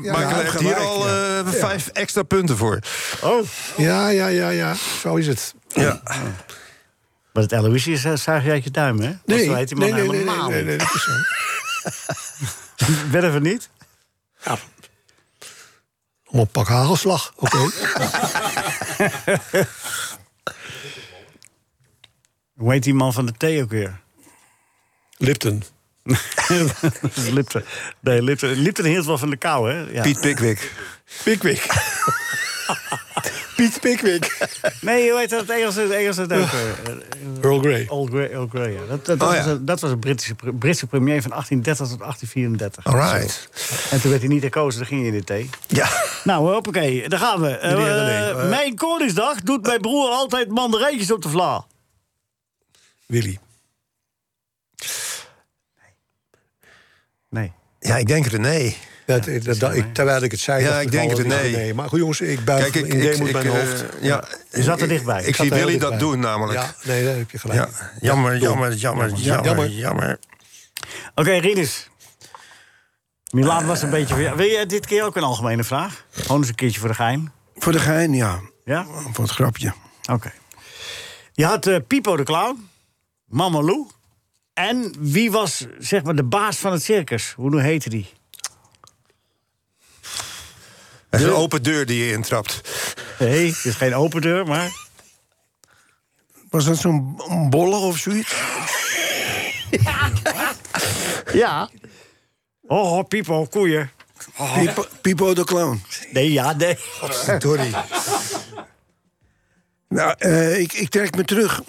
Speaker 9: Michael heeft hier al eh, vijf extra punten voor.
Speaker 3: Oh.
Speaker 6: Ja, Ah, ja, ja, ja. Zo is het.
Speaker 9: Ja.
Speaker 3: Maar het Aloysius eh, zuig je uit je duim, hè? Want
Speaker 6: Nee,
Speaker 3: zo heet die man
Speaker 6: nee, nee, nee,
Speaker 3: helemaal
Speaker 6: nee, nee, nee, dat is
Speaker 3: Wel even niet?
Speaker 6: Maar een pak hagelslag, oké.
Speaker 3: Hoe heet die man van de thee ook weer?
Speaker 6: Lipton.
Speaker 3: Lipton. Nee, Lipton. Lipton hield wel van de kou, hè? Ja.
Speaker 6: Piet Pickwick.
Speaker 3: Pickwick.
Speaker 6: Piet Pickwick.
Speaker 3: Nee, hoe heet dat? Engels is Engels het ook.
Speaker 6: Earl Grey.
Speaker 3: eh, Earl Grey, Earl Grey ja. Dat, dat, dat
Speaker 6: Oh, ja.
Speaker 3: was een, dat was een Britse, pre- Britse premier van 1830 tot 1834.
Speaker 6: Alright.
Speaker 3: Zo. En toen werd hij niet herkozen, dan ging hij in de thee.
Speaker 6: Ja.
Speaker 3: Nou, hoppakee, daar gaan we. Eh,
Speaker 6: Meneer
Speaker 3: eh,
Speaker 6: René, eh,
Speaker 3: mijn Koningsdag doet mijn broer altijd mandarijntjes op de vla.
Speaker 6: Willy.
Speaker 3: Nee.
Speaker 9: Ja, ik denk René.
Speaker 6: Ja, het- dat- dat- ik, terwijl ik het zei,
Speaker 9: Ja,
Speaker 6: dacht
Speaker 9: ik denk
Speaker 6: al
Speaker 9: René.
Speaker 6: René. Maar goed, jongens, ik buig
Speaker 9: Kijk, ik-
Speaker 6: in
Speaker 9: ik-
Speaker 6: deemoed
Speaker 9: ik,
Speaker 6: mijn
Speaker 9: eh,
Speaker 6: hoofd.
Speaker 9: ja, Je zat er dichtbij. ik
Speaker 6: zat
Speaker 9: zie
Speaker 6: er heel
Speaker 9: Willy dat
Speaker 6: dichtbij.
Speaker 9: doen namelijk.
Speaker 6: Ja, nee, daar heb je gelijk.
Speaker 9: Ja, jammer, jammer, jammer, jammer, jammer.
Speaker 3: Oké, Rinus. Milaan was een beetje... weer- Wil je dit keer ook een algemene vraag? Gewoon eens een keertje voor de gein.
Speaker 4: Voor de gein, ja.
Speaker 3: Ja?
Speaker 4: Voor het grapje.
Speaker 3: Oké. Je had eh, Pipo de Clown, Mama Lou. En wie was zeg maar de baas van het circus? Hoe hoe heette die?
Speaker 9: Het is een open deur die je intrapt.
Speaker 3: Nee, het is geen open deur, maar...
Speaker 4: Was dat zo'n b- bolle of zoiets?
Speaker 3: Ja. Oh, oh, Pipo, koeien.
Speaker 4: Pipo, Pipo de Clown.
Speaker 3: Nee, ja, nee.
Speaker 4: Sorry. Nou, eh, ik, ik trek me terug.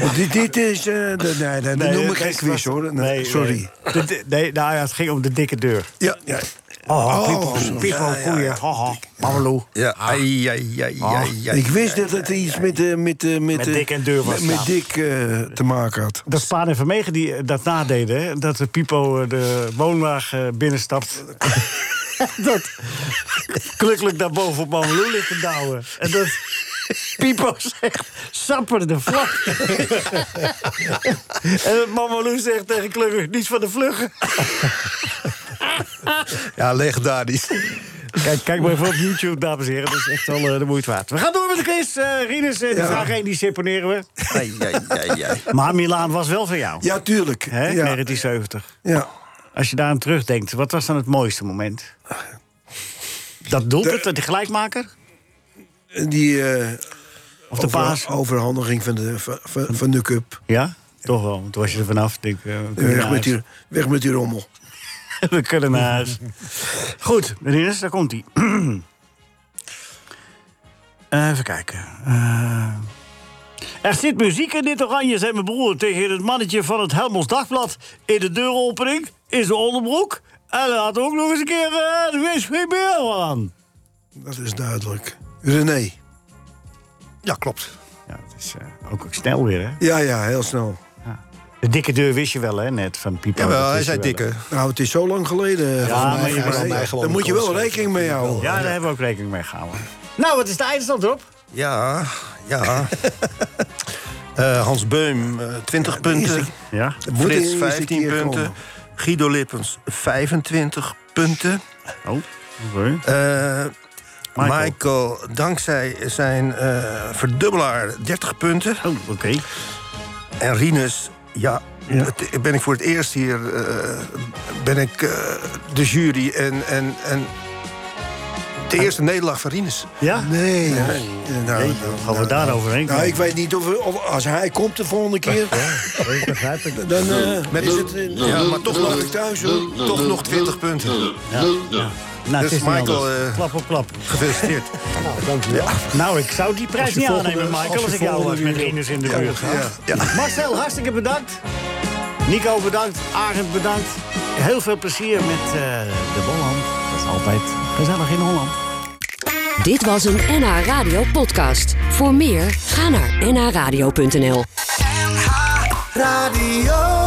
Speaker 4: Want dit, dit is... eh, de- nee, nee, dat noem ik geen quiz, hoor. Nee, sorry.
Speaker 3: Nee, De- nee, nou ja, het ging om de dikke deur.
Speaker 4: Ja, ja.
Speaker 3: Oh,
Speaker 4: Oh,
Speaker 3: Pipo,
Speaker 4: zo.
Speaker 3: Pipo,
Speaker 4: Ja, ja,
Speaker 3: koeien.
Speaker 4: ja.
Speaker 3: Oh, oh, Mameloe.
Speaker 9: Ja, ai, ai, ai, ai, ai.
Speaker 4: Ah, ik wist dat het iets met, eh, met, eh, met,
Speaker 3: Met
Speaker 4: eh,
Speaker 3: Dick en Deur was,
Speaker 4: Met, met
Speaker 3: ja.
Speaker 4: Dick eh, te maken had.
Speaker 3: Dat Spaan en Vermegen die eh, dat nadeden, hè? dat de Pipo eh, de woonwagen eh, binnenstapt. dat klukkelijk daar boven op Mameloe ligt te douwen. En dat Pipo zegt, sapper de vlag. en Mameloe zegt tegen Klukkelijk, niets van de vluggen.
Speaker 9: Ja, legendarisch.
Speaker 3: Kijk, kijk maar even op YouTube, dames en heren. Dat is echt wel eh, de moeite waard. We gaan door met de quiz. Eh Rinus, eh, de
Speaker 4: Ja.
Speaker 3: vraag 1, die seponeren we.
Speaker 9: Ai, ai, ai, ai.
Speaker 3: Maar Milaan was wel van jou.
Speaker 4: Ja, tuurlijk.
Speaker 3: Hè,
Speaker 4: Ja.
Speaker 3: 1970.
Speaker 4: Ja.
Speaker 3: Als je daar aan terugdenkt, wat was dan het mooiste moment?
Speaker 4: Ah,
Speaker 3: Dat doelpunt, de, de gelijkmaker?
Speaker 4: Die eh,
Speaker 3: de
Speaker 4: over-
Speaker 3: paas?
Speaker 4: overhandiging van de, van, van- van de cup.
Speaker 3: Ja, toch wel. want Toen was je er vanaf. Denk, ik, eh, we kunnen
Speaker 4: Weg
Speaker 3: naar
Speaker 4: met,
Speaker 3: huis.
Speaker 4: die, weg met die rommel.
Speaker 3: We kunnen naar huis. Goed, Rinus, daar komt hij. even kijken. Eh, er zit muziek in dit oranje, zei mijn broer tegen het mannetje van het Helmels Dagblad. In de deuropening, in zijn onderbroek. En hij had ook nog eens een keer eh, de wc-beer aan.
Speaker 4: Dat is duidelijk. René.
Speaker 9: Ja, klopt.
Speaker 3: Ja, dat is eh, ook, ook snel weer, hè?
Speaker 4: Ja, ja, heel snel.
Speaker 3: De dikke deur wist je wel, hè, net, van Pipo.
Speaker 9: Jawel,
Speaker 3: Dat
Speaker 9: hij
Speaker 3: wist
Speaker 9: zei
Speaker 3: je wel.
Speaker 9: dikke.
Speaker 4: Nou, het is zo lang geleden. Eh, volgens
Speaker 3: maar
Speaker 4: mij.
Speaker 3: je was mij
Speaker 4: Daar
Speaker 3: gewoon
Speaker 4: moet je wel
Speaker 3: constant.
Speaker 4: rekening mee houden.
Speaker 3: Ja, daar hebben we ook rekening mee gehouden. Nou, wat is de eindstand erop?
Speaker 9: Ja, ja. Eh, Hans Beum, eh, 20 punten.
Speaker 3: Ja.
Speaker 4: Moet de
Speaker 9: Frits,
Speaker 4: eerste
Speaker 9: 15
Speaker 4: keer
Speaker 9: punten.
Speaker 4: komen.
Speaker 9: Guido Lippens, 25 punten.
Speaker 3: Oh,
Speaker 9: Eh,
Speaker 3: Michael.
Speaker 9: Michael. dankzij zijn eh, verdubbelaar, 30 punten.
Speaker 3: Oh, oké.
Speaker 9: En Rinus, ja, het- ben ik voor het eerst hier... eh, ben ik eh, de jury en... en, en de eerste nederlaag van Rinus.
Speaker 3: Ja?
Speaker 4: Nee. Nou, nou,
Speaker 3: Gaan we daar overheen
Speaker 4: nou,
Speaker 3: komen?
Speaker 4: ik weet niet of, of als hij komt de volgende keer,
Speaker 3: Ik begrijp het.
Speaker 4: dan eh,
Speaker 9: Met
Speaker 4: is
Speaker 9: een-
Speaker 4: het... eh,
Speaker 9: ja, maar toch nog,
Speaker 4: laat ik thuis, hoor.
Speaker 9: toch nog 20 punten.
Speaker 3: Nou,
Speaker 9: Dus
Speaker 3: het is niet
Speaker 9: Michael,
Speaker 3: anders.
Speaker 9: eh,
Speaker 3: Klap op klap.
Speaker 9: Gefeliciteerd.
Speaker 6: Nou, dankjewel.
Speaker 3: Nou, ik zou die prijs
Speaker 6: Als je
Speaker 3: niet
Speaker 6: volgende-
Speaker 3: aannemen, Michael, als,
Speaker 6: als je
Speaker 3: ik jou was
Speaker 6: volgende
Speaker 3: met
Speaker 6: weer-
Speaker 3: Rinus in de
Speaker 9: Ja,
Speaker 3: buurt.
Speaker 9: ja, ja.
Speaker 3: Marcel, hartstikke bedankt. Nico, bedankt. Arend, bedankt. Heel veel plezier met eh, de Bolland. Dat is altijd gezellig in Holland.
Speaker 1: Dit was een NH Radio podcast. Voor meer, ga naar nhradio.nl.
Speaker 12: Radio.